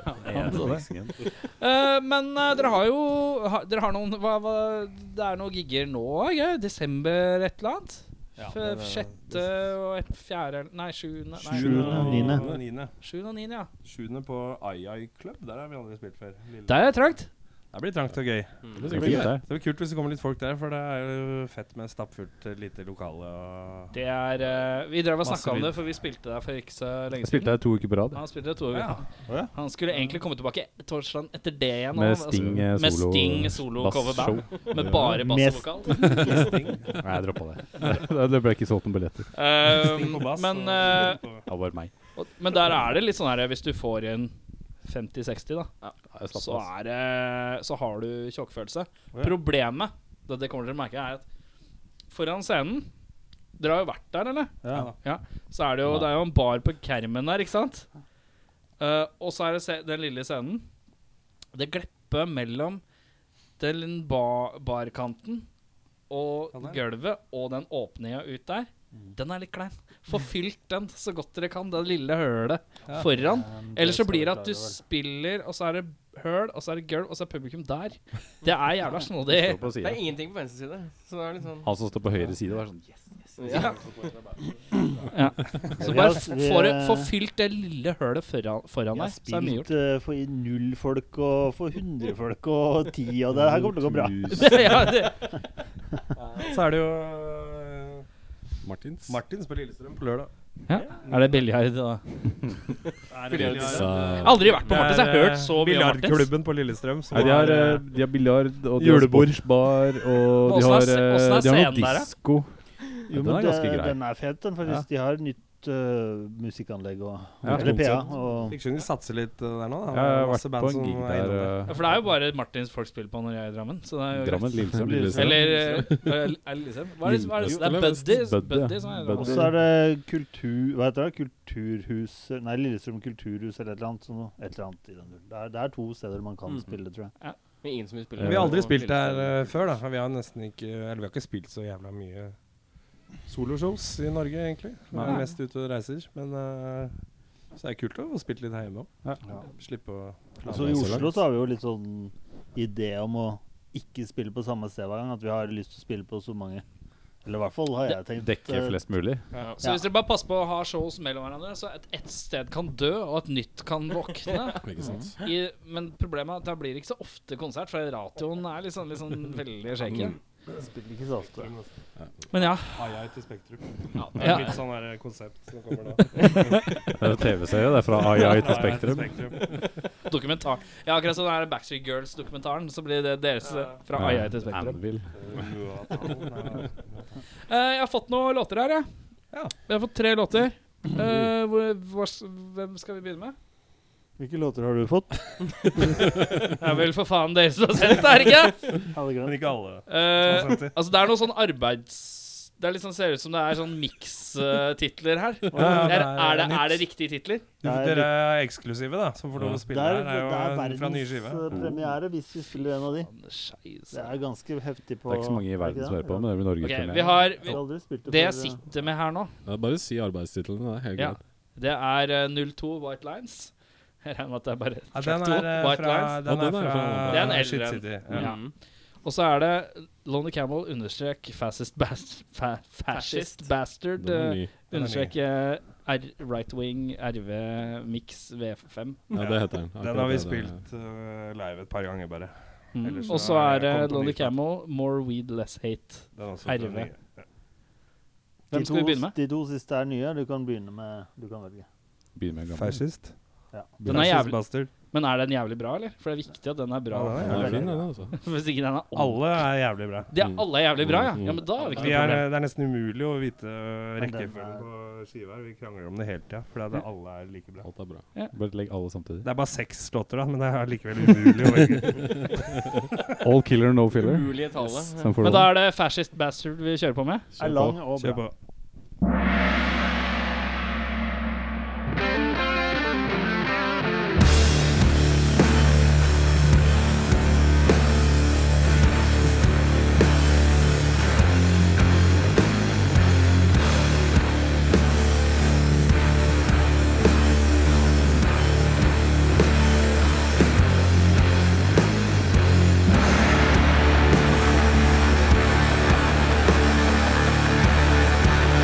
[SPEAKER 1] Eh, men eh, dere har jo ha, Dere har noen hva, hva, Det er noen gigger nå, ikke? Desember et eller annet?
[SPEAKER 6] Ja,
[SPEAKER 1] F
[SPEAKER 6] det- det-
[SPEAKER 1] sjette og et fjerde Nei, sjuende. nei,
[SPEAKER 7] Sjuende.
[SPEAKER 1] og-
[SPEAKER 7] Niende.
[SPEAKER 6] Niende.
[SPEAKER 1] Sjuende og niende, ja.
[SPEAKER 6] Sjuende på Ayay Club. Der har vi aldri spilt før. Lille.
[SPEAKER 1] Der er det trangt.
[SPEAKER 6] Det blir trangt og gøy.
[SPEAKER 5] Det
[SPEAKER 3] Det
[SPEAKER 5] blir
[SPEAKER 3] er fint
[SPEAKER 5] sikkert
[SPEAKER 3] der.
[SPEAKER 6] Det blir kult hvis det kommer litt folk der, for det er jo fett med stappfullt eh, lite lokale. Og
[SPEAKER 1] Det er eh, Vi drev og
[SPEAKER 6] Masse
[SPEAKER 1] snakka om
[SPEAKER 6] lyd.
[SPEAKER 1] det, for vi spilte der for ikke så lenge
[SPEAKER 3] Jeg spilte
[SPEAKER 1] siden.
[SPEAKER 3] der to uker på rad.
[SPEAKER 1] Han spilte der to uker.
[SPEAKER 7] Å ja.
[SPEAKER 1] Han skulle egentlig komme tilbake torsdagen etter det igjen.
[SPEAKER 3] Med
[SPEAKER 1] og-
[SPEAKER 3] Sting eh,
[SPEAKER 1] altså, med
[SPEAKER 3] solo
[SPEAKER 1] Sting solo coverband.
[SPEAKER 3] bassshow.
[SPEAKER 1] Med bare bass og
[SPEAKER 7] Mest-
[SPEAKER 1] vokal.
[SPEAKER 3] Nei, jeg droppa det. [LAUGHS] Det ble ikke solgt noen billetter.
[SPEAKER 1] Eh, men, eh,
[SPEAKER 3] Det var bare meg.
[SPEAKER 1] og- men der er det litt sånn her Hvis du får inn 50-60, da,
[SPEAKER 3] Jeg slapp
[SPEAKER 1] så,
[SPEAKER 3] av.
[SPEAKER 1] er det, så har du tjokkfølelse. Problemet, det det kommer dere til å merke, er at foran scenen Dere har jo vært der, eller?
[SPEAKER 7] Ja.
[SPEAKER 1] Ja, så er det jo Det er jo en bar på kermen der, ikke sant? Eh, og så er det se den lille scenen. Det gleppet mellom den ba barkanten og gulvet og den åpninga ut der,
[SPEAKER 7] Mm.
[SPEAKER 1] den er litt klein. Få fylt den så godt dere kan, det lille hølet foran.
[SPEAKER 7] Men
[SPEAKER 1] Ellers så
[SPEAKER 7] skal
[SPEAKER 1] blir
[SPEAKER 7] vi
[SPEAKER 1] det at du
[SPEAKER 7] klare vel.
[SPEAKER 1] spiller, og så er det høl, og så er det gulv, og så er publikum der. Det er
[SPEAKER 7] [LAUGHS]
[SPEAKER 1] jævla snodig.
[SPEAKER 3] Står på
[SPEAKER 2] Det er
[SPEAKER 3] siden.
[SPEAKER 2] ingenting på venstre side. Så det er litt sånn
[SPEAKER 3] Han som står på høyre side, var sånn
[SPEAKER 1] Ja. ja. Så
[SPEAKER 7] Vi har-
[SPEAKER 1] bare
[SPEAKER 7] vi-
[SPEAKER 1] få det- få fylt det lille hølet foran, foran
[SPEAKER 7] Jeg har
[SPEAKER 1] deg, så er det mye gjort.
[SPEAKER 7] spilt eh, for i null folk og for hundre folk og ti, og det her kommer til å gå bra.
[SPEAKER 1] ja, det,
[SPEAKER 6] så er det jo eh,
[SPEAKER 5] Martins.
[SPEAKER 6] Martins på Lillestrøm på lørdag.
[SPEAKER 1] ja. Er det biljard, da?
[SPEAKER 5] Så,
[SPEAKER 1] Jeg har aldri vært på Martins. Jeg har hørt så mye om Martins.
[SPEAKER 6] eh, Biljardklubben på Lillestrøm. som
[SPEAKER 3] Nei, de har,
[SPEAKER 6] er,
[SPEAKER 3] eh,
[SPEAKER 6] eh,
[SPEAKER 3] de har biljard, og de har
[SPEAKER 6] Julebord.
[SPEAKER 3] sportsbar, og de
[SPEAKER 1] Åssen er
[SPEAKER 3] har,
[SPEAKER 1] sce- åssen
[SPEAKER 3] eh, de
[SPEAKER 1] er
[SPEAKER 3] har
[SPEAKER 1] scenen der,
[SPEAKER 3] noe
[SPEAKER 1] da?
[SPEAKER 3] disko. Ja, den
[SPEAKER 7] men
[SPEAKER 3] er ganske
[SPEAKER 7] det-
[SPEAKER 3] grei.
[SPEAKER 7] Den er fet, den, faktisk. De har nytt eh, musikkanlegg og
[SPEAKER 3] Ja,
[SPEAKER 7] Eller PA.
[SPEAKER 3] konsept.
[SPEAKER 7] Og,
[SPEAKER 6] Ikke skjønn de satser litt eh, der nå, da.
[SPEAKER 3] Jeg har
[SPEAKER 6] Masse
[SPEAKER 3] vært
[SPEAKER 6] band
[SPEAKER 3] på en
[SPEAKER 6] som
[SPEAKER 3] gig der.
[SPEAKER 6] er innom det.
[SPEAKER 1] Ja,
[SPEAKER 3] eh,
[SPEAKER 1] For det er jo bare Martins folk spiller på når jeg er i Drammen. Så det er jo
[SPEAKER 3] Drammen,
[SPEAKER 1] greit.
[SPEAKER 3] Lillestrøm.
[SPEAKER 5] Lillestrøm.
[SPEAKER 1] Eller eh, [LAUGHS] er det liksom? Hva er det, hva er det, det er Buddy.
[SPEAKER 3] Buddy, ja.
[SPEAKER 1] Buddy som er i
[SPEAKER 7] og
[SPEAKER 1] Drammen.
[SPEAKER 7] så er det kultur... Hva heter det? Kulturhus Nei, Lillestrøm kulturhus eller et eller annet. Sånn, et eller annet i den duren. Det er, det er to steder man kan
[SPEAKER 2] Mm.
[SPEAKER 7] spille, tror jeg.
[SPEAKER 2] med ingen som vil spille.
[SPEAKER 3] Eh,
[SPEAKER 6] Men vi har aldri
[SPEAKER 2] Og
[SPEAKER 6] spilt der
[SPEAKER 2] Lillestrøm.
[SPEAKER 6] eh, før, da. Vi har nesten ikke Eller vi har ikke spilt så jævla mye soloshows i Norge, egentlig. Vi
[SPEAKER 3] Nei.
[SPEAKER 6] er mest ute og reiser. Men eh, så er det kult å få spilt litt her hjemme òg.
[SPEAKER 7] Ja.
[SPEAKER 6] Slippe å
[SPEAKER 7] Og så I Oslo så har vi jo litt sånn idé om å ikke spille på samme sted hver gang. At vi har lyst til å spille på så mange. Eller i hvert fall har jeg tenkt.
[SPEAKER 3] Dekke
[SPEAKER 7] eh,
[SPEAKER 3] flest mulig.
[SPEAKER 1] Så hvis dere bare passer på å ha shows mellom hverandre, så at ett sted kan dø, og et nytt kan våkne
[SPEAKER 5] [LAUGHS] ikke sant.
[SPEAKER 1] I, Men problemet er at da blir det ikke så ofte konsert, for radioen er liksom, liksom veldig shaky.
[SPEAKER 7] Spiller ikke så ofte.
[SPEAKER 1] Men ja.
[SPEAKER 6] Ai-ai til Spektrum. Det er
[SPEAKER 1] ja.
[SPEAKER 6] litt sånn her konsept som kommer nå.
[SPEAKER 3] Det er en TV-serie, det er fra AI til
[SPEAKER 6] Ai-ai
[SPEAKER 3] Spektrum.
[SPEAKER 1] Dokumentar. Ja, akkurat sånn er det Backstreet Girls-dokumentaren. Så blir det deres eh, fra
[SPEAKER 3] Ja.
[SPEAKER 1] II til Spektrum.
[SPEAKER 3] Anvil.
[SPEAKER 1] Eh, jeg har fått noen låter her, jeg.
[SPEAKER 6] Ja.
[SPEAKER 1] Jeg har fått tre låter. Eh, hvor, hvor, hvem skal vi begynne med?
[SPEAKER 7] Hvilke låter eh, har du fått?
[SPEAKER 1] Det er vel for faen dere som har sendt det, er det ikke?
[SPEAKER 7] Ja, det er greit.
[SPEAKER 6] Men ikke alle.
[SPEAKER 1] Eh,
[SPEAKER 6] Som har sendt det.
[SPEAKER 1] altså, det er noe sånn arbeids... Det er liksom ser ut som det er sånn mix-titler her.
[SPEAKER 6] ja, det
[SPEAKER 1] er,
[SPEAKER 6] er
[SPEAKER 1] er, det,
[SPEAKER 6] nytt.
[SPEAKER 1] er det riktige titler?
[SPEAKER 6] Du,
[SPEAKER 7] Det er
[SPEAKER 6] dere er eksklusive, da, som får lov å
[SPEAKER 7] Det
[SPEAKER 6] spille
[SPEAKER 7] er,
[SPEAKER 6] her.
[SPEAKER 7] det er eh,
[SPEAKER 6] er jo en fra nye skive.
[SPEAKER 7] verdenspremiere hvis vi spiller en av de. Det
[SPEAKER 1] Scheisse.
[SPEAKER 7] er ganske heftig på
[SPEAKER 3] Det er ikke så mange i verden som hører på, men det blir
[SPEAKER 1] Ok,
[SPEAKER 3] Norge
[SPEAKER 1] vi har
[SPEAKER 7] Jeg har aldri spilt det
[SPEAKER 1] Det jeg
[SPEAKER 7] før, eh,
[SPEAKER 1] sitter med her nå,
[SPEAKER 5] Ja, Bare si arbeidstitlene. Det er helt
[SPEAKER 1] Ja.
[SPEAKER 5] greit.
[SPEAKER 1] det er eh, 02 White Lines. Jeg regner med at det er bare
[SPEAKER 6] Ja,
[SPEAKER 1] track
[SPEAKER 6] den
[SPEAKER 1] to,
[SPEAKER 6] er eh,
[SPEAKER 1] White
[SPEAKER 6] fra,
[SPEAKER 1] Lines.
[SPEAKER 6] den
[SPEAKER 5] Ja,
[SPEAKER 6] er
[SPEAKER 5] den er
[SPEAKER 6] fra
[SPEAKER 5] fra-
[SPEAKER 1] Det er en eldre
[SPEAKER 6] Shit
[SPEAKER 1] en.
[SPEAKER 6] City. Ja.
[SPEAKER 1] Ja. Og så er det Lonnie Camel understrek Fascist bas fa Fascist Bastard
[SPEAKER 5] Den er
[SPEAKER 1] eh,
[SPEAKER 5] ny.
[SPEAKER 6] Den er
[SPEAKER 1] understrek eh, R Right Wing RV Mix V5.
[SPEAKER 5] Ja, det heter den.
[SPEAKER 6] Den har vi
[SPEAKER 5] Akkurat det, det er-
[SPEAKER 6] spilt eh, live et par ganger, bare.
[SPEAKER 1] Mm.
[SPEAKER 6] Ellers
[SPEAKER 1] Og
[SPEAKER 6] så
[SPEAKER 1] så
[SPEAKER 6] er
[SPEAKER 1] er
[SPEAKER 6] det-
[SPEAKER 1] det
[SPEAKER 6] kommer på
[SPEAKER 1] Lonnie
[SPEAKER 6] nytt, da.
[SPEAKER 1] Camel More Weed Less Hate.
[SPEAKER 6] Den er også fra
[SPEAKER 1] Herre.
[SPEAKER 6] den nye.
[SPEAKER 1] Hvem
[SPEAKER 7] de
[SPEAKER 1] skal vi
[SPEAKER 7] to-
[SPEAKER 1] begynne med?
[SPEAKER 7] De to siste er nye. Du kan begynne med Du kan velge.
[SPEAKER 3] Begynner med en gammel.
[SPEAKER 6] Fascist.
[SPEAKER 1] Den er
[SPEAKER 6] Fascist
[SPEAKER 1] jævlig,
[SPEAKER 6] bastard.
[SPEAKER 1] men er den jævlig bra, eller? For det er viktig at den er bra.
[SPEAKER 6] Ja, den
[SPEAKER 5] Den er fin, den, altså.
[SPEAKER 1] [LAUGHS] Hvis ikke den er om.
[SPEAKER 6] Alle er jævlig bra.
[SPEAKER 1] De er alle er jævlig bra, ja.
[SPEAKER 5] Mm.
[SPEAKER 1] ja men da har vi ikke
[SPEAKER 6] Vi
[SPEAKER 1] noe
[SPEAKER 6] er,
[SPEAKER 1] problem.
[SPEAKER 6] eh, det er nesten umulig å vite eh,
[SPEAKER 7] Men den
[SPEAKER 6] rekkefølgen
[SPEAKER 7] er-
[SPEAKER 6] på skiva. her. Vi krangler om det hele tida, fordi at alle er like bra.
[SPEAKER 5] Alt er bra.
[SPEAKER 3] Bare legg alle samtidig.
[SPEAKER 6] Det er bare seks låter, da, men det er likevel umulig å velge.
[SPEAKER 3] All killer, no filler.
[SPEAKER 2] Umulige tale.
[SPEAKER 3] Som for
[SPEAKER 1] Men da
[SPEAKER 3] noen.
[SPEAKER 1] er det Fascist Bastard vi kjører på med.
[SPEAKER 7] Er lang og
[SPEAKER 6] Kjør
[SPEAKER 7] bra.
[SPEAKER 6] på.
[SPEAKER 9] Thank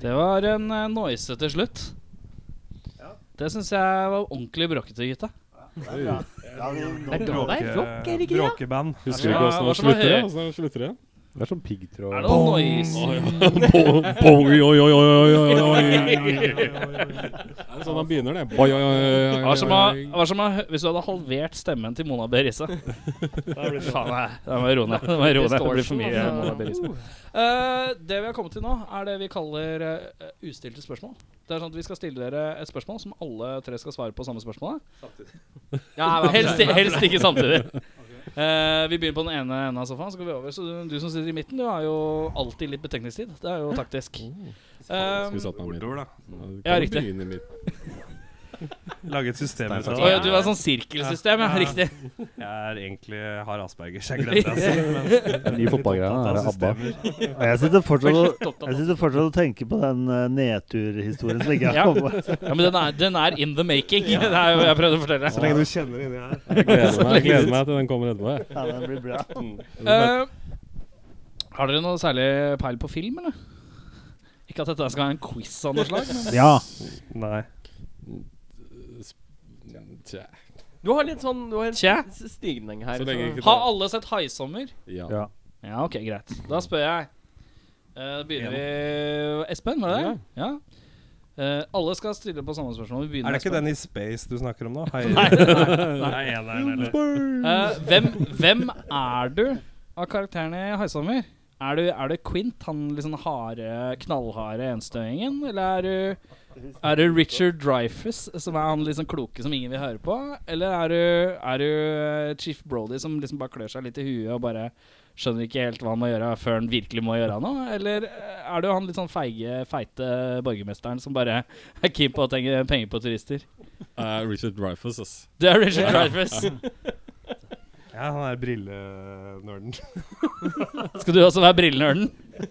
[SPEAKER 1] Det var en uh, noise til slutt. Det syns jeg var ordentlig bråkete, gutta.
[SPEAKER 7] Ja, vi, nå,
[SPEAKER 2] Det er da det er rock, er det ikke det?
[SPEAKER 6] Bråkeband.
[SPEAKER 5] Husker
[SPEAKER 1] Ja,
[SPEAKER 5] ikke åssen
[SPEAKER 1] hva
[SPEAKER 5] det
[SPEAKER 1] som var høyt?
[SPEAKER 5] slutter. hvordan det slutter igjen.
[SPEAKER 3] Det er sånn piggtråd
[SPEAKER 1] Er det noe noise?
[SPEAKER 5] Bong, bong, oi, oi, oi, oi, oi, oi. Det er sånn han begynner, det. Oi, oi, oi, oi, oi,
[SPEAKER 1] Hva som
[SPEAKER 5] oi.
[SPEAKER 1] har, hva som har, hvis du hadde halvert stemmen til Mona [LAUGHS] Berisse Faen, nei. Da må jeg roe ned. Da må jeg roe ned. Det blir for mye
[SPEAKER 2] Distortion,
[SPEAKER 1] Mona
[SPEAKER 2] altså.
[SPEAKER 1] Berisse. Eh, det vi har kommet til nå, er det vi kaller eh, ustilte spørsmål. Det er sånn at Vi skal stille dere et spørsmål som alle tre skal svare på samme spørsmålet. Helst, helst ikke [LAUGHS] samtidig. Eh, vi begynner på den ene enden av sofaen, så går vi over. Så du, du som sitter i midten, du har jo alltid litt betenkningstid. Det er jo taktisk. Um,
[SPEAKER 5] Skulle satt meg midt.
[SPEAKER 10] Bordover, da.
[SPEAKER 5] Du
[SPEAKER 1] Ja,
[SPEAKER 5] kan
[SPEAKER 1] riktig.
[SPEAKER 5] begynne midt.
[SPEAKER 6] Lage et system ut av
[SPEAKER 1] Å
[SPEAKER 6] det.
[SPEAKER 1] ja, du har sånn sirkelsystem, ja. Riktig.
[SPEAKER 6] Jeg er egentlig har aspergers. Jeg glemte det. Altså.
[SPEAKER 3] Den nye fotballgreia er ABBA.
[SPEAKER 7] Og jeg sitter fortsatt og jeg sitter fortsatt og tenker på den eh, nedturhistorien som ikke
[SPEAKER 1] [LAUGHS] Ja.
[SPEAKER 7] har kommet.
[SPEAKER 1] Ja, Men den er, den er in the making. [LAUGHS] Det er jo jeg prøvde å fortelle.
[SPEAKER 6] Så lenge du kjenner inni her.
[SPEAKER 5] Jeg gleder meg, jeg gleder meg til den kommer etterpå. jeg.
[SPEAKER 7] Ja, den blir bra.
[SPEAKER 1] Eh, har dere noe særlig peil på film, eller? Ikke at dette skal være en quiz av
[SPEAKER 6] [LAUGHS]
[SPEAKER 1] noe slag. Men
[SPEAKER 7] Ja.
[SPEAKER 6] Nei.
[SPEAKER 5] Tja.
[SPEAKER 2] Du har litt sånn Du har en
[SPEAKER 1] Tja.
[SPEAKER 2] s- stigning her.
[SPEAKER 5] Så lenge ikke
[SPEAKER 1] har alle sett 'Haisommer'?
[SPEAKER 5] Ja.
[SPEAKER 7] Ja.
[SPEAKER 1] Ja, ok, greit. Da spør jeg. Eh, begynner vi Espen, var det det? Ja. Eh, alle skal stille på samme spørsmål. Vi begynner
[SPEAKER 6] Er det ikke
[SPEAKER 1] med
[SPEAKER 6] den i space du snakker om nå? Hei.
[SPEAKER 1] Nei.
[SPEAKER 6] Nei, eneren, eller?
[SPEAKER 1] Espen. Eh, hvem, hvem er du av karakterene i 'Haisommer'? Er du, er du Quint, han liksom harde, knallharde enstøingen? Eller er du Er det Richard Dreyfus, som er han liksom kloke som ingen vil høre på? Eller er du, er du eh, Chief Brody, som liksom bare klør seg litt i huet og bare skjønner ikke helt hva han må gjøre før han virkelig må gjøre noe? Eller eh, er du han litt sånn feige, feite borgermesteren som bare [LAUGHS] er keen på å tjene penger på turister?
[SPEAKER 5] Eh, Richard Dreyfuss, ass.
[SPEAKER 1] Det er Richard Dreyfus.
[SPEAKER 6] Ja, han er brillenerden.
[SPEAKER 1] Skal du også være brillenerden?
[SPEAKER 6] [LAUGHS]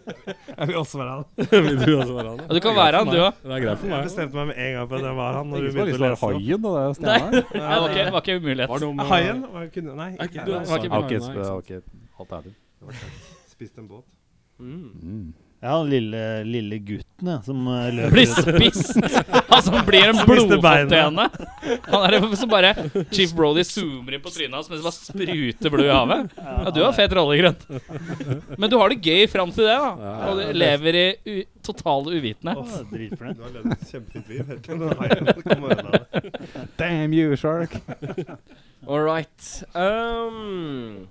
[SPEAKER 6] Jeg vil også være han.
[SPEAKER 5] Vil du også være han?
[SPEAKER 1] Ja, du kan være han, du òg.
[SPEAKER 5] Det er greit for
[SPEAKER 6] Jeg
[SPEAKER 5] meg.
[SPEAKER 6] bestemte meg med en gang for at det var han. Når
[SPEAKER 3] Ingen
[SPEAKER 6] du
[SPEAKER 3] som har lyst
[SPEAKER 6] begynte å
[SPEAKER 3] til å være
[SPEAKER 6] lese opp.
[SPEAKER 3] haien, da. Det er jo Steinar.
[SPEAKER 1] Det var ikke, var ikke umulighet.
[SPEAKER 6] Haien? Var det kunne- Nei,
[SPEAKER 5] Er
[SPEAKER 6] ikke
[SPEAKER 5] ikke
[SPEAKER 6] jeg.
[SPEAKER 5] du-
[SPEAKER 3] Jeg
[SPEAKER 1] var ikke
[SPEAKER 6] Jeg
[SPEAKER 3] har ikke
[SPEAKER 5] Nei, nei,
[SPEAKER 3] sp- jeg har
[SPEAKER 5] sant.
[SPEAKER 3] ikke hatt ærlig.
[SPEAKER 6] spiste en båt.
[SPEAKER 2] Mm.
[SPEAKER 3] Mm.
[SPEAKER 7] Ja, den lille, lille gutten ja, som eh, løper
[SPEAKER 1] Blir
[SPEAKER 7] ut.
[SPEAKER 1] spist! Altså, han blir en
[SPEAKER 6] Spiste beina.
[SPEAKER 1] blodfontene. Han er det som bare Chief Brody zoomer inn på trynet hans mens det bare spruter blod i havet. Ja, du har fet rolle, Grønn. Men du har det gøy fram til det, da. Og du lever i u total uvitenhet.
[SPEAKER 7] Å, Dritfornøyd.
[SPEAKER 6] Du har levd et kjempefint liv helt til den haien kom og ødela det.
[SPEAKER 3] Damn you, shark!
[SPEAKER 2] All right. Um,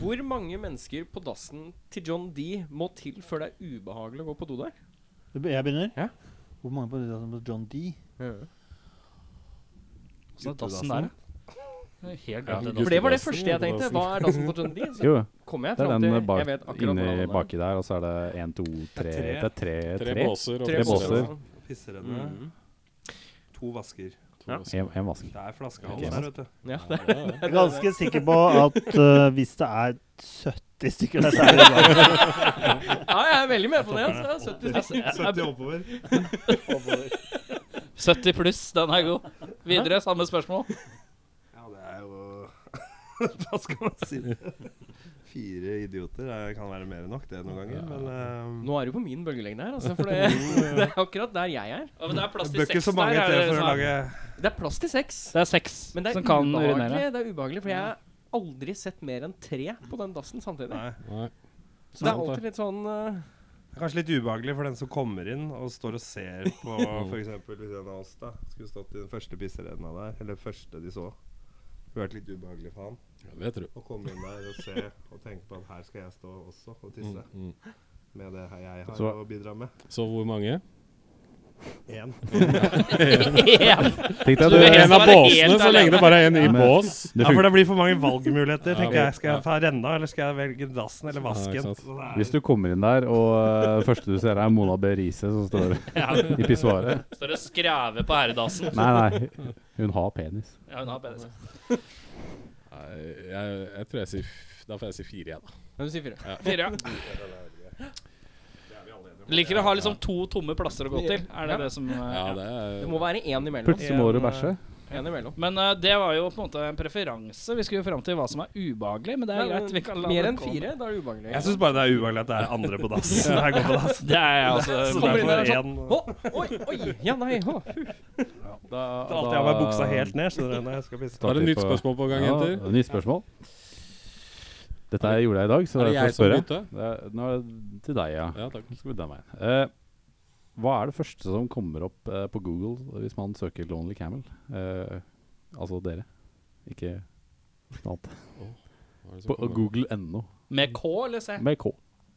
[SPEAKER 2] hvor mange mennesker på dassen til John D må til før det er ubehagelig å gå på do der?
[SPEAKER 7] Jeg begynner.
[SPEAKER 2] Ja.
[SPEAKER 7] Hvor mange på det som på John D?
[SPEAKER 1] Så dassen der, ja. Helt
[SPEAKER 5] Ja,
[SPEAKER 1] glemt det.
[SPEAKER 2] For det var det første jeg tenkte. Hva er dassen på John D? Så
[SPEAKER 3] Jo,
[SPEAKER 2] kom jeg
[SPEAKER 3] det er
[SPEAKER 2] fram
[SPEAKER 3] den
[SPEAKER 2] til
[SPEAKER 3] eh, bak,
[SPEAKER 2] Jeg vet akkurat
[SPEAKER 3] inni
[SPEAKER 2] hvordan den er.
[SPEAKER 3] baki der, og så er det én, to, tre Det er tre,
[SPEAKER 5] Tre
[SPEAKER 3] tre.
[SPEAKER 5] båser. og
[SPEAKER 3] Tre båser.
[SPEAKER 6] Pisserenne.
[SPEAKER 2] Mm.
[SPEAKER 6] To vasker.
[SPEAKER 5] To båser.
[SPEAKER 3] En, en vask.
[SPEAKER 6] Det er flaskehals
[SPEAKER 3] Ok.
[SPEAKER 6] her, vet du.
[SPEAKER 2] Ja, det
[SPEAKER 7] Jeg er ganske sikker på at eh, hvis det er 70 stykker der, så er det bra.
[SPEAKER 2] ja, jeg er veldig med på det.
[SPEAKER 3] [LAUGHS]
[SPEAKER 2] Altså. 70 stykker.
[SPEAKER 6] 70 oppover.
[SPEAKER 1] 70 pluss, den er god. Videre, samme spørsmål.
[SPEAKER 6] Ja, det er jo [LAUGHS] Hva skal man si? Fire idioter det kan være mer enn nok, det noen ganger. Men ehm,
[SPEAKER 2] Nå er du på min bølgelengde her, altså. For det, det er akkurat der jeg er.
[SPEAKER 1] Ja, men det er plass
[SPEAKER 6] det bør ikke så mange
[SPEAKER 1] er
[SPEAKER 6] til
[SPEAKER 1] det
[SPEAKER 6] for å
[SPEAKER 1] som er-
[SPEAKER 6] lage
[SPEAKER 2] Det er plass til seks.
[SPEAKER 1] Det er seks
[SPEAKER 2] Men det er,
[SPEAKER 1] som kan urinere.
[SPEAKER 2] ubehagelig, det er ubehagelig, for jeg har aldri sett mer enn tre på den dassen samtidig.
[SPEAKER 6] Nei.
[SPEAKER 5] Nei.
[SPEAKER 2] Så det er
[SPEAKER 5] sant det.
[SPEAKER 2] alltid litt sånn eh,
[SPEAKER 6] Det er Kanskje litt ubehagelig for den som kommer inn og står og ser på f.eks. hvis en av oss da skulle stått i den første pisserenna der, eller første de så. Det hadde vært litt ubehagelig for han
[SPEAKER 5] Ja, det tror jeg.
[SPEAKER 6] å komme inn der og se og tenke på at her skal jeg stå også og tisse.
[SPEAKER 5] Mm.
[SPEAKER 6] Med det her jeg har
[SPEAKER 3] Så-
[SPEAKER 6] å bidra med.
[SPEAKER 5] Så hvor mange?
[SPEAKER 6] Én.
[SPEAKER 1] [LAUGHS]
[SPEAKER 3] Tenk deg
[SPEAKER 1] Så det er
[SPEAKER 3] du
[SPEAKER 1] en av båsene, så lenge
[SPEAKER 5] det bare er en i bås.
[SPEAKER 3] Det
[SPEAKER 6] Ja, for det blir for mange valgmuligheter.
[SPEAKER 5] Ja,
[SPEAKER 6] tenker jeg. Skal
[SPEAKER 5] ja.
[SPEAKER 6] jeg ta renna, eller skal jeg velge dassen eller
[SPEAKER 5] Ja, ikke
[SPEAKER 6] vasken?
[SPEAKER 5] sant.
[SPEAKER 6] Så det er-
[SPEAKER 3] Hvis du kommer inn der, og eh, første du ser, er Mona Berise som står i pissoaret
[SPEAKER 1] Står og skrever på herredassen.
[SPEAKER 3] Nei, nei. Hun har penis.
[SPEAKER 1] Ja, hun har penis.
[SPEAKER 5] Nei, jeg, jeg tror jeg sier f- Da får jeg si fire, jeg, da.
[SPEAKER 2] Nei, du sier fire.
[SPEAKER 1] Fire, ja. Liker å ha liksom to tomme plasser å gå til. Er det det som eh,
[SPEAKER 5] Ja,
[SPEAKER 1] ja.
[SPEAKER 5] det
[SPEAKER 2] Det
[SPEAKER 5] er
[SPEAKER 2] må være én imellom.
[SPEAKER 3] Plutselig må du bæsje.
[SPEAKER 2] En imellom.
[SPEAKER 1] Men eh, det var jo på en måte en preferanse. Vi skulle jo fram til hva som er ubehagelig. Men det er greit. Vi kan la
[SPEAKER 2] Mer
[SPEAKER 1] det
[SPEAKER 2] enn
[SPEAKER 1] gå.
[SPEAKER 2] fire, da er det ubehagelig.
[SPEAKER 6] Jeg syns bare det er ubehagelig at det er andre på dass. Når jeg går på dass.
[SPEAKER 1] Det er jeg altså
[SPEAKER 6] [LAUGHS] Så
[SPEAKER 2] kommer
[SPEAKER 6] det
[SPEAKER 2] inn
[SPEAKER 6] er
[SPEAKER 2] der
[SPEAKER 6] for
[SPEAKER 2] sånn,
[SPEAKER 6] én
[SPEAKER 2] Å, oi, oi! Ja, nei, å.
[SPEAKER 3] Da
[SPEAKER 6] Da alltid har jeg meg buksa helt ned skjønner du, når jeg skal pisse.
[SPEAKER 5] Da er det nytt spørsmål på gang,
[SPEAKER 3] Ja,
[SPEAKER 5] jenter.
[SPEAKER 3] nytt spørsmål. Dette gjorde jeg i dag, så
[SPEAKER 5] Er det
[SPEAKER 3] derfor
[SPEAKER 5] jeg som
[SPEAKER 3] spør jeg.
[SPEAKER 5] begynte?
[SPEAKER 3] Det er- Nå er det til deg, ja.
[SPEAKER 5] Ja, takk.
[SPEAKER 3] Nå skal vi den veien. Eh, hva er det første som kommer opp eh, på Google hvis man søker 'Lonely Camel'? Eh, altså dere, ikke noe annet.
[SPEAKER 5] Hva er det som
[SPEAKER 3] På
[SPEAKER 5] kommer?
[SPEAKER 3] google.no
[SPEAKER 1] Med K eller C?
[SPEAKER 3] med K.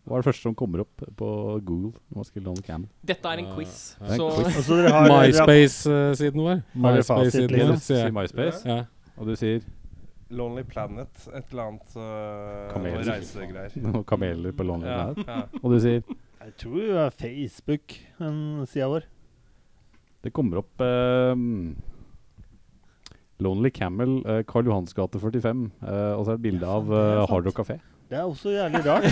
[SPEAKER 3] Hva er det første som kommer opp eh, på Google når man skriver 'Lonely Camel'?
[SPEAKER 2] Dette Ah, er en quiz.
[SPEAKER 5] Ja,
[SPEAKER 3] ja.
[SPEAKER 2] Så
[SPEAKER 7] Altså, dere har
[SPEAKER 5] MySpace-siden vår.
[SPEAKER 7] Har dere fasit,
[SPEAKER 5] MySpace-siden
[SPEAKER 7] liksom?
[SPEAKER 5] vår,
[SPEAKER 3] Du sier
[SPEAKER 5] sier jeg.
[SPEAKER 3] MySpace,
[SPEAKER 5] Ja.
[SPEAKER 3] og du sier
[SPEAKER 6] Lonely Planet, et eller annet uh,
[SPEAKER 3] Kameler.
[SPEAKER 6] noe reisegreier.
[SPEAKER 3] noen kameler på Lonely
[SPEAKER 6] Ja,
[SPEAKER 3] Planet,
[SPEAKER 6] ja.
[SPEAKER 3] og du sier
[SPEAKER 7] Jeg tror det er Facebook, den sida vår.
[SPEAKER 3] Det kommer opp eh, Lonely Camel, eh, Karl Johans gate 45, eh, og så er det et bilde av eh, Hard Rock Café.
[SPEAKER 7] Det er også jævlig rart.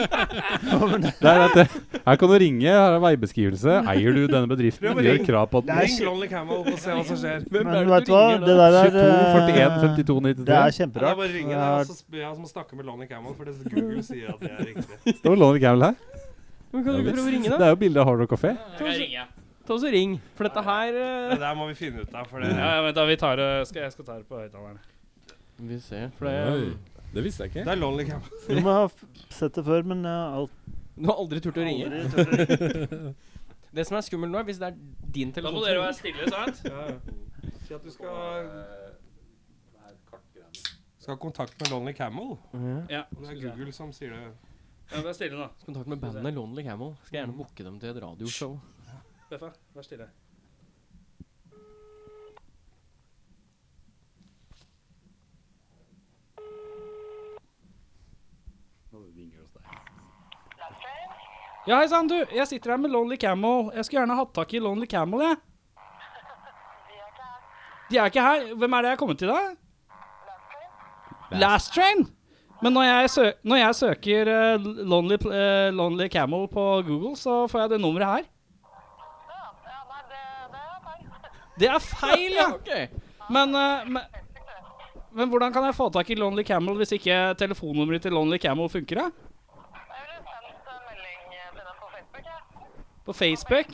[SPEAKER 3] Det er at, eh, her kan du ringe, her er veibeskrivelse. Eier du denne bedriften?
[SPEAKER 6] Prøv å
[SPEAKER 3] Gjør
[SPEAKER 6] ringe.
[SPEAKER 3] krav på at
[SPEAKER 7] Nei,
[SPEAKER 3] den
[SPEAKER 6] Ring Lonely Camel og se hva som skjer.
[SPEAKER 2] Hvem
[SPEAKER 7] Men
[SPEAKER 2] er det
[SPEAKER 7] vet
[SPEAKER 2] du
[SPEAKER 7] du hva,
[SPEAKER 2] ringer
[SPEAKER 7] det
[SPEAKER 2] da?
[SPEAKER 7] der
[SPEAKER 3] 22,
[SPEAKER 7] er eh,
[SPEAKER 3] 41, 52, 93.
[SPEAKER 7] Det er Eh,
[SPEAKER 6] Ja, det er bare altså.
[SPEAKER 7] kjemperart.
[SPEAKER 6] å ringe deg, og så sp- ja, så må jeg snakke med Lonely Camel, for det Google sier at det er riktig.
[SPEAKER 3] Står Lonely Camel her?
[SPEAKER 2] [LAUGHS] Men kan du ikke prøve å ringe,
[SPEAKER 3] Det
[SPEAKER 2] da?
[SPEAKER 3] er jo bilde av Hard Rock Café.
[SPEAKER 1] Jeg ringer.
[SPEAKER 2] Ta oss og ring. For dette her eh,
[SPEAKER 6] Det der må vi finne ut av, for det
[SPEAKER 1] Ja, vent da, vi tar det skal, Jeg skal ta det på høyttaleren.
[SPEAKER 2] Vi ser. For det,
[SPEAKER 5] Oi, Det visste jeg
[SPEAKER 6] Det
[SPEAKER 5] ikke.
[SPEAKER 6] er Lonely Camel.
[SPEAKER 7] Du må ha f- sett det før, men jeg har alt-
[SPEAKER 2] du har aldri turt å ringe.
[SPEAKER 7] aldri turt å ringe.
[SPEAKER 2] Det som er skummelt nå, er hvis det er din
[SPEAKER 1] Da
[SPEAKER 2] telefon
[SPEAKER 1] må dere være stille, sant?
[SPEAKER 6] Si at du skal Skal ha kontakt med Lonely Camel.
[SPEAKER 1] Ja.
[SPEAKER 6] Og det er Google som sier det.
[SPEAKER 1] ja vær stille nå.
[SPEAKER 2] Kontakt med bandet Lonely Camel. Skal gjerne booke dem til et radioshow.
[SPEAKER 1] Beffa, vær stille. Ja, hei sann, du. Jeg sitter her med Lonely Camel. Jeg skulle gjerne hatt tak i Lonely Camel, jeg. De er ikke her. Hvem er det jeg har kommet til, da? Last Train? Men når jeg, sø når jeg søker eh, lonely, Pl- eh, lonely Camel på Google, så får jeg det nummeret her. Det er feil, [LAUGHS] ja.
[SPEAKER 2] Ok.
[SPEAKER 1] Men, eh, men, men hvordan kan jeg få tak i Lonely Camel hvis ikke telefonnummeret til Lonely Camel funker? da? På Facebook?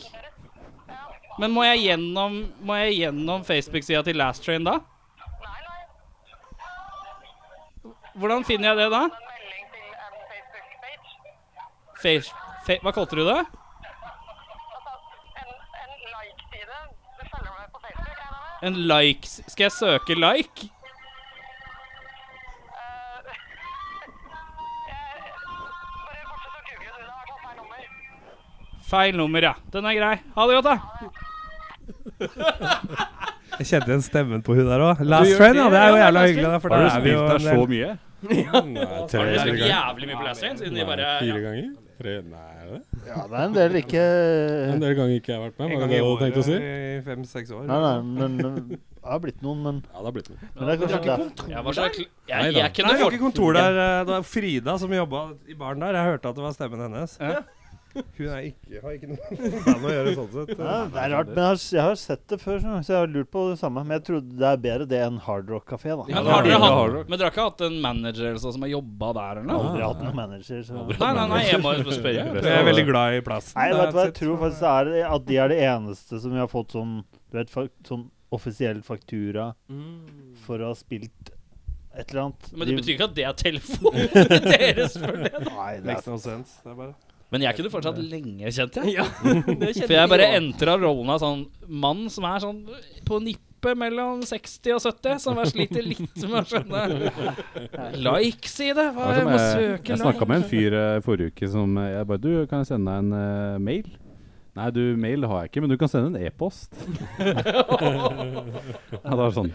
[SPEAKER 1] Men må jeg gjennom, må jeg gjennom Facebook-sida til Last Train da? Hvordan finner jeg det da? Face, fe, hva kalte du det? En like s- Skal jeg søke like? Feil nummer, ja. Den er grei. Ha det godt, da.
[SPEAKER 6] Jeg kjente igjen stemmen på hun der òg.
[SPEAKER 2] Du
[SPEAKER 6] Last
[SPEAKER 2] gjør
[SPEAKER 6] Train,
[SPEAKER 2] det,
[SPEAKER 6] ja. Det er jo
[SPEAKER 2] ja,
[SPEAKER 6] jævla
[SPEAKER 2] Last
[SPEAKER 6] hyggelig. Da, for
[SPEAKER 3] Har
[SPEAKER 6] der
[SPEAKER 3] du
[SPEAKER 6] er vi jo
[SPEAKER 3] spilt der
[SPEAKER 6] en
[SPEAKER 3] så
[SPEAKER 6] del.
[SPEAKER 3] mye?
[SPEAKER 5] Nei,
[SPEAKER 1] Har
[SPEAKER 5] tre
[SPEAKER 1] dere spilt
[SPEAKER 5] ganger.
[SPEAKER 1] jævlig mye på Last Train siden de bare
[SPEAKER 5] Nei,
[SPEAKER 1] ja.
[SPEAKER 5] fire ganger? Tre, nei, er det
[SPEAKER 7] Ja, det er en del ikke
[SPEAKER 6] [LAUGHS]
[SPEAKER 5] en del ganger ikke jeg har vært med.
[SPEAKER 6] En
[SPEAKER 5] Var
[SPEAKER 6] gang i
[SPEAKER 5] det det du
[SPEAKER 6] året
[SPEAKER 5] tenkte å si?
[SPEAKER 6] i fem-seks år.
[SPEAKER 7] Nei, nei, men det har blitt noen, men,
[SPEAKER 5] Ja, det har blitt med.
[SPEAKER 7] men det er kanskje der.
[SPEAKER 1] Jeg var så kl
[SPEAKER 5] Nei
[SPEAKER 1] jeg,
[SPEAKER 5] da.
[SPEAKER 1] jeg
[SPEAKER 6] Nei,
[SPEAKER 1] kunne
[SPEAKER 6] vi har ikke
[SPEAKER 1] fått
[SPEAKER 6] kontor der. eh, Det var Frida som jobba i baren der. Jeg hørte at det var stemmen hennes.
[SPEAKER 1] Ja.
[SPEAKER 6] Hun er ikke, har ikke noe med bandet å gjøre sånn sett.
[SPEAKER 7] Ja, det er rart, men jeg har, jeg har sett det før, så så jeg har lurt på det samme. Men jeg trodde det er bedre det enn Hard Rock Café, da.
[SPEAKER 1] Men
[SPEAKER 7] Jeg
[SPEAKER 1] har
[SPEAKER 3] det
[SPEAKER 1] dere
[SPEAKER 3] er Hard
[SPEAKER 1] hatt
[SPEAKER 3] Rock.
[SPEAKER 1] Men dere har ikke hatt en manager eller så, som har jobba der, eller
[SPEAKER 7] har
[SPEAKER 1] noe?
[SPEAKER 7] aldri hatt noen manager, så
[SPEAKER 1] Nei, nei, nei, jeg må jo
[SPEAKER 3] Jeg
[SPEAKER 1] spørre. Jeg
[SPEAKER 6] Jeg er
[SPEAKER 1] prøver.
[SPEAKER 6] veldig glad i plassen.
[SPEAKER 7] Nei, vet du hva, jeg
[SPEAKER 6] That's it.
[SPEAKER 7] tror faktisk det er at de er det eneste som vi har fått sånn Du vet, fak sånn offisiell faktura for å ha spilt et eller annet.
[SPEAKER 1] Mm. Men det
[SPEAKER 7] De-
[SPEAKER 1] betyr ikke at det er telefonen deres. for det.
[SPEAKER 7] Nei,
[SPEAKER 1] Liksom.
[SPEAKER 7] det
[SPEAKER 6] Makes
[SPEAKER 7] er
[SPEAKER 6] no sense. Det er bare
[SPEAKER 1] Men jeg kunne fortsatt lenge, kjente
[SPEAKER 2] [LAUGHS]
[SPEAKER 1] jeg.
[SPEAKER 2] Ja, det kjenner
[SPEAKER 1] For jeg bare
[SPEAKER 2] vi jo.
[SPEAKER 1] entra rollen av sånn mann som er sånn på nippet mellom 60 og 70, som jeg sliter litt med å skjønne. Likes i det? Hva,
[SPEAKER 3] Altså,
[SPEAKER 1] jeg må
[SPEAKER 3] jeg
[SPEAKER 1] søke
[SPEAKER 3] jeg snakka med en fyr eh, forrige uke som eh, jeg bare Du, kan jeg sende deg en eh, mail? Nei, du, mail har jeg ikke, men du kan sende en e-post. [LAUGHS] ja, det var sånn.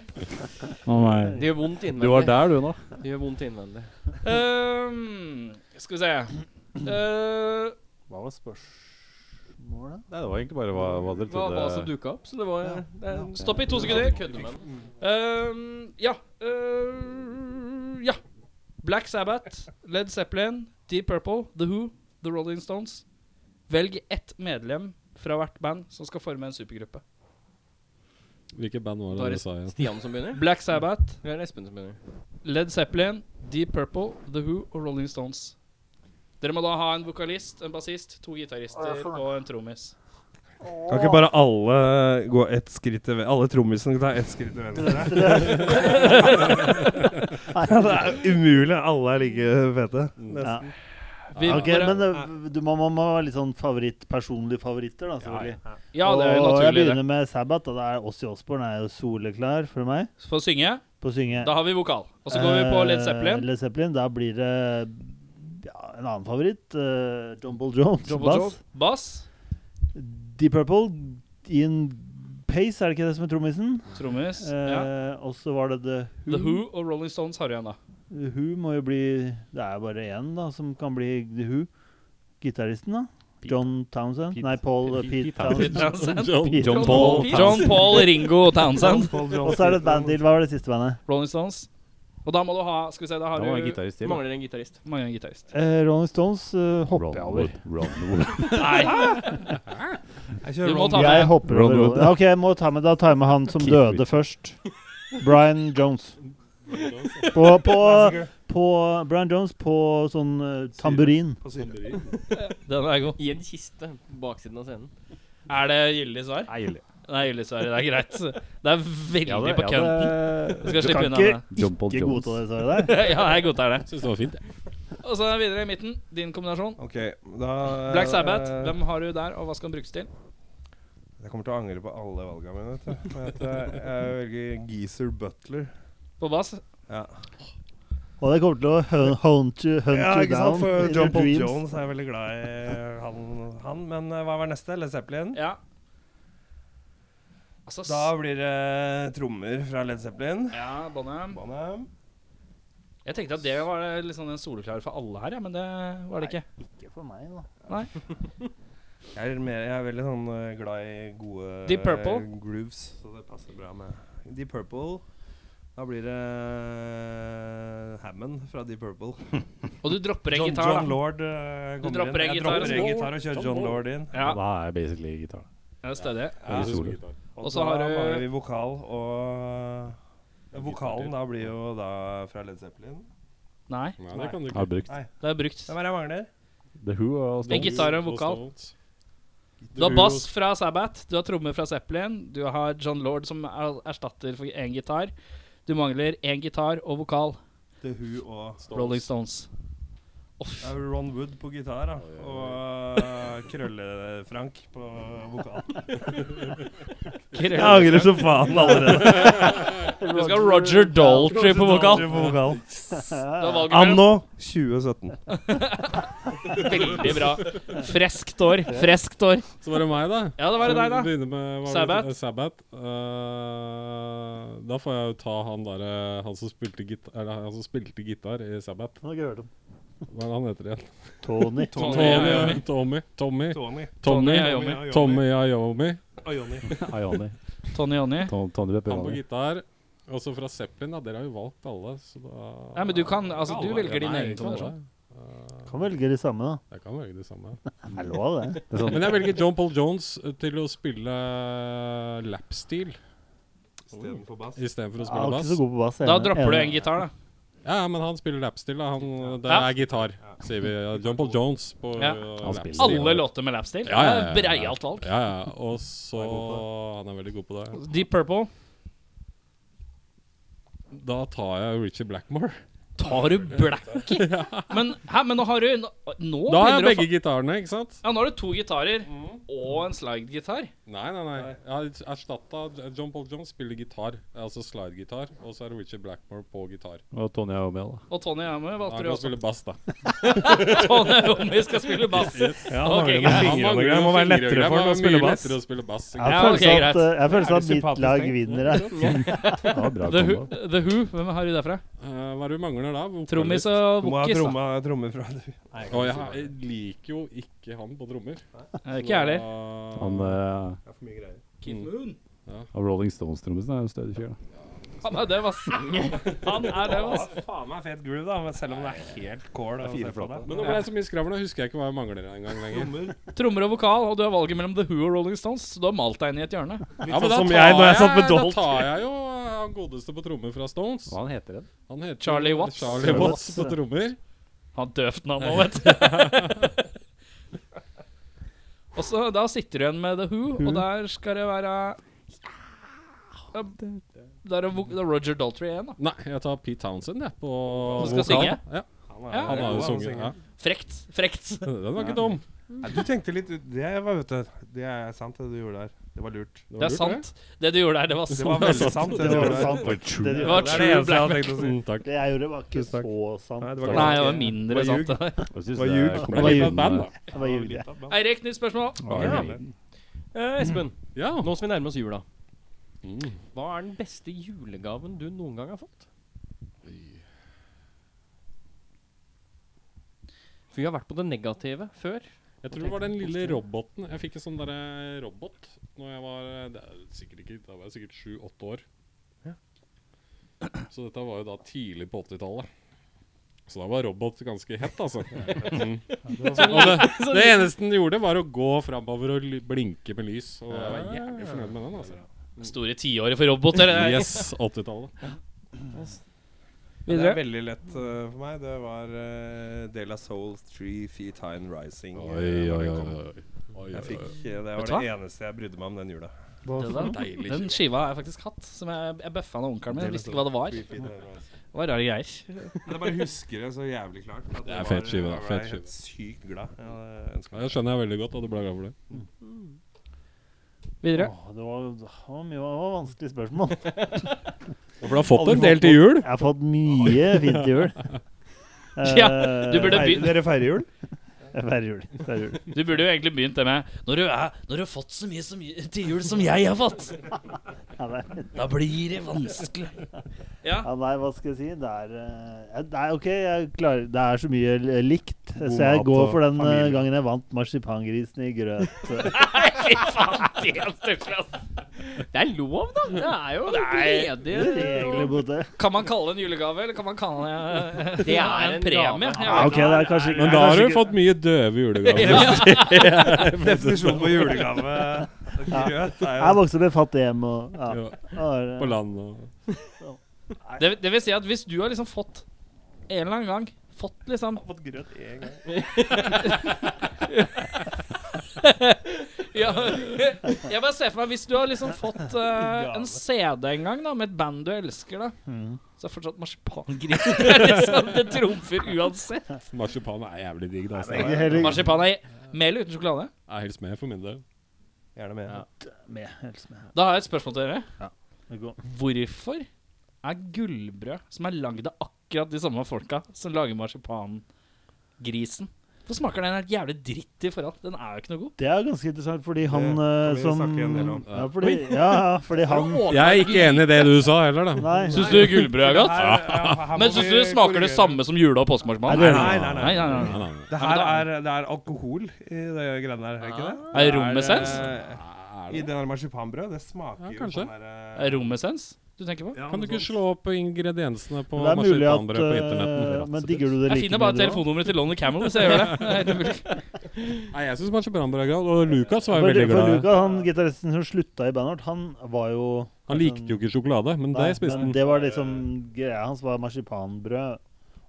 [SPEAKER 3] Å nei.
[SPEAKER 2] Det gjør vondt
[SPEAKER 3] Du var
[SPEAKER 2] innvendig.
[SPEAKER 3] der, du, nå.
[SPEAKER 2] Det gjør vondt innvendig.
[SPEAKER 1] Ehm, skal vi se Eh,
[SPEAKER 7] Hva var spørsmålet?
[SPEAKER 3] Nei, det var egentlig bare hva, hva dere
[SPEAKER 2] Det var hva som
[SPEAKER 3] trodde.
[SPEAKER 2] dukka opp, så det var det er-
[SPEAKER 1] Stopp i to sekunder.
[SPEAKER 2] Kødder med den.
[SPEAKER 1] Ehm, ja. eh, ja. Black Sabbath, Led Zeppelin, Deep Purple, The Who, The Rolling Stones. Velg ett medlem fra hvert band som skal forme en supergruppe.
[SPEAKER 5] Hvilke band var
[SPEAKER 2] Da er det
[SPEAKER 5] det du sa igjen?
[SPEAKER 2] Stian som begynner?
[SPEAKER 1] Black Sabbath,
[SPEAKER 2] Eller er det Espen som begynner?
[SPEAKER 1] Led Zeppelin, Deep Purple, The Who og Rolling Stones. Dere må da ha en vokalist, en bassist, to gitarister og en trommis.
[SPEAKER 6] Kan ikke bare alle gå ett skritt til venstre? Alle trommisene kan ta ett skritt til venstre. Ja, [LAUGHS] det er umulig. Alle er like fete.
[SPEAKER 7] Ja.
[SPEAKER 1] Vi,
[SPEAKER 7] Ok,
[SPEAKER 1] bare-
[SPEAKER 7] men eh, du må, må, må ha litt sånn favoritt, personlige favoritter, da, selvfølgelig.
[SPEAKER 1] ja, det er jo
[SPEAKER 7] og jeg
[SPEAKER 1] naturlig, det.
[SPEAKER 7] begynner med Sabbath, og da er Ossi Osborne er jo soleklar for meg
[SPEAKER 1] For å synge,
[SPEAKER 7] på å synge.
[SPEAKER 1] da har vi vokal. Og så går vi på Led
[SPEAKER 7] Eh,
[SPEAKER 1] Zeppelin.
[SPEAKER 7] Led Zeppelin, Da blir det ja, en annen favoritt. eh, John Paul Jones,
[SPEAKER 1] John Bon
[SPEAKER 7] bass.
[SPEAKER 1] Jovi, Bass.
[SPEAKER 7] Deep Purple, Ian Pace, er det ikke det som er trommisen?
[SPEAKER 1] Trommis. Ja.
[SPEAKER 7] Eh, og så var det The Who.
[SPEAKER 1] The Who og Rolling Stones har du igjen, da.
[SPEAKER 7] The Who må jo bli Det er bare én da, som kan bli The Who. Gitaristen, da. John Townsend.
[SPEAKER 3] Pete.
[SPEAKER 7] Nei, Paul eh, Pete,
[SPEAKER 1] Pete
[SPEAKER 7] Townsend.
[SPEAKER 1] Townsend.
[SPEAKER 7] Pete.
[SPEAKER 3] John Paul.
[SPEAKER 1] John Paul Ringo [LAUGHS] Townsend.
[SPEAKER 7] Og så er det et banddeal. Hva var det siste bandet?
[SPEAKER 1] Rolling Stones. Og da må du ha Skal vi se, da har
[SPEAKER 3] Han var en
[SPEAKER 1] du
[SPEAKER 3] gitarist til.
[SPEAKER 2] Mangler en gitarist.
[SPEAKER 1] mange gitarist.
[SPEAKER 7] Eh, Rolling Stones eh, hopper jeg over.
[SPEAKER 3] Ronwood. Ronwood.
[SPEAKER 1] Nei, du må ta
[SPEAKER 7] Jeg
[SPEAKER 1] med
[SPEAKER 7] hopper
[SPEAKER 3] Ron
[SPEAKER 7] over
[SPEAKER 3] Wood.
[SPEAKER 7] Ja, Ok, jeg må ta med, da tar jeg med han som
[SPEAKER 3] Keith
[SPEAKER 7] døde
[SPEAKER 3] Richards.
[SPEAKER 7] først. Brian Jones. På, på, på Brian Jones på sånn eh, tamburin.
[SPEAKER 1] Den er god.
[SPEAKER 2] I en kiste på baksiden av scenen.
[SPEAKER 1] Er det gyldig svar?
[SPEAKER 3] Nei, Julie.
[SPEAKER 1] Nei, gyldig svar. Det er greit. [LAUGHS] Det er veldig
[SPEAKER 3] Ja, det-
[SPEAKER 1] på
[SPEAKER 3] ja,
[SPEAKER 1] kønten. Du skal slippe unna med det.
[SPEAKER 3] John Paul
[SPEAKER 7] Ikke
[SPEAKER 3] Jones.
[SPEAKER 7] godta det svaret der.
[SPEAKER 1] [LAUGHS] Ja, jeg godtar det.
[SPEAKER 5] Syns det var fint, jeg.
[SPEAKER 1] Og så er det videre i midten. Din kombinasjon.
[SPEAKER 6] Ok, da
[SPEAKER 1] Black Sabbath.
[SPEAKER 6] eh,
[SPEAKER 1] Hvem har du der, og hva skal den brukes til?
[SPEAKER 6] Jeg kommer til å angre på alle valgene mine. Vet du. Men at jeg, jeg velger Geezer Butler.
[SPEAKER 1] På bass?
[SPEAKER 6] Ja,
[SPEAKER 7] Og det kommer til å hun- hunt you, hunt
[SPEAKER 6] ja
[SPEAKER 7] you
[SPEAKER 6] ikke
[SPEAKER 7] down
[SPEAKER 6] sant? For
[SPEAKER 7] in your
[SPEAKER 6] John Paul
[SPEAKER 7] dreams.
[SPEAKER 6] Jones er jeg veldig glad i han. han. Men eh, hva var neste? Led Zeppelin?
[SPEAKER 1] Ja. Altså, s-
[SPEAKER 6] Da blir det trommer fra Led Zeppelin.
[SPEAKER 1] ja, Bonham.
[SPEAKER 6] Bonham.
[SPEAKER 1] Jeg tenkte at det var eh, liksom en soleklar for alle her, ja, men det var det ikke.
[SPEAKER 7] Ikke for meg, da.
[SPEAKER 6] Jeg er, mer, jeg er veldig sånn eh, glad i gode
[SPEAKER 1] Deep Purple.
[SPEAKER 6] eh, grooves, så det passer bra med Deep Purple. Da blir det eh, Hammond fra Deep Purple.
[SPEAKER 1] Og du dropper en
[SPEAKER 6] John,
[SPEAKER 1] gitar,
[SPEAKER 6] John
[SPEAKER 1] da.
[SPEAKER 6] Lord eh,
[SPEAKER 1] Du
[SPEAKER 6] kommer
[SPEAKER 1] dropper en
[SPEAKER 6] inn. Jeg
[SPEAKER 1] gitar,
[SPEAKER 6] dropper en gitar og kjører John Lord inn.
[SPEAKER 1] Ja,
[SPEAKER 3] Da er jeg basically gitar.
[SPEAKER 1] det er stødig.
[SPEAKER 3] Ja. Solo.
[SPEAKER 6] Og
[SPEAKER 1] Og så
[SPEAKER 6] så
[SPEAKER 1] har
[SPEAKER 6] da
[SPEAKER 1] du-
[SPEAKER 6] mangler vi vokal og eh, Vokalen da blir jo da fra Led Zeppelin.
[SPEAKER 1] Nei,
[SPEAKER 5] Nei, det kan du
[SPEAKER 3] Jeg har
[SPEAKER 5] ikke.
[SPEAKER 3] brukt
[SPEAKER 6] Nei.
[SPEAKER 1] det er brukt.
[SPEAKER 6] Hvem er det jeg mangler?
[SPEAKER 3] The Who og
[SPEAKER 1] En
[SPEAKER 3] Stones.
[SPEAKER 1] gitar og en vokal. Du har bass fra Sabbath, du har trommer fra Zeppelin, du har John Lord som er- erstatter for én gitar. Du mangler én gitar og vokal.
[SPEAKER 6] The Who og
[SPEAKER 1] Rolling
[SPEAKER 5] [LAUGHS]
[SPEAKER 1] Stones.
[SPEAKER 6] det er Ron Wood på gitar da. og eh, Krølle-Frank på vokal.
[SPEAKER 1] Jeg
[SPEAKER 6] så faen allerede.
[SPEAKER 1] Du skal ha Roger Daltrey på vokal.
[SPEAKER 6] På vokal.
[SPEAKER 1] Du har valget mellom
[SPEAKER 6] Anno [LAUGHS] 2017.
[SPEAKER 1] Veldig bra. Freskt år. Freskt år.
[SPEAKER 5] Så var det meg, da.
[SPEAKER 1] Ja, det var det deg, da.
[SPEAKER 5] Begynner med hva var
[SPEAKER 1] Sabbath.
[SPEAKER 5] det- eh, Sabbath. Eh, da får jeg jo ta han derre han, som spilte git- eller han som spilte gitar i Sabbath.
[SPEAKER 7] Nå har jeg hørt om
[SPEAKER 5] Hva er det han heter igjen?
[SPEAKER 1] Tony
[SPEAKER 7] Tony.
[SPEAKER 5] Tommy. Tommy. Tommy.
[SPEAKER 6] Tony.
[SPEAKER 1] Tony
[SPEAKER 5] Tommy.
[SPEAKER 1] Iommi.
[SPEAKER 5] Tommy Iommi.
[SPEAKER 6] Og Johnny.
[SPEAKER 3] Ioni.
[SPEAKER 1] Tony Jonny.
[SPEAKER 3] Ton- Tony
[SPEAKER 5] Han på
[SPEAKER 3] Pepperoni.
[SPEAKER 5] gitar. Også fra Zeppelin. da. Dere har jo valgt alle, så da
[SPEAKER 1] Nei, men du kan- altså, du
[SPEAKER 5] Alle.
[SPEAKER 1] velger din
[SPEAKER 5] Nei,
[SPEAKER 1] egen
[SPEAKER 5] ikke alle.
[SPEAKER 1] kombinasjon.
[SPEAKER 5] Eh,
[SPEAKER 7] Kan velge de samme, da.
[SPEAKER 5] Jeg kan velge det samme.
[SPEAKER 7] Det er lov, det.
[SPEAKER 3] Det er sånn
[SPEAKER 5] Men jeg velger John Paul Jones eh, til å spille lapsteel
[SPEAKER 6] Istedenfor bass.
[SPEAKER 5] istedenfor å
[SPEAKER 7] Jeg er
[SPEAKER 5] spille
[SPEAKER 7] ikke
[SPEAKER 5] bass.
[SPEAKER 7] så god på bass. jeg er
[SPEAKER 1] Da
[SPEAKER 7] enig.
[SPEAKER 1] dropper du
[SPEAKER 7] Enig.
[SPEAKER 1] en gitar, da.
[SPEAKER 5] Ja, ja, men han spiller lapsteel. da. Han, det
[SPEAKER 1] Ja.
[SPEAKER 5] er gitar, sier vi. John Paul Jones på
[SPEAKER 1] Ja.
[SPEAKER 5] uh,
[SPEAKER 3] Han spiller.
[SPEAKER 5] lapsteel.
[SPEAKER 1] Alle altså. låter med lapsteel.
[SPEAKER 5] Ja, ja, ja, ja.
[SPEAKER 1] Breialt valg.
[SPEAKER 5] Ja, ja. Og så Han er veldig god på det.
[SPEAKER 1] Deep Purple.
[SPEAKER 5] Da tar jeg Richie Blackmore.
[SPEAKER 1] Tar du
[SPEAKER 5] [LAUGHS]
[SPEAKER 1] Blackie? Men, hæ, men nå har du Nå, nå
[SPEAKER 5] Da har
[SPEAKER 1] begynner
[SPEAKER 5] jeg
[SPEAKER 1] du å
[SPEAKER 5] begge Mm. gitarene, ikke sant?
[SPEAKER 1] fa- Ja, nå har du to gitarer og en slide-gitar.
[SPEAKER 5] Nei, nei, nei. Jeg har erstatta John Paul Jones spiller gitar, altså slidegitar, og så er det Richie Blackmore på gitar.
[SPEAKER 3] Og Tony Iommi, da.
[SPEAKER 1] Og Tony Iommi
[SPEAKER 5] Han
[SPEAKER 1] valgte du
[SPEAKER 5] kan
[SPEAKER 1] også.
[SPEAKER 5] spille
[SPEAKER 1] [LAUGHS]
[SPEAKER 5] bass, da.
[SPEAKER 1] Tony Iommi skal spille bass.
[SPEAKER 6] Ja,
[SPEAKER 1] Ok,
[SPEAKER 6] okay,
[SPEAKER 1] greit.
[SPEAKER 5] Han mangler
[SPEAKER 6] det må være
[SPEAKER 5] noen
[SPEAKER 6] lettere for
[SPEAKER 5] fingregreier,
[SPEAKER 6] ham å
[SPEAKER 5] men
[SPEAKER 6] spille
[SPEAKER 5] mye
[SPEAKER 6] bass.
[SPEAKER 5] lettere å spille bass. ikke
[SPEAKER 7] Jeg
[SPEAKER 1] Ja,
[SPEAKER 7] har
[SPEAKER 1] ok,
[SPEAKER 7] følelsen
[SPEAKER 1] greit.
[SPEAKER 7] at, eh, jeg har følelsen
[SPEAKER 6] Er
[SPEAKER 7] at
[SPEAKER 6] det
[SPEAKER 7] mitt
[SPEAKER 6] sympatisk
[SPEAKER 7] lag
[SPEAKER 6] tenkt?
[SPEAKER 7] vinner her.
[SPEAKER 3] Det var bra
[SPEAKER 1] The Who,
[SPEAKER 3] kombo.
[SPEAKER 1] The Who. Mm, Hvem har du derfra?
[SPEAKER 5] Eh, hva er det du mangler da? Vokalist?
[SPEAKER 1] Trommis og
[SPEAKER 6] Du må ha
[SPEAKER 1] Wokis. da.
[SPEAKER 6] tromma, trommer fra Nei,
[SPEAKER 5] Å, jeg, har- jeg liker jo ikke han på trommer.
[SPEAKER 1] Eh, Ikke jeg heller.
[SPEAKER 5] Så-
[SPEAKER 3] Han eh,
[SPEAKER 6] Det er for mye greier.
[SPEAKER 1] Keith Moon.
[SPEAKER 3] av Rolling Stones-trommisen er jo en stødig fyr, da.
[SPEAKER 1] Han er døv, ass. Han er døv, ass.
[SPEAKER 11] Det er faen meg fet groove, da, men selv om det er helt kål. å se på det.
[SPEAKER 5] Men nå ble det så mye skravl, nå husker jeg ikke hva jeg mangler engang lenger.
[SPEAKER 1] Trommer og vokal, og du har valget mellom The Who og Rolling Stones, så du har malt deg inn i et hjørne.
[SPEAKER 5] Ja, men da
[SPEAKER 6] sånn som
[SPEAKER 5] tar
[SPEAKER 6] jeg når jeg satt med
[SPEAKER 5] jeg- da
[SPEAKER 6] Dolt.
[SPEAKER 5] tar jeg jo eh, han godeste på trommer fra Stones.
[SPEAKER 3] Hva han heter den?
[SPEAKER 5] Han heter
[SPEAKER 1] Charlie Watts.
[SPEAKER 5] Charlie Watts på trommer.
[SPEAKER 1] Han døvt navn òg, vet du. og så da sitter du igjen med The Who, og der skal det være Ja, Der er vo- det er Roger Daltrey igjen, da.
[SPEAKER 5] Nei, jeg tar Pete Townsend, jeg, på
[SPEAKER 1] Som skal
[SPEAKER 5] vokal.
[SPEAKER 1] synge?
[SPEAKER 5] Ja,
[SPEAKER 1] Ja.
[SPEAKER 5] han har jo sunget. Ja.
[SPEAKER 1] Frekt. Frekt.
[SPEAKER 5] Den var ikke dum.
[SPEAKER 6] Nei, du tenkte litt ut Det var, vet du, det er sant, det du gjorde der. Det var lurt.
[SPEAKER 5] var
[SPEAKER 1] Det er
[SPEAKER 5] lurt,
[SPEAKER 1] sant. Det du gjorde der, det var
[SPEAKER 6] Det var
[SPEAKER 1] sant.
[SPEAKER 6] veldig sant. Det,
[SPEAKER 7] Det
[SPEAKER 6] du
[SPEAKER 7] var
[SPEAKER 6] gjorde der.
[SPEAKER 7] sant. Det du
[SPEAKER 1] Det
[SPEAKER 7] gjorde.
[SPEAKER 1] var
[SPEAKER 6] det er det
[SPEAKER 1] true
[SPEAKER 6] eneste jeg
[SPEAKER 1] black.
[SPEAKER 6] har tenkt å si.
[SPEAKER 5] Mm, takk.
[SPEAKER 7] Det jeg gjorde, var ikke
[SPEAKER 6] Tusen takk.
[SPEAKER 7] så
[SPEAKER 6] Nei,
[SPEAKER 7] sant.
[SPEAKER 6] det var
[SPEAKER 1] Nei,
[SPEAKER 6] ganske-
[SPEAKER 1] det var mindre
[SPEAKER 6] Det var
[SPEAKER 1] sant. det der.
[SPEAKER 3] Det
[SPEAKER 6] var ljug.
[SPEAKER 7] Det var
[SPEAKER 5] Litt av
[SPEAKER 7] ljug.
[SPEAKER 5] et band, da.
[SPEAKER 7] Det var ljug, det.
[SPEAKER 1] Eirik, nytt spørsmål.
[SPEAKER 6] Ja,
[SPEAKER 3] Ja.
[SPEAKER 6] men-
[SPEAKER 2] Eh, Espen,
[SPEAKER 5] Ja.
[SPEAKER 2] nå som vi nærmer oss jula,
[SPEAKER 5] Mm.
[SPEAKER 2] hva er den beste julegaven du noen gang har fått? For vi har vært på det negative før.
[SPEAKER 5] Jeg tror det var den lille roboten. Jeg fikk en sånn derre robot Når jeg var eh, det er sikkert ikke, Da var jeg sikkert sju-åtte år. Så dette var jo da tidlig på 80-tallet. Så da var robot ganske hett, altså. Mm. Og det, det eneste den gjorde, var å gå framover og ly- blinke med lys. Og jeg var jævlig fornøyd med den. altså
[SPEAKER 1] Store tiåret for roboter. det der.
[SPEAKER 5] Yes, 80-tallet.
[SPEAKER 6] Ja, det er
[SPEAKER 1] Videre.
[SPEAKER 6] veldig lett uh, for meg. Det var uh, De La Soul Three Feet High and Rising. uh, når det kom. Jeg fikk, uh, det var
[SPEAKER 1] du
[SPEAKER 6] det eneste jeg brydde meg om den jula.
[SPEAKER 1] Det der. Den skiva har jeg faktisk hatt, som jeg, jeg bøffa av onkelen min. Jeg visste ikke hva det var.
[SPEAKER 6] Three Feet High and Rising.
[SPEAKER 1] Det var rare greier.
[SPEAKER 6] Men jeg bare husker det så jævlig klart. at
[SPEAKER 5] er
[SPEAKER 6] var-
[SPEAKER 5] fet skive, da,
[SPEAKER 6] jeg
[SPEAKER 5] fet
[SPEAKER 6] ble helt Sykt glad. Ja, det ønsker
[SPEAKER 5] Ja,
[SPEAKER 6] jeg.
[SPEAKER 5] det skjønner jeg veldig godt, og du ble glad for det.
[SPEAKER 1] Videre.
[SPEAKER 7] Åh, Det var, det var mye det var vanskelige spørsmål.
[SPEAKER 5] For du har fått en del til jul.
[SPEAKER 7] Jeg har fått mye fint til jul.
[SPEAKER 1] [LAUGHS] Ja, du burde
[SPEAKER 7] Eh,
[SPEAKER 1] begynt-
[SPEAKER 7] Dere feirer jul? Jeg feirer jul. Feirer jul.
[SPEAKER 1] Du burde jo egentlig begynt det med Når du, er, når du har fått så mye som, til jul som jeg har fått,
[SPEAKER 7] Ja, det er-
[SPEAKER 1] da blir det vanskelig. Ja.
[SPEAKER 7] Ja, nei, hva skal jeg si? Det er, eh, nei, OK, jeg klarer Det er så mye l- likt, så jeg
[SPEAKER 6] mat
[SPEAKER 7] går
[SPEAKER 6] og
[SPEAKER 7] for den eh,
[SPEAKER 6] familie.
[SPEAKER 7] gangen jeg vant marsipangrisen i
[SPEAKER 1] [LAUGHS]
[SPEAKER 7] grøt.
[SPEAKER 1] Nei, fy faen, det er større, ass.
[SPEAKER 2] Det er lov, da! Det er jo
[SPEAKER 7] Det er regler mot det.
[SPEAKER 1] Kan man kalle det en julegave, eller kan man kalle det
[SPEAKER 2] Det er en
[SPEAKER 1] premie?
[SPEAKER 2] gave.
[SPEAKER 1] Jeg
[SPEAKER 7] Ja,
[SPEAKER 1] vet
[SPEAKER 7] Ah, OK, det er kanskje
[SPEAKER 5] Men da har du fått mye døve julegaver.
[SPEAKER 6] [LAUGHS] Definisjonen på [LAUGHS] julegave grøt er
[SPEAKER 7] Jeg
[SPEAKER 6] jo
[SPEAKER 7] vokste opp i et fattig hjem og ja.
[SPEAKER 5] [LAUGHS] Ja,
[SPEAKER 7] og,
[SPEAKER 5] På land og
[SPEAKER 1] ikke. Det, det vil si at hvis du har liksom fått en eller annen gang Fått liksom
[SPEAKER 6] fått grøt én gang.
[SPEAKER 1] ja, Jeg bare ser for meg Hvis du har liksom fått eh, en CD en gang da med et band du elsker, da
[SPEAKER 7] Mm.
[SPEAKER 1] så er fortsatt marsipangris [LAUGHS] Det er liksom, Det trumfer uansett.
[SPEAKER 5] Marsipan er jævlig digg. da,
[SPEAKER 7] eh,
[SPEAKER 5] Altså.
[SPEAKER 7] egentlig heller ikke
[SPEAKER 1] Marsipan er med eller uten sjokolade?
[SPEAKER 5] Jeg er helst med for min del.
[SPEAKER 6] Gjerne med.
[SPEAKER 7] med. helst med.
[SPEAKER 1] Da har jeg et spørsmål til dere.
[SPEAKER 7] Det går.
[SPEAKER 1] Hvorfor er gullbrød, som er lagd av akkurat de samme folka som lager marsipangrisen Hvorfor smaker den helt jævlig dritt i forhold? Den er jo ikke noe god.
[SPEAKER 7] Det er ganske interessant, fordi han
[SPEAKER 6] Det
[SPEAKER 7] eh,
[SPEAKER 6] kan vi
[SPEAKER 7] som
[SPEAKER 6] snakke en del om.
[SPEAKER 7] Ja, fordi, ja, ja, fordi han
[SPEAKER 5] Jeg er ikke enig i det du sa heller, da.
[SPEAKER 7] Nei.
[SPEAKER 1] Syns du gullbrød er godt?
[SPEAKER 6] Her- her- her må
[SPEAKER 1] Men syns du
[SPEAKER 6] vi
[SPEAKER 1] det smaker det
[SPEAKER 6] korrigere.
[SPEAKER 1] samme som jule- og påskemarsipan?
[SPEAKER 7] Nei,
[SPEAKER 6] nei, nei, nei.
[SPEAKER 1] nei, nei.
[SPEAKER 6] Det her er, det er alkohol i det greiene der, er det ikke det?
[SPEAKER 5] Ah.
[SPEAKER 1] Er
[SPEAKER 6] det
[SPEAKER 1] romessens?
[SPEAKER 6] eh, I det der marsipanbrød, det smaker
[SPEAKER 5] Ja,
[SPEAKER 6] jo
[SPEAKER 5] kanskje.
[SPEAKER 6] sånn der sånn-
[SPEAKER 1] Er Romessens du tenker på?
[SPEAKER 5] Kan du ikke slå opp ingrediensene på
[SPEAKER 7] Det er mulig at
[SPEAKER 5] marsipanbrød på
[SPEAKER 7] eh,
[SPEAKER 5] internetten?
[SPEAKER 7] Men digger du det
[SPEAKER 1] Jeg
[SPEAKER 7] like
[SPEAKER 1] finner bare
[SPEAKER 7] mye, du òg?
[SPEAKER 1] telefonnummeret til Lonely Camel hvis jeg gjør det. det. er helt umulig.
[SPEAKER 5] Nei, jeg syns marsipanbrød er godt. Og Lucas var jo
[SPEAKER 7] For,
[SPEAKER 5] veldig
[SPEAKER 7] for
[SPEAKER 5] glad. i det.
[SPEAKER 7] Luca, han gitaristen som slutta i bandet vårt, han var jo
[SPEAKER 5] Han likte jo ikke sjokolade, men det
[SPEAKER 7] Nei,
[SPEAKER 5] spiste
[SPEAKER 7] men
[SPEAKER 5] han.
[SPEAKER 7] det var liksom greia hans var marsipanbrød.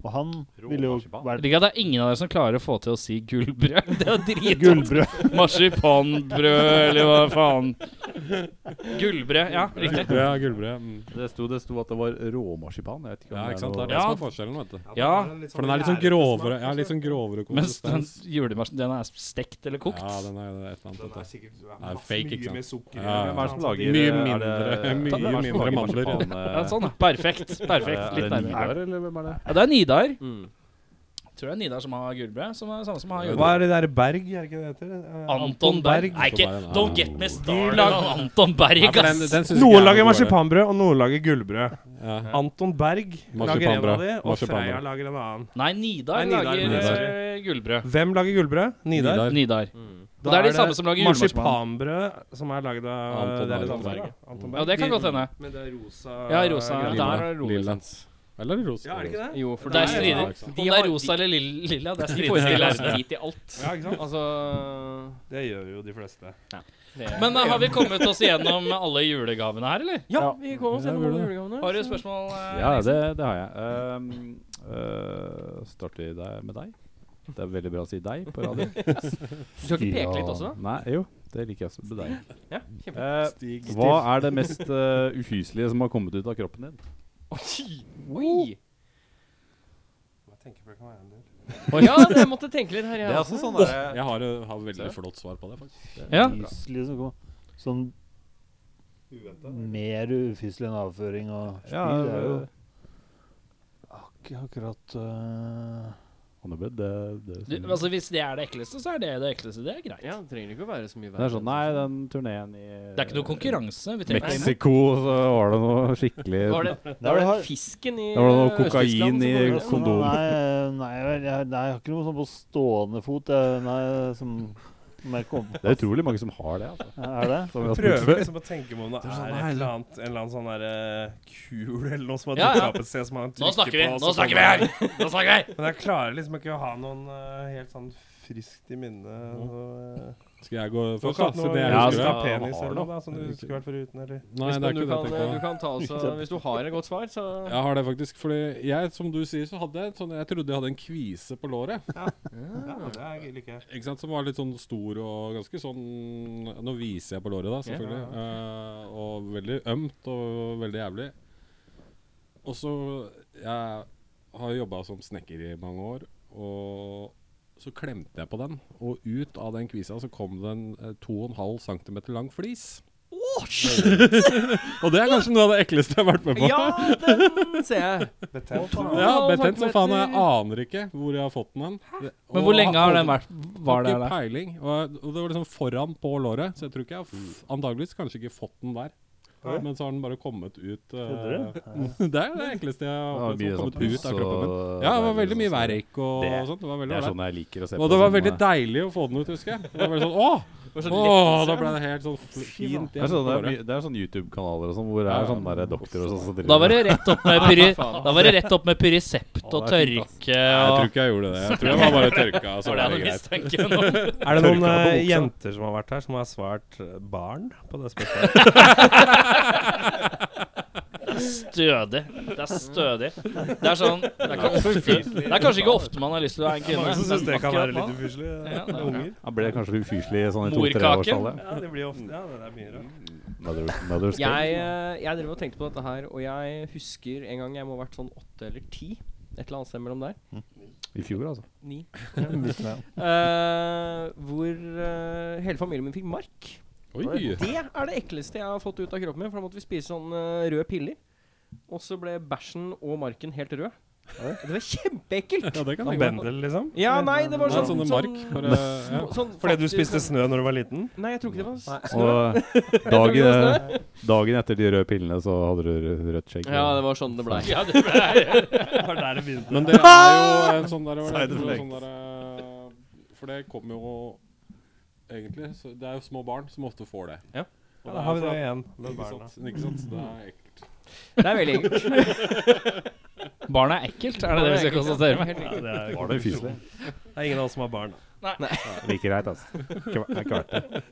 [SPEAKER 7] Og han ville jo
[SPEAKER 3] marsipan.
[SPEAKER 1] Jeg
[SPEAKER 7] vært
[SPEAKER 1] liker at det er ingen av dere som klarer å få til å si gullbrød. Det er dritvanskelig.
[SPEAKER 7] gullbrød.
[SPEAKER 1] Marsipanbrød, eller hva faen. Gullbrød, ja. Riktig.
[SPEAKER 5] Gullbrød, ja, gullbrød. Mm.
[SPEAKER 3] Det sto, det sto at det var råmarsipan. Jeg vet ikke om
[SPEAKER 5] Ja, ikke sant. Det
[SPEAKER 3] det er
[SPEAKER 5] er det
[SPEAKER 1] Ja.
[SPEAKER 5] som er forskjellen, vet du.
[SPEAKER 1] Ja,
[SPEAKER 5] For den er litt sånn grovere, ja, litt sånn grovere
[SPEAKER 1] altså. Mens den
[SPEAKER 5] konsistens.
[SPEAKER 1] julemarsen, den er stekt eller kokt.
[SPEAKER 5] Ja, den er et eller annet.
[SPEAKER 6] Den
[SPEAKER 5] vet du.
[SPEAKER 6] er sikkert det er
[SPEAKER 5] Nei,
[SPEAKER 6] masse
[SPEAKER 5] fake, ikke sant?
[SPEAKER 6] mye med sukker. i
[SPEAKER 5] Ja,
[SPEAKER 6] den,
[SPEAKER 5] Hvem er
[SPEAKER 6] sant?
[SPEAKER 5] Mye
[SPEAKER 3] er
[SPEAKER 5] mindre- mye
[SPEAKER 3] hvem er det som
[SPEAKER 5] mindre
[SPEAKER 3] lager
[SPEAKER 5] mandler?
[SPEAKER 3] marsipan, eh,
[SPEAKER 1] Ja, sånn, ja. Perfekt. perfekt.
[SPEAKER 3] er det
[SPEAKER 1] Litt nærmere.
[SPEAKER 3] Nidar, eller hvem er det?
[SPEAKER 1] Ja, det er Nidar.
[SPEAKER 2] Mm.
[SPEAKER 1] Jeg tror det er Nidar som har gullbrød. Som er samme som har
[SPEAKER 6] Hva
[SPEAKER 1] julebrød.
[SPEAKER 6] er det der Berg, er det ikke det heter? Eh,
[SPEAKER 1] Anton Berg. Nei, ikke
[SPEAKER 5] Anton Berg, ja.
[SPEAKER 1] Don't get me started on Anton
[SPEAKER 5] Nei,
[SPEAKER 1] Berg,
[SPEAKER 5] for den-
[SPEAKER 1] ass.
[SPEAKER 5] den synes ikke jeg
[SPEAKER 6] Noen
[SPEAKER 5] er
[SPEAKER 6] lager
[SPEAKER 5] noe
[SPEAKER 6] marsipanbrød, og noen lager gullbrød.
[SPEAKER 5] dårlig. Ja.
[SPEAKER 6] Anton Berg lager en
[SPEAKER 5] Marsipanbrød.
[SPEAKER 6] av de, og
[SPEAKER 5] Marsipanbrød.
[SPEAKER 6] Freya lager en annen.
[SPEAKER 1] Nei, Nidar
[SPEAKER 6] Nei, Nidar,
[SPEAKER 1] lager
[SPEAKER 5] Nidar.
[SPEAKER 1] eh, gullbrød.
[SPEAKER 6] Hvem lager gullbrød? Nidar.
[SPEAKER 5] Nidar.
[SPEAKER 1] Nidar.
[SPEAKER 12] Og det er de samme som lager julemarsipan.
[SPEAKER 6] marsipanbrød som er lagd av
[SPEAKER 5] Anton
[SPEAKER 6] det er litt
[SPEAKER 5] Berg.
[SPEAKER 6] annerledes, ja. Anton
[SPEAKER 12] Ja, det kan godt hende.
[SPEAKER 6] Men det er rosa
[SPEAKER 12] Ja, rosa,
[SPEAKER 6] grønn.
[SPEAKER 12] ja.
[SPEAKER 5] Lilla.
[SPEAKER 2] Der er det rosa.
[SPEAKER 5] Lilla. Eller rosa.
[SPEAKER 6] Ja, er det ikke det?
[SPEAKER 2] Jo, for
[SPEAKER 12] Det er
[SPEAKER 2] der-
[SPEAKER 5] Ja,
[SPEAKER 12] strider. Om det er rosa eller lilla, lilla det er
[SPEAKER 2] De
[SPEAKER 12] stridig.
[SPEAKER 2] forestiller seg drit i alt.
[SPEAKER 6] Ja, ikke sant?
[SPEAKER 2] Altså
[SPEAKER 6] Det gjør jo de fleste.
[SPEAKER 2] det.
[SPEAKER 1] [LAUGHS]
[SPEAKER 12] Men eh, har vi kommet oss gjennom alle julegavene her, eller?
[SPEAKER 2] Ja, vi kom oss
[SPEAKER 3] Ja,
[SPEAKER 2] gjennom
[SPEAKER 3] gjorde
[SPEAKER 2] alle
[SPEAKER 3] det.
[SPEAKER 2] julegavene.
[SPEAKER 12] Har du
[SPEAKER 2] så-
[SPEAKER 12] spørsmål? eh,
[SPEAKER 3] Ja,
[SPEAKER 12] Nils?
[SPEAKER 3] det, det har jeg. Um, øh, starter vi der med deg? Det er veldig bra å si deg på radio.
[SPEAKER 2] Du skal ikke peke litt også?
[SPEAKER 3] Nei, jo, det liker jeg også. Med deg.
[SPEAKER 2] Ja, kjempebra.
[SPEAKER 3] Eh,
[SPEAKER 6] Stig
[SPEAKER 3] hva er det mest øh, uhyselige som har kommet ut av kroppen din?
[SPEAKER 2] Oi!
[SPEAKER 6] Jeg tenker på det kan være en del.
[SPEAKER 2] Ja, det jeg måtte tenke litt her, jeg også.
[SPEAKER 3] sånn
[SPEAKER 5] Jeg har, eh, har veldig flott svar på det, faktisk.
[SPEAKER 12] Ja.
[SPEAKER 7] Fyselig som kom. Sånn mer ufyselig enn avføring og spyl.
[SPEAKER 3] Ja,
[SPEAKER 7] det er jo
[SPEAKER 3] øh,
[SPEAKER 7] ikke akkurat øh,
[SPEAKER 3] Honnebød, det, sånn- det,
[SPEAKER 12] Du, altså, hvis det er det ekleste, så er det det ekleste. Det er greit.
[SPEAKER 2] Ja, det trenger ikke å være så mye
[SPEAKER 3] det er
[SPEAKER 2] verre.
[SPEAKER 3] sånn, nei, den turneen i
[SPEAKER 12] Det er ikke noe konkurranse. Vi trenger ikke
[SPEAKER 3] Mexico, så var det noe skikkelig
[SPEAKER 2] Var det, da var det fisken i
[SPEAKER 3] Da var det noe
[SPEAKER 2] eh,
[SPEAKER 3] kokain
[SPEAKER 2] Øst-Tyskland som
[SPEAKER 3] i
[SPEAKER 2] kom ut.
[SPEAKER 3] kon- Kondom.
[SPEAKER 7] Nei, øh, nei, jeg, jeg, nei, jeg har ikke noe sånn på stående fot. Jeg, nei, som som jeg kom på.
[SPEAKER 3] Det er utrolig mange som har det. altså.
[SPEAKER 7] Er det?
[SPEAKER 3] Som vi har spurt
[SPEAKER 6] Prøver
[SPEAKER 3] før.
[SPEAKER 6] liksom å tenke på om det er,
[SPEAKER 3] sånn,
[SPEAKER 6] et
[SPEAKER 3] nei,
[SPEAKER 6] eller annet, en eller annen sånn derre kul eller noe som har
[SPEAKER 12] Ja,
[SPEAKER 6] dukket
[SPEAKER 12] ja.
[SPEAKER 6] opp et sted som han
[SPEAKER 12] Nå
[SPEAKER 6] trykker
[SPEAKER 12] snakker vi!
[SPEAKER 6] på, og
[SPEAKER 12] Nå
[SPEAKER 6] så
[SPEAKER 12] snakker vi
[SPEAKER 6] kommer
[SPEAKER 12] her! Nå snakker vi her!
[SPEAKER 6] Men jeg klarer liksom ikke å ha noen eh, helt sånn friskt i minne.
[SPEAKER 12] Mm.
[SPEAKER 6] noe, eh,
[SPEAKER 5] Skal jeg gå
[SPEAKER 6] Du har
[SPEAKER 5] først,
[SPEAKER 6] ikke
[SPEAKER 5] da?
[SPEAKER 6] hatt
[SPEAKER 5] Siden
[SPEAKER 6] noe
[SPEAKER 5] jeg
[SPEAKER 3] Ja,
[SPEAKER 6] husker
[SPEAKER 5] husker
[SPEAKER 6] av
[SPEAKER 5] det.
[SPEAKER 6] penis
[SPEAKER 3] Har
[SPEAKER 6] eller
[SPEAKER 3] du?
[SPEAKER 6] noe da, som du skulle vært foruten, eller?
[SPEAKER 5] Nei, det er
[SPEAKER 2] du,
[SPEAKER 5] ikke det jeg
[SPEAKER 2] kan,
[SPEAKER 5] tenker
[SPEAKER 2] du
[SPEAKER 5] på.
[SPEAKER 2] kan ta også, Hvis du har et godt svar, så
[SPEAKER 5] Jeg har det faktisk, fordi jeg, som du sier, så hadde jeg et sånn Jeg trodde jeg hadde en kvise på låret.
[SPEAKER 6] Ja, det er [LAUGHS] like.
[SPEAKER 5] Ikke sant, Som var litt sånn stor og ganske sånn Nå viser jeg på låret, da, selvfølgelig. Eh, og veldig ømt og veldig jævlig. Og så Jeg har jobba som snekker i mange år, og så klemte jeg på den. Og ut av den kvisa så kom det en eh, 2,5 cm lang flis. [LAUGHS] og det er kanskje noe av det ekleste jeg har vært med på.
[SPEAKER 2] Ja,
[SPEAKER 3] [LAUGHS]
[SPEAKER 2] den ser jeg.
[SPEAKER 6] Betent.
[SPEAKER 5] Ja, betent som faen. Jeg aner ikke hvor jeg har fått den hen. Det-
[SPEAKER 12] Men hvor
[SPEAKER 5] og-
[SPEAKER 12] lenge har den
[SPEAKER 5] og-
[SPEAKER 12] vært var der?
[SPEAKER 5] Ikke
[SPEAKER 12] da?
[SPEAKER 5] peiling. Og, og det var liksom foran på låret, så jeg tror ikke jeg har
[SPEAKER 3] Mm.
[SPEAKER 5] f antageligvis kanskje ikke fått den der. Men så har den bare kommet ut eh, [LAUGHS] Det er det enkleste jeg har opplevd.
[SPEAKER 3] sånn
[SPEAKER 5] som har kommet ut av kroppen min. Ja, det var veldig mye verk og,
[SPEAKER 3] Det-
[SPEAKER 5] sånt. Det var
[SPEAKER 3] Det
[SPEAKER 5] veldig
[SPEAKER 3] er
[SPEAKER 5] ålreit.
[SPEAKER 3] sånn jeg liker å se på.
[SPEAKER 5] Og det var
[SPEAKER 3] sånne-
[SPEAKER 5] veldig deilig å få den ut, husker jeg. Det var veldig sånn, Åh! Åh, da ble det helt sånn fl- fint
[SPEAKER 3] Det er
[SPEAKER 5] igjen.
[SPEAKER 3] sånn, det
[SPEAKER 5] på
[SPEAKER 3] er,
[SPEAKER 5] låret.
[SPEAKER 3] mye- det er sånn YouTube-kanaler og sånn, hvor det
[SPEAKER 5] Ja,
[SPEAKER 3] er
[SPEAKER 5] ja.
[SPEAKER 3] sånne der doktor og sånn som driver
[SPEAKER 12] Da var det rett opp [LAUGHS] med, pyri,
[SPEAKER 2] faen.
[SPEAKER 12] da var det rett opp med pyrisept og
[SPEAKER 3] det er fint, ass.
[SPEAKER 12] tørke
[SPEAKER 5] Jeg tror
[SPEAKER 12] og
[SPEAKER 5] ikke jeg gjorde det. Jeg tror jeg var bare altså. tørka. Så
[SPEAKER 12] Var det
[SPEAKER 5] var
[SPEAKER 12] noe
[SPEAKER 5] det greit.
[SPEAKER 12] mistanke om? [LAUGHS]
[SPEAKER 6] Er det noen
[SPEAKER 3] Tørka på
[SPEAKER 6] eh,
[SPEAKER 3] buksa.
[SPEAKER 6] jenter som har vært her, som har svart eh, barn på det spørsmålet? [LAUGHS]
[SPEAKER 12] Stødig. Det er stødig. [LAUGHS] Det er sånn Det er, ikke ofte, det er kanskje ikke ofte man har lyst til å være en kvinne.
[SPEAKER 6] Mange som
[SPEAKER 12] men
[SPEAKER 6] syns det kan
[SPEAKER 12] akkurat
[SPEAKER 6] være
[SPEAKER 12] nå-
[SPEAKER 6] litt ufyselig.
[SPEAKER 12] Ja,
[SPEAKER 6] eh,
[SPEAKER 12] det er
[SPEAKER 6] Unger.
[SPEAKER 3] Han ble kanskje ufyselig sånn i
[SPEAKER 12] Morkake.
[SPEAKER 3] to-treårsalderen.
[SPEAKER 6] Ja, det blir jo ofte Ja, det er mye rart.
[SPEAKER 3] Mother, mother
[SPEAKER 2] Jeg, eh, jeg drev og tenkte på dette her, og jeg husker en gang jeg må ha vært sånn åtte eller ti. Et eller annet sted mellom der.
[SPEAKER 3] I fjor, altså.
[SPEAKER 2] Ni. Eh, hvor eh, hele familien min fikk mark.
[SPEAKER 5] Oi!
[SPEAKER 2] Det er det ekleste jeg har fått ut av kroppen min, for da måtte vi spise sånn eh, røde piller. Og så ble bæsjen og marken helt rød. Det var kjempeekkelt!
[SPEAKER 5] Ja, det
[SPEAKER 6] Sånn
[SPEAKER 5] kan jeg godt.
[SPEAKER 6] Bendel, liksom?
[SPEAKER 2] Ja, nei, det var
[SPEAKER 5] Nei,
[SPEAKER 2] sånn,
[SPEAKER 5] sånne mark. Bare, ja.
[SPEAKER 2] sånn- sånn
[SPEAKER 6] Fordi du
[SPEAKER 2] faktisk
[SPEAKER 6] spiste
[SPEAKER 2] sånn-
[SPEAKER 6] snø når du var liten?
[SPEAKER 2] Nei, jeg tror ikke det var s- [LAUGHS]
[SPEAKER 3] Og eh, dagen, eh, dagen etter de røde pillene, så hadde du rød- rødt skjegg.
[SPEAKER 2] Ja, det var sånn det blei.
[SPEAKER 12] [LAUGHS] Ja, det ble
[SPEAKER 6] Det var der det begynte.
[SPEAKER 5] Men det er jo en sånn der,
[SPEAKER 3] Side
[SPEAKER 5] en
[SPEAKER 3] effect.
[SPEAKER 5] sånn der eh, For det kommer jo egentlig så Det er jo små barn som ofte får det.
[SPEAKER 2] Ja.
[SPEAKER 6] Ja,
[SPEAKER 5] Og
[SPEAKER 6] da har vi
[SPEAKER 5] er
[SPEAKER 6] det
[SPEAKER 5] jo
[SPEAKER 6] igjen.
[SPEAKER 5] for at- Ikke sant? Ikke sant? Så Det er ekkelt.
[SPEAKER 2] Det er veldig [LAUGHS] ekkelt.
[SPEAKER 12] Barn er ekkelt, er det det vi skal konstatere med?
[SPEAKER 6] Ja, det, er,
[SPEAKER 3] Var det ufyselig?
[SPEAKER 6] det er ingen av oss som har barn.
[SPEAKER 3] Like greit, altså. Ikke, det er ikke
[SPEAKER 2] [LAUGHS]
[SPEAKER 3] verdt det.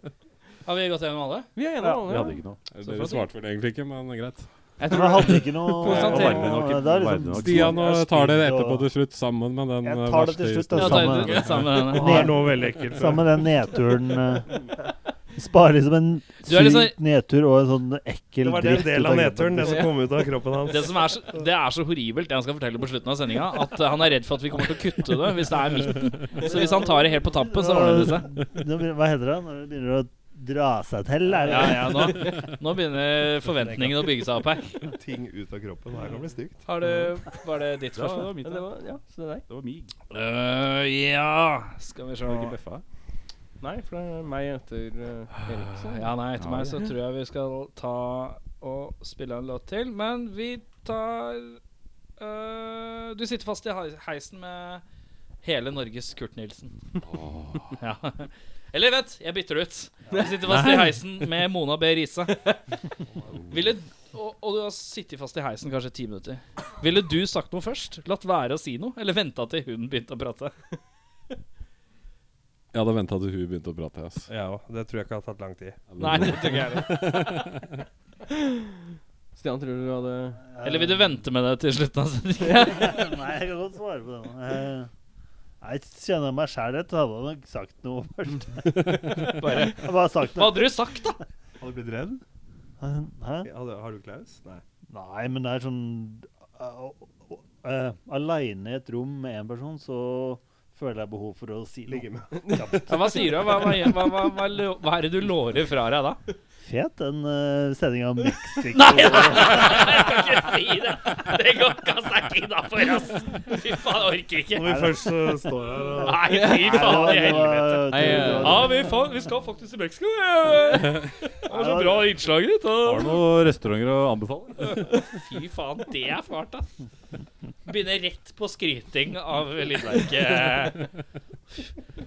[SPEAKER 12] Har vi gått gjennom alle?
[SPEAKER 2] Vi er
[SPEAKER 3] Vi
[SPEAKER 2] enige om
[SPEAKER 3] hadde
[SPEAKER 2] det.
[SPEAKER 3] ikke noe.
[SPEAKER 5] Dere svarte vel egentlig ikke, men greit.
[SPEAKER 2] Jeg
[SPEAKER 7] Men
[SPEAKER 2] tror
[SPEAKER 7] jeg hadde ikke noe
[SPEAKER 2] Konstaterer
[SPEAKER 7] Ja,
[SPEAKER 2] vi
[SPEAKER 3] nok-
[SPEAKER 7] det er liksom-
[SPEAKER 3] verden nok-
[SPEAKER 5] Stian og
[SPEAKER 7] Jeg er
[SPEAKER 5] tar dere
[SPEAKER 7] stygg, og-
[SPEAKER 5] etterpå til slutt sammen med den
[SPEAKER 7] Jeg
[SPEAKER 5] eh,
[SPEAKER 7] tar det til
[SPEAKER 5] verste
[SPEAKER 7] slutt, altså. da.
[SPEAKER 5] historien.
[SPEAKER 12] Ja, ta det sammen med henne.
[SPEAKER 6] Det er noe veldig ekkelt.
[SPEAKER 7] Sammen med den nedturen eh, Spare liksom en
[SPEAKER 12] Du er litt
[SPEAKER 7] syk
[SPEAKER 12] sånn-
[SPEAKER 7] nedtur og en sånn ekkel
[SPEAKER 6] Det var det en
[SPEAKER 7] dritt
[SPEAKER 6] del
[SPEAKER 7] ut
[SPEAKER 6] av
[SPEAKER 7] kroppen.
[SPEAKER 6] nedturen, det som kom ut av kroppen hans.
[SPEAKER 12] Det, som er så, det er så horribelt, det han skal fortelle på slutten av sendinga, at eh, han er redd for at vi kommer til å kutte det hvis det er midten. Så hvis han tar det helt på tappen, så ordner det seg.
[SPEAKER 7] Nå begynner- Hva heter det? Når det begynner å dra seg til? Er det?
[SPEAKER 12] Ja, ja, nå, nå begynner forventningene å bygge seg opp her.
[SPEAKER 6] sånn Ting ut av kroppen. Det her kan bli stygt.
[SPEAKER 12] Har du, var det ditt
[SPEAKER 3] Det
[SPEAKER 12] svar?
[SPEAKER 3] var mitt.
[SPEAKER 2] Ja, det var, ja, så det er deg.
[SPEAKER 3] Det var mig.
[SPEAKER 12] Øh, ja Skal vi se
[SPEAKER 3] Var det ikke bøffa?
[SPEAKER 2] Nei, for det er meg etter uh, Erik. Så.
[SPEAKER 12] Ja, nei, etter meg så tror jeg vi skal ta og spille en låt til. Men vi tar øh, Du sitter fast i hei- heisen med hele Norges Kurt Nilsen. [LAUGHS] ja. Eller vent, jeg bytter det ut. Jeg sitter fast [LAUGHS] i heisen med Mona B. [LAUGHS] Riise. Ville og, og du har sittet fast i heisen kanskje ti minutter. Ville du sagt noe først? Latt være å si noe? Eller venta til hun begynte å prate?
[SPEAKER 5] Jeg hadde venta til hun begynte å prate. ass.
[SPEAKER 6] Ja, og det tror jeg ikke har tatt lang tid.
[SPEAKER 12] Nei, det tror ikke jeg [LAUGHS] heller.
[SPEAKER 2] Stian, tror du du hadde
[SPEAKER 12] Eller vil du vente med det til slutten? Altså?
[SPEAKER 7] [LAUGHS]
[SPEAKER 12] [LAUGHS]
[SPEAKER 7] Nei, jeg kan godt svare på den. Eh, Jeg kjenner meg sjæl rett, hadde jeg nok sagt noe
[SPEAKER 12] [LAUGHS]
[SPEAKER 7] først.
[SPEAKER 12] Bare,
[SPEAKER 7] Jeg hadde bare sagt
[SPEAKER 12] hva
[SPEAKER 7] noe.
[SPEAKER 12] hadde du sagt, da?
[SPEAKER 6] Har du blitt redd?
[SPEAKER 7] sånn, Hæ?
[SPEAKER 6] Har du, har du Klaus? Nei.
[SPEAKER 7] Nei, men det er sånn uh, uh, uh, Aleine i et rom med én person, så føler jeg behov for å si noe.
[SPEAKER 6] Ligge med
[SPEAKER 12] Ja, hva sier du? Hva, hva, hva, hva, hva, lo- hva er det du lårer fra deg da? [LAUGHS]
[SPEAKER 7] Fet den uh, sendinga om Mexico.
[SPEAKER 12] Nei, nei, nei, jeg kan ikke si det! Det går ikke an å snakke innafor, ass. Fy faen, jeg orker ikke.
[SPEAKER 6] Når vi først eh, står her og
[SPEAKER 12] Nei, fy faen i helvete.
[SPEAKER 3] eh,
[SPEAKER 12] Ja,
[SPEAKER 7] helvete.
[SPEAKER 12] vi, fa vi skal faktisk til Mexico. Det var så bra innslaget ditt.
[SPEAKER 3] Har
[SPEAKER 12] Og...
[SPEAKER 3] du noen restauranter å anbefale?
[SPEAKER 12] Fy faen, det er fælt, ass. Begynner rett på skryting av lydverket.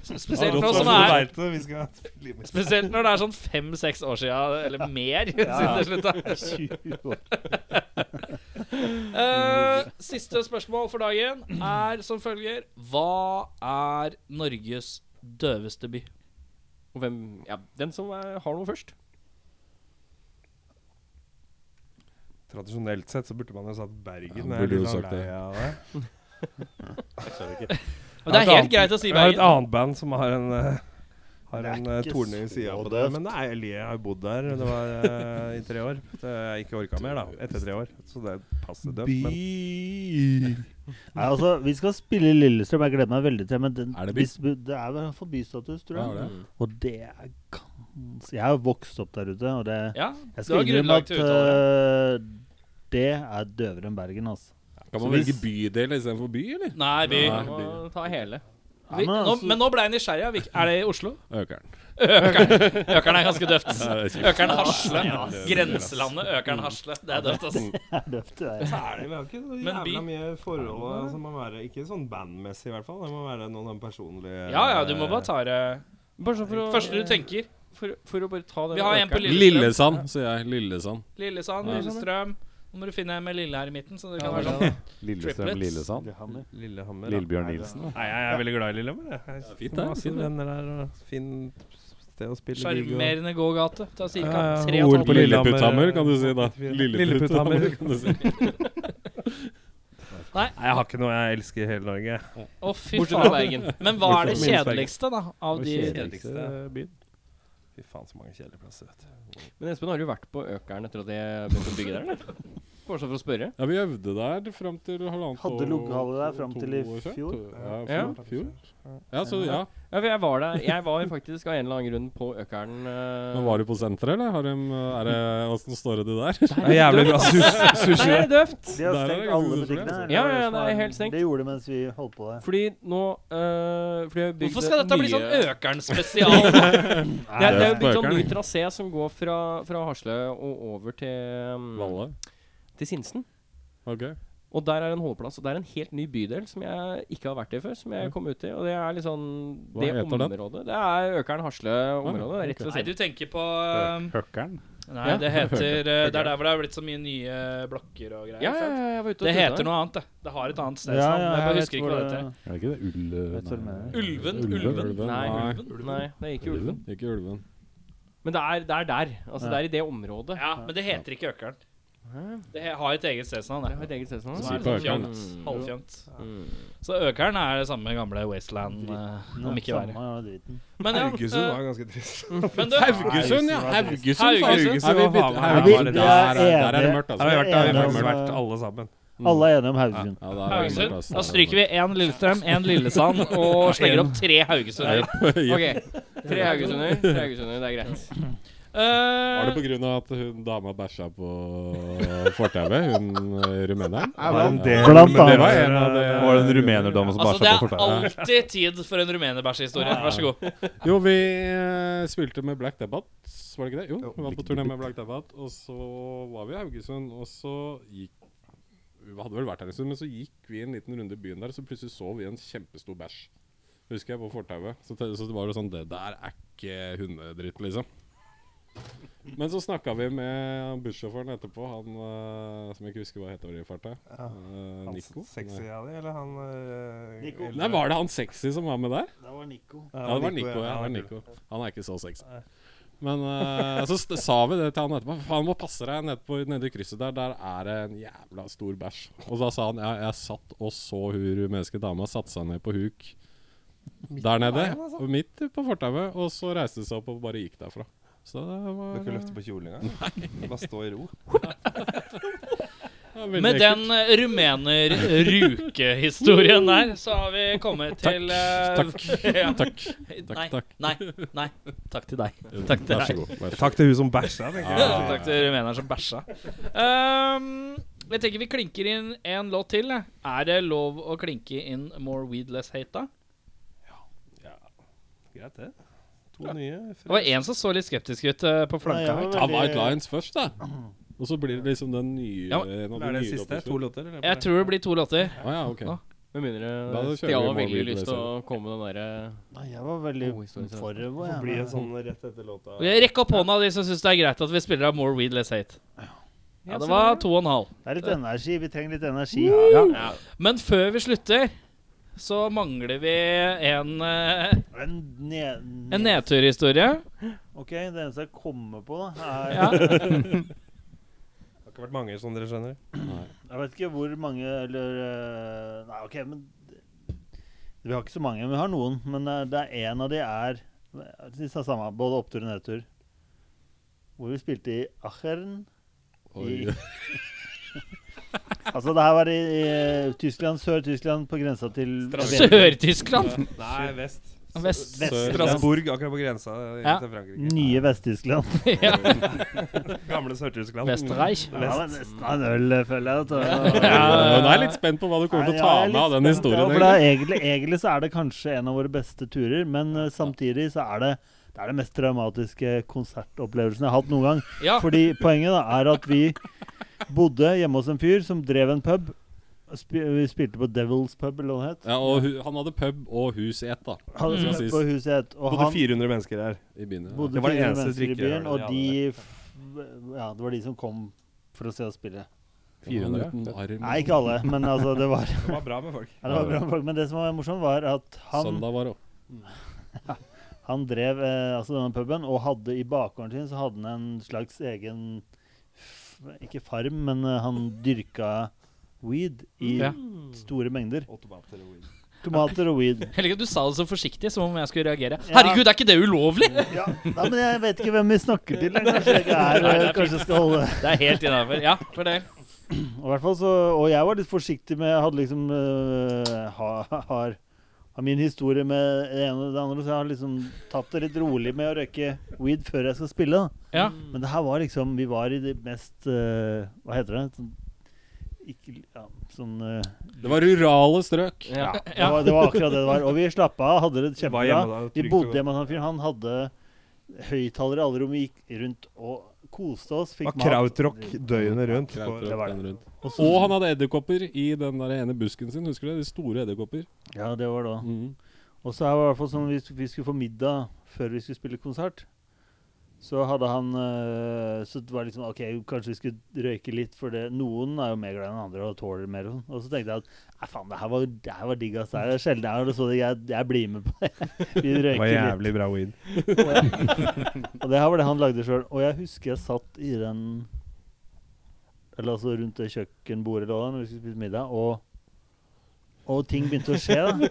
[SPEAKER 12] Spesielt nå som det er
[SPEAKER 6] vet det, vi skal spille med.
[SPEAKER 12] Spesielt når det er sånn fem-seks år sia, eller mer, siden det slutta.
[SPEAKER 7] 20 år.
[SPEAKER 12] Eh, siste spørsmål for dagen er som følger Hva er Norges døveste by?
[SPEAKER 2] Og hvem Ja, den som er, har noe først.
[SPEAKER 6] Tradisjonelt sett så burde man jo sagt Bergen.
[SPEAKER 5] Ja,
[SPEAKER 6] Jeg er
[SPEAKER 5] burde
[SPEAKER 6] litt
[SPEAKER 5] jo
[SPEAKER 6] sånn
[SPEAKER 5] sagt
[SPEAKER 6] lei
[SPEAKER 5] det.
[SPEAKER 6] av det.
[SPEAKER 12] Og
[SPEAKER 6] Jeg har
[SPEAKER 12] det er
[SPEAKER 6] et
[SPEAKER 12] helt greit å si
[SPEAKER 6] Jeg har et
[SPEAKER 12] Bergen.
[SPEAKER 6] annet band som har en eh,
[SPEAKER 7] Det
[SPEAKER 6] har
[SPEAKER 7] er
[SPEAKER 6] en eh,
[SPEAKER 7] ikke
[SPEAKER 6] torne i sida
[SPEAKER 7] så
[SPEAKER 6] på det.
[SPEAKER 7] døvt.
[SPEAKER 6] Men nei, jeg ler. jeg har jo bodd der det var eh, i tre år. Det, jeg ikke orka mer, da. Etter tre år. Så det passer dømt. Men
[SPEAKER 7] Nei, altså, Vi skal spille i Lillestrøm, jeg gleder meg veldig til det. Men den,
[SPEAKER 5] Er det by?
[SPEAKER 7] hvis, det er vel for bystatus, tror jeg.
[SPEAKER 5] Ja, det er
[SPEAKER 7] Og det er ganske Jeg har vokst opp der ute, og det
[SPEAKER 12] Ja,
[SPEAKER 7] Jeg
[SPEAKER 12] du har
[SPEAKER 7] skal innrømme
[SPEAKER 12] grunnlag
[SPEAKER 7] at
[SPEAKER 12] til å uttale
[SPEAKER 7] øh,
[SPEAKER 12] deg.
[SPEAKER 7] det er døvere enn Bergen, altså.
[SPEAKER 5] Kan man velge bydel istedenfor by, eller?
[SPEAKER 12] Nei, by.
[SPEAKER 5] Nei,
[SPEAKER 2] Må ta hele.
[SPEAKER 12] Vi,
[SPEAKER 7] Ja, men
[SPEAKER 12] nå,
[SPEAKER 7] altså-
[SPEAKER 12] men nå ble jeg nysgjerrig. ja. Hvil- Er det i Oslo?
[SPEAKER 5] Økeren.
[SPEAKER 12] Økeren. Økeren er ganske døvt.
[SPEAKER 5] Ja,
[SPEAKER 12] Økeren Hasle. Grenselandet Økeren Hasle. Det er døvt, ass.
[SPEAKER 7] Det er døvt, det er.
[SPEAKER 6] særlig. Vi har ikke så
[SPEAKER 12] Men
[SPEAKER 6] jævla
[SPEAKER 12] by-
[SPEAKER 6] mye forhold eh, som må være Ikke sånn bandmessig, i hvert fall. Det må være noen av de personlige
[SPEAKER 12] Ja ja, du må bare ta det
[SPEAKER 2] Bare sånn for å
[SPEAKER 12] første du tenker.
[SPEAKER 2] For, for å bare ta den
[SPEAKER 12] Vi har en på
[SPEAKER 2] økeren.
[SPEAKER 12] Lillestrøm.
[SPEAKER 5] Lillesand, sier jeg. Lillesand.
[SPEAKER 12] Lillesand,
[SPEAKER 5] Ja.
[SPEAKER 12] Lillestrøm. Nå må du finne en med Lille her i midten, så det kan
[SPEAKER 2] Ja,
[SPEAKER 12] være
[SPEAKER 2] det er
[SPEAKER 12] sånn.
[SPEAKER 3] Lillestrøm,
[SPEAKER 12] Triplets.
[SPEAKER 3] Lillesand.
[SPEAKER 7] Lillehammer.
[SPEAKER 6] Lillehammer. da.
[SPEAKER 3] Lillebjørn Nilsen. da.
[SPEAKER 6] Nei, jeg er veldig glad i Lillehammer. jeg. Jeg
[SPEAKER 5] fint
[SPEAKER 6] har
[SPEAKER 5] der,
[SPEAKER 6] Masse
[SPEAKER 5] fint der.
[SPEAKER 6] venner der og fint sted å spille gig og-
[SPEAKER 12] Sjarmerende gågate. Ta ca.
[SPEAKER 6] Ja, ja,
[SPEAKER 12] tre og
[SPEAKER 6] ord
[SPEAKER 12] et
[SPEAKER 6] på Lillehammer.
[SPEAKER 12] halvt
[SPEAKER 6] eh,
[SPEAKER 5] Lilleputthammer, kan du si da.
[SPEAKER 6] Lilleputthammer.
[SPEAKER 5] kan du si.
[SPEAKER 6] Nei, jeg har ikke noe jeg elsker i hele Norge.
[SPEAKER 12] Å, fy
[SPEAKER 2] Bortsett fra
[SPEAKER 12] faen.
[SPEAKER 2] Bergen.
[SPEAKER 12] Men hva er det kjedeligste, da? Av de
[SPEAKER 6] Kjedeligste byen. Fy faen, så mange kjedelige plasser. vet du.
[SPEAKER 2] Men Espen, har du vært på Økeren etter at de begynte å bygge der, eller?
[SPEAKER 12] [LAUGHS]
[SPEAKER 2] Bare sånn for å spørre.
[SPEAKER 5] Ja, vi øvde der fram til halvannet
[SPEAKER 7] Hadde
[SPEAKER 5] år-
[SPEAKER 7] lokale der fram
[SPEAKER 5] to
[SPEAKER 7] til i
[SPEAKER 5] år siden.
[SPEAKER 7] fjor?
[SPEAKER 5] Ja,
[SPEAKER 2] Ja.
[SPEAKER 5] fjor. fjor. Ja, så ja.
[SPEAKER 2] Ja, for jeg var der. Jeg var faktisk av en eller annen grunn på Økeren. eh,
[SPEAKER 5] Men var du på senteret, eller? Har dem, er det, hvordan står det der?
[SPEAKER 6] Det er jævlig [LAUGHS] bra sus-
[SPEAKER 2] Det
[SPEAKER 6] sushi.
[SPEAKER 2] er døvt!
[SPEAKER 7] De har
[SPEAKER 5] Der er det
[SPEAKER 7] stengt
[SPEAKER 5] ganske
[SPEAKER 7] alle
[SPEAKER 5] stort,
[SPEAKER 7] butikkene.
[SPEAKER 5] altså.
[SPEAKER 7] eller
[SPEAKER 2] Ja,
[SPEAKER 7] hva
[SPEAKER 2] ja,
[SPEAKER 7] som
[SPEAKER 2] det er helt stengt.
[SPEAKER 7] Det gjorde det mens vi holdt på der.
[SPEAKER 2] Fordi nå eh, fordi jeg bygde
[SPEAKER 12] Hvorfor skal dette bli sånn
[SPEAKER 2] nye-
[SPEAKER 12] Økern-spesial?
[SPEAKER 6] [LAUGHS]
[SPEAKER 2] Det er, det er jo
[SPEAKER 5] Nei,
[SPEAKER 2] bygd sånn
[SPEAKER 5] Økeren.
[SPEAKER 2] ny trasé som går fra, fra Hasle og over til, um,
[SPEAKER 5] Valle.
[SPEAKER 2] til Sinsen.
[SPEAKER 5] Ok.
[SPEAKER 2] Og der er en holdeplass. Og det er en helt ny bydel som jeg ikke har vært i før. Som jeg kom ut i Og det er liksom
[SPEAKER 5] Hva
[SPEAKER 2] det
[SPEAKER 5] heter den?
[SPEAKER 2] området. Det er Økeren-Hasle-området. Rett ved
[SPEAKER 12] Nei,
[SPEAKER 2] siden.
[SPEAKER 12] du tenker på um,
[SPEAKER 3] Høkkeren.
[SPEAKER 12] Nei, det heter uh, Det er der hvor det er blitt så mye nye blokker og greier.
[SPEAKER 2] Ja, ja,
[SPEAKER 12] sant?
[SPEAKER 2] ja, jeg var ute og
[SPEAKER 12] Det
[SPEAKER 2] tulla
[SPEAKER 12] heter
[SPEAKER 2] der.
[SPEAKER 12] noe annet, det. Det har et annet stedsnavn. men jeg bare husker ikke hva det heter.
[SPEAKER 3] Er det ikke det? Ull... eh,
[SPEAKER 7] Vet du hva du mener?
[SPEAKER 12] Ulven?
[SPEAKER 5] Ulven,
[SPEAKER 12] Ulven?
[SPEAKER 5] ulven.
[SPEAKER 2] Nei,
[SPEAKER 5] Nei.
[SPEAKER 2] ulven. Nei, det er ikke Ulven.
[SPEAKER 5] Ikke ulven.
[SPEAKER 2] Men det er, det er der. Altså,
[SPEAKER 7] Ja.
[SPEAKER 2] det er i det området.
[SPEAKER 12] Ja, men det heter ikke Økern.
[SPEAKER 2] Hæ?
[SPEAKER 12] Det he- har et eget
[SPEAKER 2] Det har
[SPEAKER 12] stedsnavn, det.
[SPEAKER 2] et eget stedsnavn.
[SPEAKER 12] Som
[SPEAKER 5] Si
[SPEAKER 12] er
[SPEAKER 5] på
[SPEAKER 12] sånn
[SPEAKER 5] Økern.
[SPEAKER 12] fjomt. Halvfjomt. Så Økern er det samme gamle Wasteland, uh, om ikke verre.
[SPEAKER 7] Samme driten.
[SPEAKER 12] Men ja,
[SPEAKER 6] Haugesund
[SPEAKER 12] uh,
[SPEAKER 6] var ganske trist.
[SPEAKER 12] men du
[SPEAKER 5] Haugesund, ja. Haugesund. faen.
[SPEAKER 12] Haugesund.
[SPEAKER 5] Nei, vi bytter-
[SPEAKER 6] Nei,
[SPEAKER 7] vi-
[SPEAKER 5] Haugesund.
[SPEAKER 7] vi er
[SPEAKER 5] Der er- der er det
[SPEAKER 7] enige.
[SPEAKER 5] mørkt,
[SPEAKER 6] Ja, vi har
[SPEAKER 5] altså.
[SPEAKER 6] vært der, vi har
[SPEAKER 7] Enige om,
[SPEAKER 6] faktisk vært
[SPEAKER 7] eh,
[SPEAKER 6] alle sammen.
[SPEAKER 7] Alle er enige om Haugesund.
[SPEAKER 5] Ja, der er det mørkt,
[SPEAKER 12] Haugesund.
[SPEAKER 5] altså.
[SPEAKER 12] Da
[SPEAKER 5] [LAUGHS]
[SPEAKER 12] stryker vi én Lillestrøm, én
[SPEAKER 2] [LAUGHS]
[SPEAKER 12] Lillesand og slenger opp tre Haugesunder.
[SPEAKER 2] Ok. Tre Haugesunder. Tre Haugesunder, det er greit.
[SPEAKER 5] Var det
[SPEAKER 12] Eh,
[SPEAKER 5] på grunn av at hun dama bæsja på fortauet, hun eh, rumeneren?
[SPEAKER 6] Var en del,
[SPEAKER 7] Blant
[SPEAKER 6] men det
[SPEAKER 7] annet.
[SPEAKER 6] var en av de
[SPEAKER 3] Var det en rumenerdame som
[SPEAKER 12] altså,
[SPEAKER 3] bæsja
[SPEAKER 12] det
[SPEAKER 3] på
[SPEAKER 12] er
[SPEAKER 3] fortauet?
[SPEAKER 12] alltid tid for en rumenerbæsjehistorie. Vær så god.
[SPEAKER 5] Jo, vi eh, spilte med Black Debate, var det ikke det? Jo, vi var på turné med Black Debate, og så var vi i Haugesund, og så gikk Vi hadde vel vært her en stund, men så gikk vi en liten runde i byen der, og så plutselig så vi en kjempestor bæsj. husker jeg, på fortauet. Så, te- så det var jo sånn Det der er ikke hundedritt, liksom. Men så snakka vi med bussjåføren etterpå, han eh, som jeg ikke husker hva heter i farta.
[SPEAKER 6] Ja.
[SPEAKER 5] Eh,
[SPEAKER 6] Han
[SPEAKER 5] Nico?
[SPEAKER 6] sexy
[SPEAKER 5] Nei.
[SPEAKER 6] av de, eller han eh,
[SPEAKER 7] Nico.
[SPEAKER 6] eldre?
[SPEAKER 5] Nei, var det han sexy som var med der?
[SPEAKER 7] Det var Nico.
[SPEAKER 5] Ja, det var Nico. Ja, det var Nico. Han er ikke så sexy. Men eh, så st- sa vi det til han etterpå. Faen, må passe deg nede, på, nede i krysset der. Der er det en jævla stor bæsj. Og da sa han jeg, jeg satt og så hun rumenske dama satte seg ned på huk der nede. og Midt på fortauet. Og så reiste hun seg opp og bare gikk derfra. Så det
[SPEAKER 6] Du
[SPEAKER 5] var,
[SPEAKER 6] kan ikke løfte på kjolen engang? Bare stå i ro?
[SPEAKER 5] det var veldig
[SPEAKER 12] Med
[SPEAKER 5] ekkelt.
[SPEAKER 12] den eh, rumener-ruke-historien der, så har vi kommet til eh,
[SPEAKER 5] Takk.
[SPEAKER 12] [LAUGHS] ja.
[SPEAKER 5] Takk.
[SPEAKER 12] Nei,
[SPEAKER 5] takk.
[SPEAKER 12] nei, nei. Takk til deg. Takk til
[SPEAKER 5] Vær så
[SPEAKER 12] deg.
[SPEAKER 5] god. Vær så god.
[SPEAKER 6] Takk til hun som bæsja, tenker
[SPEAKER 12] Ja,
[SPEAKER 6] jeg.
[SPEAKER 12] [LAUGHS] takk til rumeneren som bæsja. Ehm, jeg tenker vi klinker inn en låt til. jeg. Er det lov å klinke inn More Weed Less Hate, da?
[SPEAKER 6] Greit, det. To nye.
[SPEAKER 12] Det var en som så litt skeptisk ut eh, på flanka.
[SPEAKER 7] Nei, jeg
[SPEAKER 12] her.
[SPEAKER 7] var
[SPEAKER 5] Ta
[SPEAKER 7] veldig-
[SPEAKER 5] White Lions først, da. Og så blir det liksom den nye
[SPEAKER 12] Ja,
[SPEAKER 5] en av de
[SPEAKER 6] Er det
[SPEAKER 5] nye
[SPEAKER 6] siste? To
[SPEAKER 5] låtene.
[SPEAKER 6] låter? eller?
[SPEAKER 12] Jeg tror det blir to låter.
[SPEAKER 5] Å ja, ok.
[SPEAKER 12] Nå.
[SPEAKER 1] Med
[SPEAKER 5] Da
[SPEAKER 1] mindre
[SPEAKER 5] kjører
[SPEAKER 1] Stian
[SPEAKER 5] vi
[SPEAKER 1] har veldig
[SPEAKER 5] Morbid
[SPEAKER 1] lyst til å
[SPEAKER 5] Laser.
[SPEAKER 1] komme med den derre
[SPEAKER 7] Nei, jeg var veldig
[SPEAKER 1] God historie, så.
[SPEAKER 7] forover.
[SPEAKER 6] Det
[SPEAKER 7] jeg.
[SPEAKER 6] blir en sånn rett etter låta.
[SPEAKER 12] Rekk opp hånda, de som syns det er greit at vi spiller av More Weed Less Hate. Ja, det var to og en halv.
[SPEAKER 7] Det er litt energi. Vi trenger litt energi.
[SPEAKER 12] Ja. Men før vi slutter, så mangler vi en, eh,
[SPEAKER 7] En, ned,
[SPEAKER 12] en nedturhistorie.
[SPEAKER 7] OK, det eneste jeg kommer på, da, er
[SPEAKER 12] Ja.
[SPEAKER 6] Det har ikke vært mange, som dere skjønner.
[SPEAKER 7] Jeg vet ikke hvor mange eller eh, Nei, OK, men Vi har ikke så mange, men vi har noen. Men eh, det er én av de er disse er samme, både opptur og nedtur. Hvor vi spilte i Achern. I,
[SPEAKER 5] Oi.
[SPEAKER 7] [LAUGHS]
[SPEAKER 5] [LAUGHS]
[SPEAKER 7] altså, det her var i, i eh, Tyskland, Sør-Tyskland, på grensa til
[SPEAKER 12] Sør-Tyskland.
[SPEAKER 6] Nei, vest.
[SPEAKER 12] Vest-
[SPEAKER 7] Vest-
[SPEAKER 6] Strasbourg, akkurat på grensa eh,
[SPEAKER 12] Ja.
[SPEAKER 6] til Frankrike.
[SPEAKER 7] Nye Vest-Tyskland.
[SPEAKER 12] Ja.
[SPEAKER 6] Gamle Sør-Tyskland.
[SPEAKER 12] Vestreich.
[SPEAKER 7] Ja, men nesten av en øl, føler jeg. at-
[SPEAKER 5] Ja, nå er jeg litt spent på hva du kommer til å
[SPEAKER 7] Nei,
[SPEAKER 5] ta
[SPEAKER 7] jeg er
[SPEAKER 5] med
[SPEAKER 7] litt
[SPEAKER 5] av den
[SPEAKER 7] spent, ja,
[SPEAKER 5] historien.
[SPEAKER 7] for det er
[SPEAKER 5] egentlig.
[SPEAKER 7] egentlig, egentlig så er det kanskje en av våre beste turer, men eh, samtidig så er det det er den mest traumatiske konsertopplevelsen jeg har hatt noen gang.
[SPEAKER 12] Ja.
[SPEAKER 7] Fordi poenget da er at vi bodde hjemme hos en fyr som drev en pub. Spi vi spilte på Devil's Pub, eller hva det het.
[SPEAKER 5] Ja, og hu, han hadde pub og hus i ett, da.
[SPEAKER 7] Han
[SPEAKER 6] Mm.
[SPEAKER 5] skal
[SPEAKER 7] bodde
[SPEAKER 5] sies.
[SPEAKER 7] på huset i ett,
[SPEAKER 6] Det
[SPEAKER 7] og
[SPEAKER 6] bodde
[SPEAKER 7] han
[SPEAKER 6] 400 mennesker her.
[SPEAKER 5] I byen. ja.
[SPEAKER 7] bodde
[SPEAKER 6] Det var det
[SPEAKER 7] fire
[SPEAKER 6] eneste
[SPEAKER 7] mennesker i
[SPEAKER 6] drikkejølet
[SPEAKER 7] byen, og
[SPEAKER 6] de
[SPEAKER 7] de
[SPEAKER 6] hadde
[SPEAKER 7] f- Ja, det var de som kom for å se oss spille.
[SPEAKER 5] 400 uten arm.
[SPEAKER 7] Nei, ikke alle, men altså, det var,
[SPEAKER 6] Det var bra med folk.
[SPEAKER 7] ja, det var bra folk. Men det som var morsomt, var at han
[SPEAKER 5] Søndag var det også.
[SPEAKER 7] Han drev eh, altså denne puben, og hadde i bakgården sin så hadde han en slags egen f- Ikke farm, men eh, han dyrka weed i
[SPEAKER 12] Ja.
[SPEAKER 7] store mengder.
[SPEAKER 6] Og tomater og weed.
[SPEAKER 7] Tomater og
[SPEAKER 6] [LAUGHS]
[SPEAKER 7] weed.
[SPEAKER 12] Eller du sa det så forsiktig, som om jeg skulle reagere.
[SPEAKER 7] Ja. Mm,
[SPEAKER 12] Herregud, er ikke det ulovlig?
[SPEAKER 7] Ja, Nei, men jeg vet ikke hvem vi snakker til. eller Kanskje jeg ikke er, eh, kanskje jeg skal holde
[SPEAKER 12] Det er helt innafor. Ja, for det.
[SPEAKER 7] Og, i hvert fall så, og jeg var litt forsiktig med Jeg hadde liksom eh, ha, har, har min historie med det ene og det andre, så jeg har liksom tatt det litt rolig med å røyke weed før jeg skal spille. da
[SPEAKER 12] Ja.
[SPEAKER 7] Men det her var liksom Vi var i det mest eh, Hva heter det? Sånn, ikke, ja, sånn eh,
[SPEAKER 5] Det var rurale strøk.
[SPEAKER 1] Ja.
[SPEAKER 7] det, var, det var akkurat det det var. Og vi slappa av, hadde det
[SPEAKER 6] Var
[SPEAKER 7] kjempebra.
[SPEAKER 6] hjemme da, trygt
[SPEAKER 7] Vi
[SPEAKER 6] og
[SPEAKER 7] bodde
[SPEAKER 6] godt.
[SPEAKER 7] hjemme hos han fyren. Han hadde høyttalere i alle rom. Vi gikk rundt og koste oss.
[SPEAKER 6] Det
[SPEAKER 7] Fikk
[SPEAKER 6] var krautrock døgnet rundt.
[SPEAKER 5] Krautrock
[SPEAKER 7] det var
[SPEAKER 5] den rundt.
[SPEAKER 7] mat. Og, så,
[SPEAKER 5] Og han hadde edderkopper i den der ene busken sin. Husker du det? De store edderkopper.
[SPEAKER 7] ja, det var da.
[SPEAKER 5] Mhm.
[SPEAKER 7] Og så er det i hvert fall sånn vi, vi skulle få middag før vi skulle spille konsert. Så hadde han eh, Så det var liksom OK, kanskje vi skulle røyke litt, for det, noen er jo mer glad enn andre og tåler mer. Og, sånn. og så tenkte jeg at nei, faen, det her var, det her var digg, ass. Det er sjelden jeg har det så digg. Jeg, jeg blir med på det. [LAUGHS] Vi
[SPEAKER 6] Det var
[SPEAKER 7] røyker litt.
[SPEAKER 6] jævlig bra weed.
[SPEAKER 7] Og det her var det han lagde sjøl. Og jeg husker jeg satt i den Eller altså rundt det kjøkkenbordet da, når vi skulle spise middag, og og ting begynte å skje. da.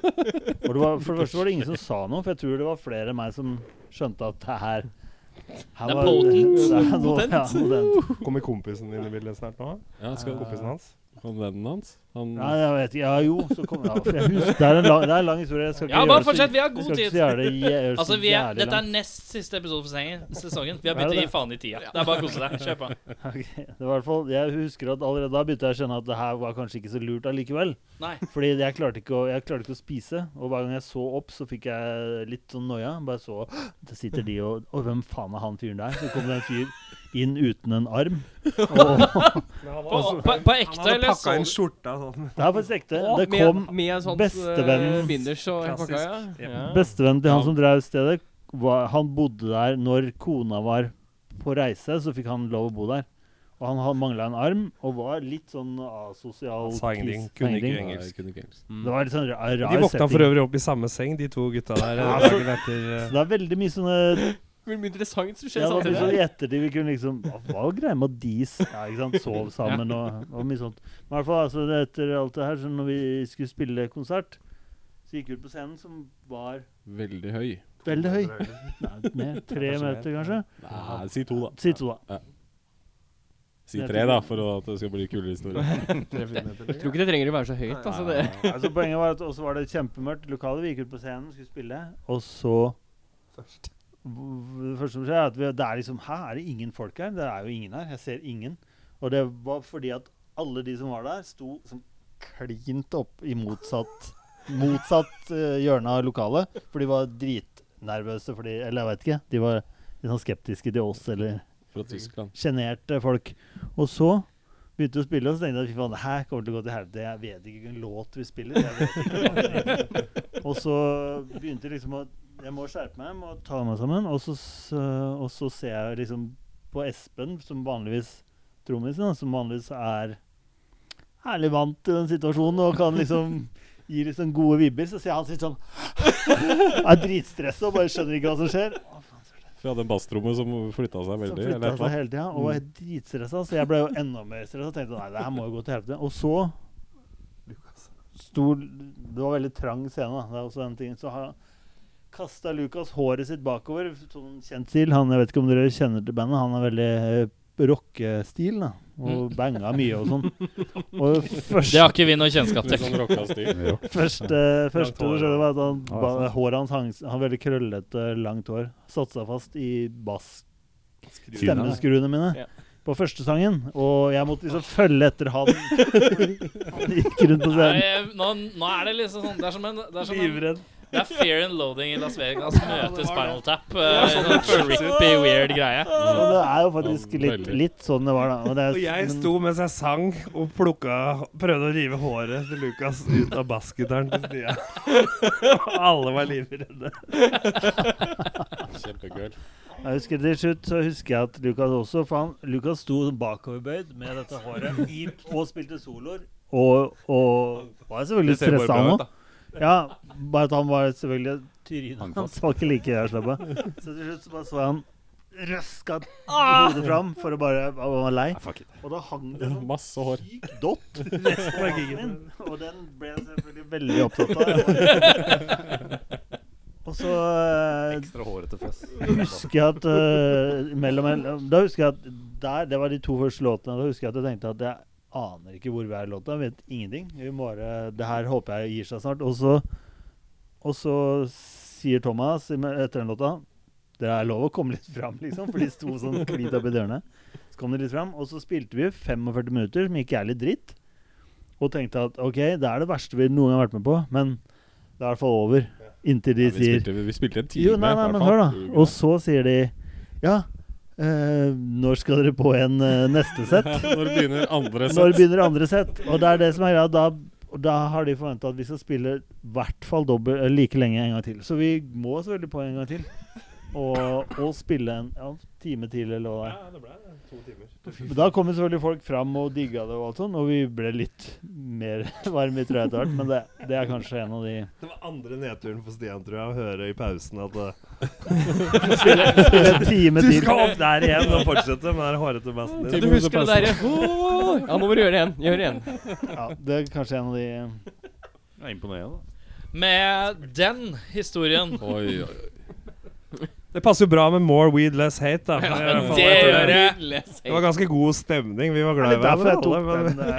[SPEAKER 7] Og det var, for det første var det ingen som sa noe, for jeg tror det var flere enn meg som skjønte at det her, her
[SPEAKER 12] Det er
[SPEAKER 7] var-
[SPEAKER 12] potent.
[SPEAKER 7] Det er noe- ja, potent.
[SPEAKER 12] Mm.
[SPEAKER 6] Kommer kompisen din i bildet snart nå?
[SPEAKER 5] Ja, skal
[SPEAKER 6] Kompisen hans?
[SPEAKER 5] Han vennen hans. Han
[SPEAKER 7] Ja, jeg vet ikke. Ja, jo, så kom ja, for jeg husker, det, er en lang, det er en lang historie. Jeg skal ikke
[SPEAKER 12] Ja,
[SPEAKER 7] gjøre
[SPEAKER 12] bare
[SPEAKER 7] det så-
[SPEAKER 12] fortsett. Vi har
[SPEAKER 7] jeg
[SPEAKER 12] god
[SPEAKER 7] skal ikke
[SPEAKER 12] tid.
[SPEAKER 7] så gjøre det jæ- gjøre
[SPEAKER 12] Altså,
[SPEAKER 7] så
[SPEAKER 12] vi er,
[SPEAKER 7] jævlig
[SPEAKER 12] Dette er
[SPEAKER 7] langt.
[SPEAKER 12] nest siste episode for sengen- sesongen. Vi har
[SPEAKER 7] Er det
[SPEAKER 12] begynt å gi
[SPEAKER 7] det?
[SPEAKER 12] faen i tida. Det er bare å kose deg. Kjør på.
[SPEAKER 7] Ok, Det var i hvert fall, jeg husker at allerede da begynte jeg å skjønne at det her var kanskje ikke så lurt allikevel.
[SPEAKER 12] Nei.
[SPEAKER 7] Fordi jeg klarte, ikke å, jeg klarte ikke å spise, og hver gang jeg så opp, så fikk jeg litt sånn noia. Bare så «Hå, Der sitter de og Å, hvem faen er han fyren der? Så kom det en fyr inn uten en arm. Og
[SPEAKER 1] På,
[SPEAKER 7] Altså,
[SPEAKER 1] på, på ekte,
[SPEAKER 12] Han hadde
[SPEAKER 1] eller?
[SPEAKER 12] pakka
[SPEAKER 1] så-
[SPEAKER 12] inn skjorta sånn.
[SPEAKER 7] det er faktisk ekte.
[SPEAKER 2] Å,
[SPEAKER 7] Det
[SPEAKER 2] med,
[SPEAKER 7] kom
[SPEAKER 2] med sånt,
[SPEAKER 7] bestevennen-
[SPEAKER 2] eh, binders og hele pakka, ja. ja.
[SPEAKER 7] Bestevennen til han som drev stedet, var, han bodde der når kona var på reise, så fikk han lov å bo der. Og han mangla en arm, og var litt sånn asosial
[SPEAKER 12] Han sa ingenting,
[SPEAKER 7] kiss-
[SPEAKER 12] kunne ikke
[SPEAKER 7] ingenting.
[SPEAKER 5] Nei,
[SPEAKER 12] engelsk.
[SPEAKER 5] jeg kunne ikke engelsk.
[SPEAKER 7] Det var litt sånn ra- rar
[SPEAKER 12] De våkna for
[SPEAKER 7] setting.
[SPEAKER 12] øvrig opp i samme seng, de to gutta der.
[SPEAKER 7] Ja,
[SPEAKER 12] eh, dagen etter eh,
[SPEAKER 7] Så det er veldig mye sånne
[SPEAKER 2] Mye mye interessant som skjer
[SPEAKER 7] ja, det var mye sånn
[SPEAKER 2] samtidig.
[SPEAKER 7] I ettertid vi kunne liksom Hva var greia med at de s- ja, ikke sant, sov sammen og, og mye sånt. Men i hvert fall altså, det- etter alt det her, så når vi skulle spille konsert, så gikk vi ut på scenen, som var
[SPEAKER 5] Veldig høy.
[SPEAKER 7] veldig høy. Nei, mer, tre
[SPEAKER 12] Kanskje mer.
[SPEAKER 7] meter, kanskje.
[SPEAKER 5] Nei, si to, da.
[SPEAKER 7] Si to, da.
[SPEAKER 5] Si tre, da, for å- at det skal bli kulere historie.
[SPEAKER 2] Jeg tror ikke det trenger å være så høyt. Altså, det.
[SPEAKER 7] [LAUGHS] Altså, poenget var at også var det kjempemørkt i lokalet. Vi gikk ut på scenen, skulle spille, og så V- Det første som skjer, er at vi, det er liksom Hæ, er det ingen folk her? Det er jo ingen her. Jeg ser ingen. Og det var fordi at alle de som var der, sto som klint opp i motsatt Motsatt eh, hjørne av lokalet. For de var dritnervøse fordi Eller jeg vet ikke. De var litt sånn skeptiske til oss eller
[SPEAKER 5] Fra Tyskland.
[SPEAKER 7] sjenerte folk. Og så begynte vi å spille, og så tenkte jeg fy faen, det her kommer til å gå til helvete. Jeg vet ikke hvilken låt vi spiller. Jeg vet ikke. og så begynte jeg liksom å Jeg må skjerpe meg, jeg må ta meg sammen. Og så, s- og så ser jeg liksom på Espen, som vanligvis trommisen, da, som vanligvis er herlig vant til den situasjonen og kan liksom gi litt sånn gode vibber, så ser jeg han sitter sånn [LAUGHS] Er dritstressa og bare skjønner ikke hva som skjer. Å, faen, så
[SPEAKER 5] Vi hadde en basstrommet som flytta seg
[SPEAKER 7] som
[SPEAKER 5] veldig.
[SPEAKER 7] flytta
[SPEAKER 5] Eller
[SPEAKER 7] seg
[SPEAKER 5] et eller annet.
[SPEAKER 7] hele tida og var dritstressa. Så jeg ble jo enda mer stressa og tenkte nei, det her må jo gå til helvete. Og så sto Det var veldig trang scene, da. Det er også den tingen. Så kasta Lukas håret sitt bakover. Sånn kjent stil. Han, jeg vet ikke om dere kjenner til bandet. Han er veldig eh, rockestil, da. Og banga mye og sånn. Og
[SPEAKER 1] Det
[SPEAKER 7] første,
[SPEAKER 1] har ikke vi noe kjennskap
[SPEAKER 5] Litt
[SPEAKER 1] til.
[SPEAKER 5] sånn rocka stil.
[SPEAKER 7] første, første du skjønte, var at han,
[SPEAKER 3] Ja,
[SPEAKER 7] ba,
[SPEAKER 3] sant.
[SPEAKER 7] håret hans hang Han har veldig krøllete, langt hår. Satte seg fast i bass stemmeskruene mine
[SPEAKER 2] Ja.
[SPEAKER 7] på første sangen. Og jeg måtte liksom følge etter han. han gikk rundt på
[SPEAKER 1] Nei,
[SPEAKER 7] scenen.
[SPEAKER 1] eh, nå, nå er det liksom sånn Det er som en Det er, som en, det er Fear and Loading i Las Vegas møter Spinal Tap. eh, Sånn trippy, weird greie.
[SPEAKER 7] Og det er jo faktisk
[SPEAKER 5] Ja,
[SPEAKER 7] litt,
[SPEAKER 5] veldig.
[SPEAKER 7] litt sånn det var, da. Og det er,
[SPEAKER 12] Og jeg
[SPEAKER 7] men-
[SPEAKER 12] sto mens jeg sang og plukka Prøvde å rive håret til Lukas ut av bassgitaren til Stia. [LAUGHS] Alle var livredde.
[SPEAKER 5] Kjempekul.
[SPEAKER 7] jeg husker Til slutt så husker jeg at Lukas også For han, Lukas sto bakoverbøyd med dette håret i, og spilte soloer. Og, og var selvfølgelig stressa, han òg. Ja, bare at han var selvfølgelig Trynet hans var ikke like jævla Så til slutt så bare så jeg han røska hodet fram for å bare Han var lei. Og da hang det sånn
[SPEAKER 5] Masse hår.
[SPEAKER 7] syk dott resten av giggen. Og den ble jeg selvfølgelig veldig opptatt av. Og så eh,
[SPEAKER 13] Ekstra hårete fess.
[SPEAKER 7] husker jeg at eh, mellom en- Da husker jeg at der, det var de to første låtene. Da husker jeg at jeg tenkte at jeg aner ikke hvor vi er i låta. Vet ingenting. Vi må bare, det her håper jeg gir seg snart. Og så, og så sier Thomas i- etter den låta Det er lov å komme litt fram, liksom. For de sto sånn klint oppi dørene. Så kom de litt fram, og så spilte vi 45 minutter, som gikk jævlig dritt. Og tenkte at OK, det er det verste vi noen gang har vært med på, men det er i hvert fall over. Inntil de
[SPEAKER 5] Ja, vi,
[SPEAKER 7] sier
[SPEAKER 5] spilte, vi spilte en time.
[SPEAKER 7] jo, nei, nei,
[SPEAKER 5] i hvert
[SPEAKER 7] men
[SPEAKER 5] fall.
[SPEAKER 7] hør, da.
[SPEAKER 5] Gjorde vi
[SPEAKER 7] Og
[SPEAKER 5] ikke
[SPEAKER 7] så sier de Ja, eh, når skal dere på en eh, neste
[SPEAKER 5] [LAUGHS]
[SPEAKER 7] sett?
[SPEAKER 5] det? [LAUGHS] Når begynner andre
[SPEAKER 7] Når
[SPEAKER 5] sett?
[SPEAKER 7] begynner andre sett? Og det er det som er greia. Da, og da har de forventa at vi skal spille i hvert fall dobbelt, eh, like lenge en gang til. Så vi må selvfølgelig på en gang til. Og, og spille en ja, time til, eller hva det er. [LAUGHS] Men Da kom jo selvfølgelig folk fram og digga det, og alt sånn, og vi ble litt mer [LAUGHS] varme i trøya etter hvert. Men det, det er kanskje en av de
[SPEAKER 12] [LAUGHS] Det var andre nedturen for Stian, tror jeg, å høre i pausen at eh,
[SPEAKER 7] Spille, spille en time
[SPEAKER 12] Du
[SPEAKER 7] til.
[SPEAKER 12] skal opp der igjen og fortsette med den hårete bassen din.
[SPEAKER 2] Du husker det derre «Åh!» Ja, nå må du gjøre det igjen. Gjør det igjen.
[SPEAKER 7] Ja, det er kanskje en av de
[SPEAKER 13] Det er imponerende.
[SPEAKER 1] Med den historien
[SPEAKER 5] Oi, oi, oi.
[SPEAKER 12] Det passer jo bra med more weed, less hate, da. I hvert fall,
[SPEAKER 1] Det
[SPEAKER 12] jeg tror
[SPEAKER 1] gjør
[SPEAKER 12] det.
[SPEAKER 1] jeg.
[SPEAKER 12] Det var ganske god stemning. Vi var glad i
[SPEAKER 7] Litt derfor jeg
[SPEAKER 12] hverandre.
[SPEAKER 7] tok
[SPEAKER 12] alle, men-
[SPEAKER 7] den. eh,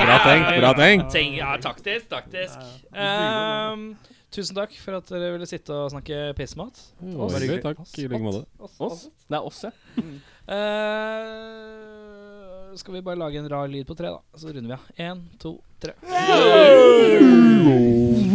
[SPEAKER 5] Bra tenkt, bra tenkt.
[SPEAKER 1] Tenk, ja, taktisk, taktisk. Ehm, tusen takk for at dere ville sitte og snakke pissmat.
[SPEAKER 5] Oi,
[SPEAKER 1] hyggelig.
[SPEAKER 5] Takk, i like måte.
[SPEAKER 2] Oss? Det er oss, ja.
[SPEAKER 1] Eh, skal vi bare lage en rar lyd på tre, da? Så runder vi av. Én, to, tre.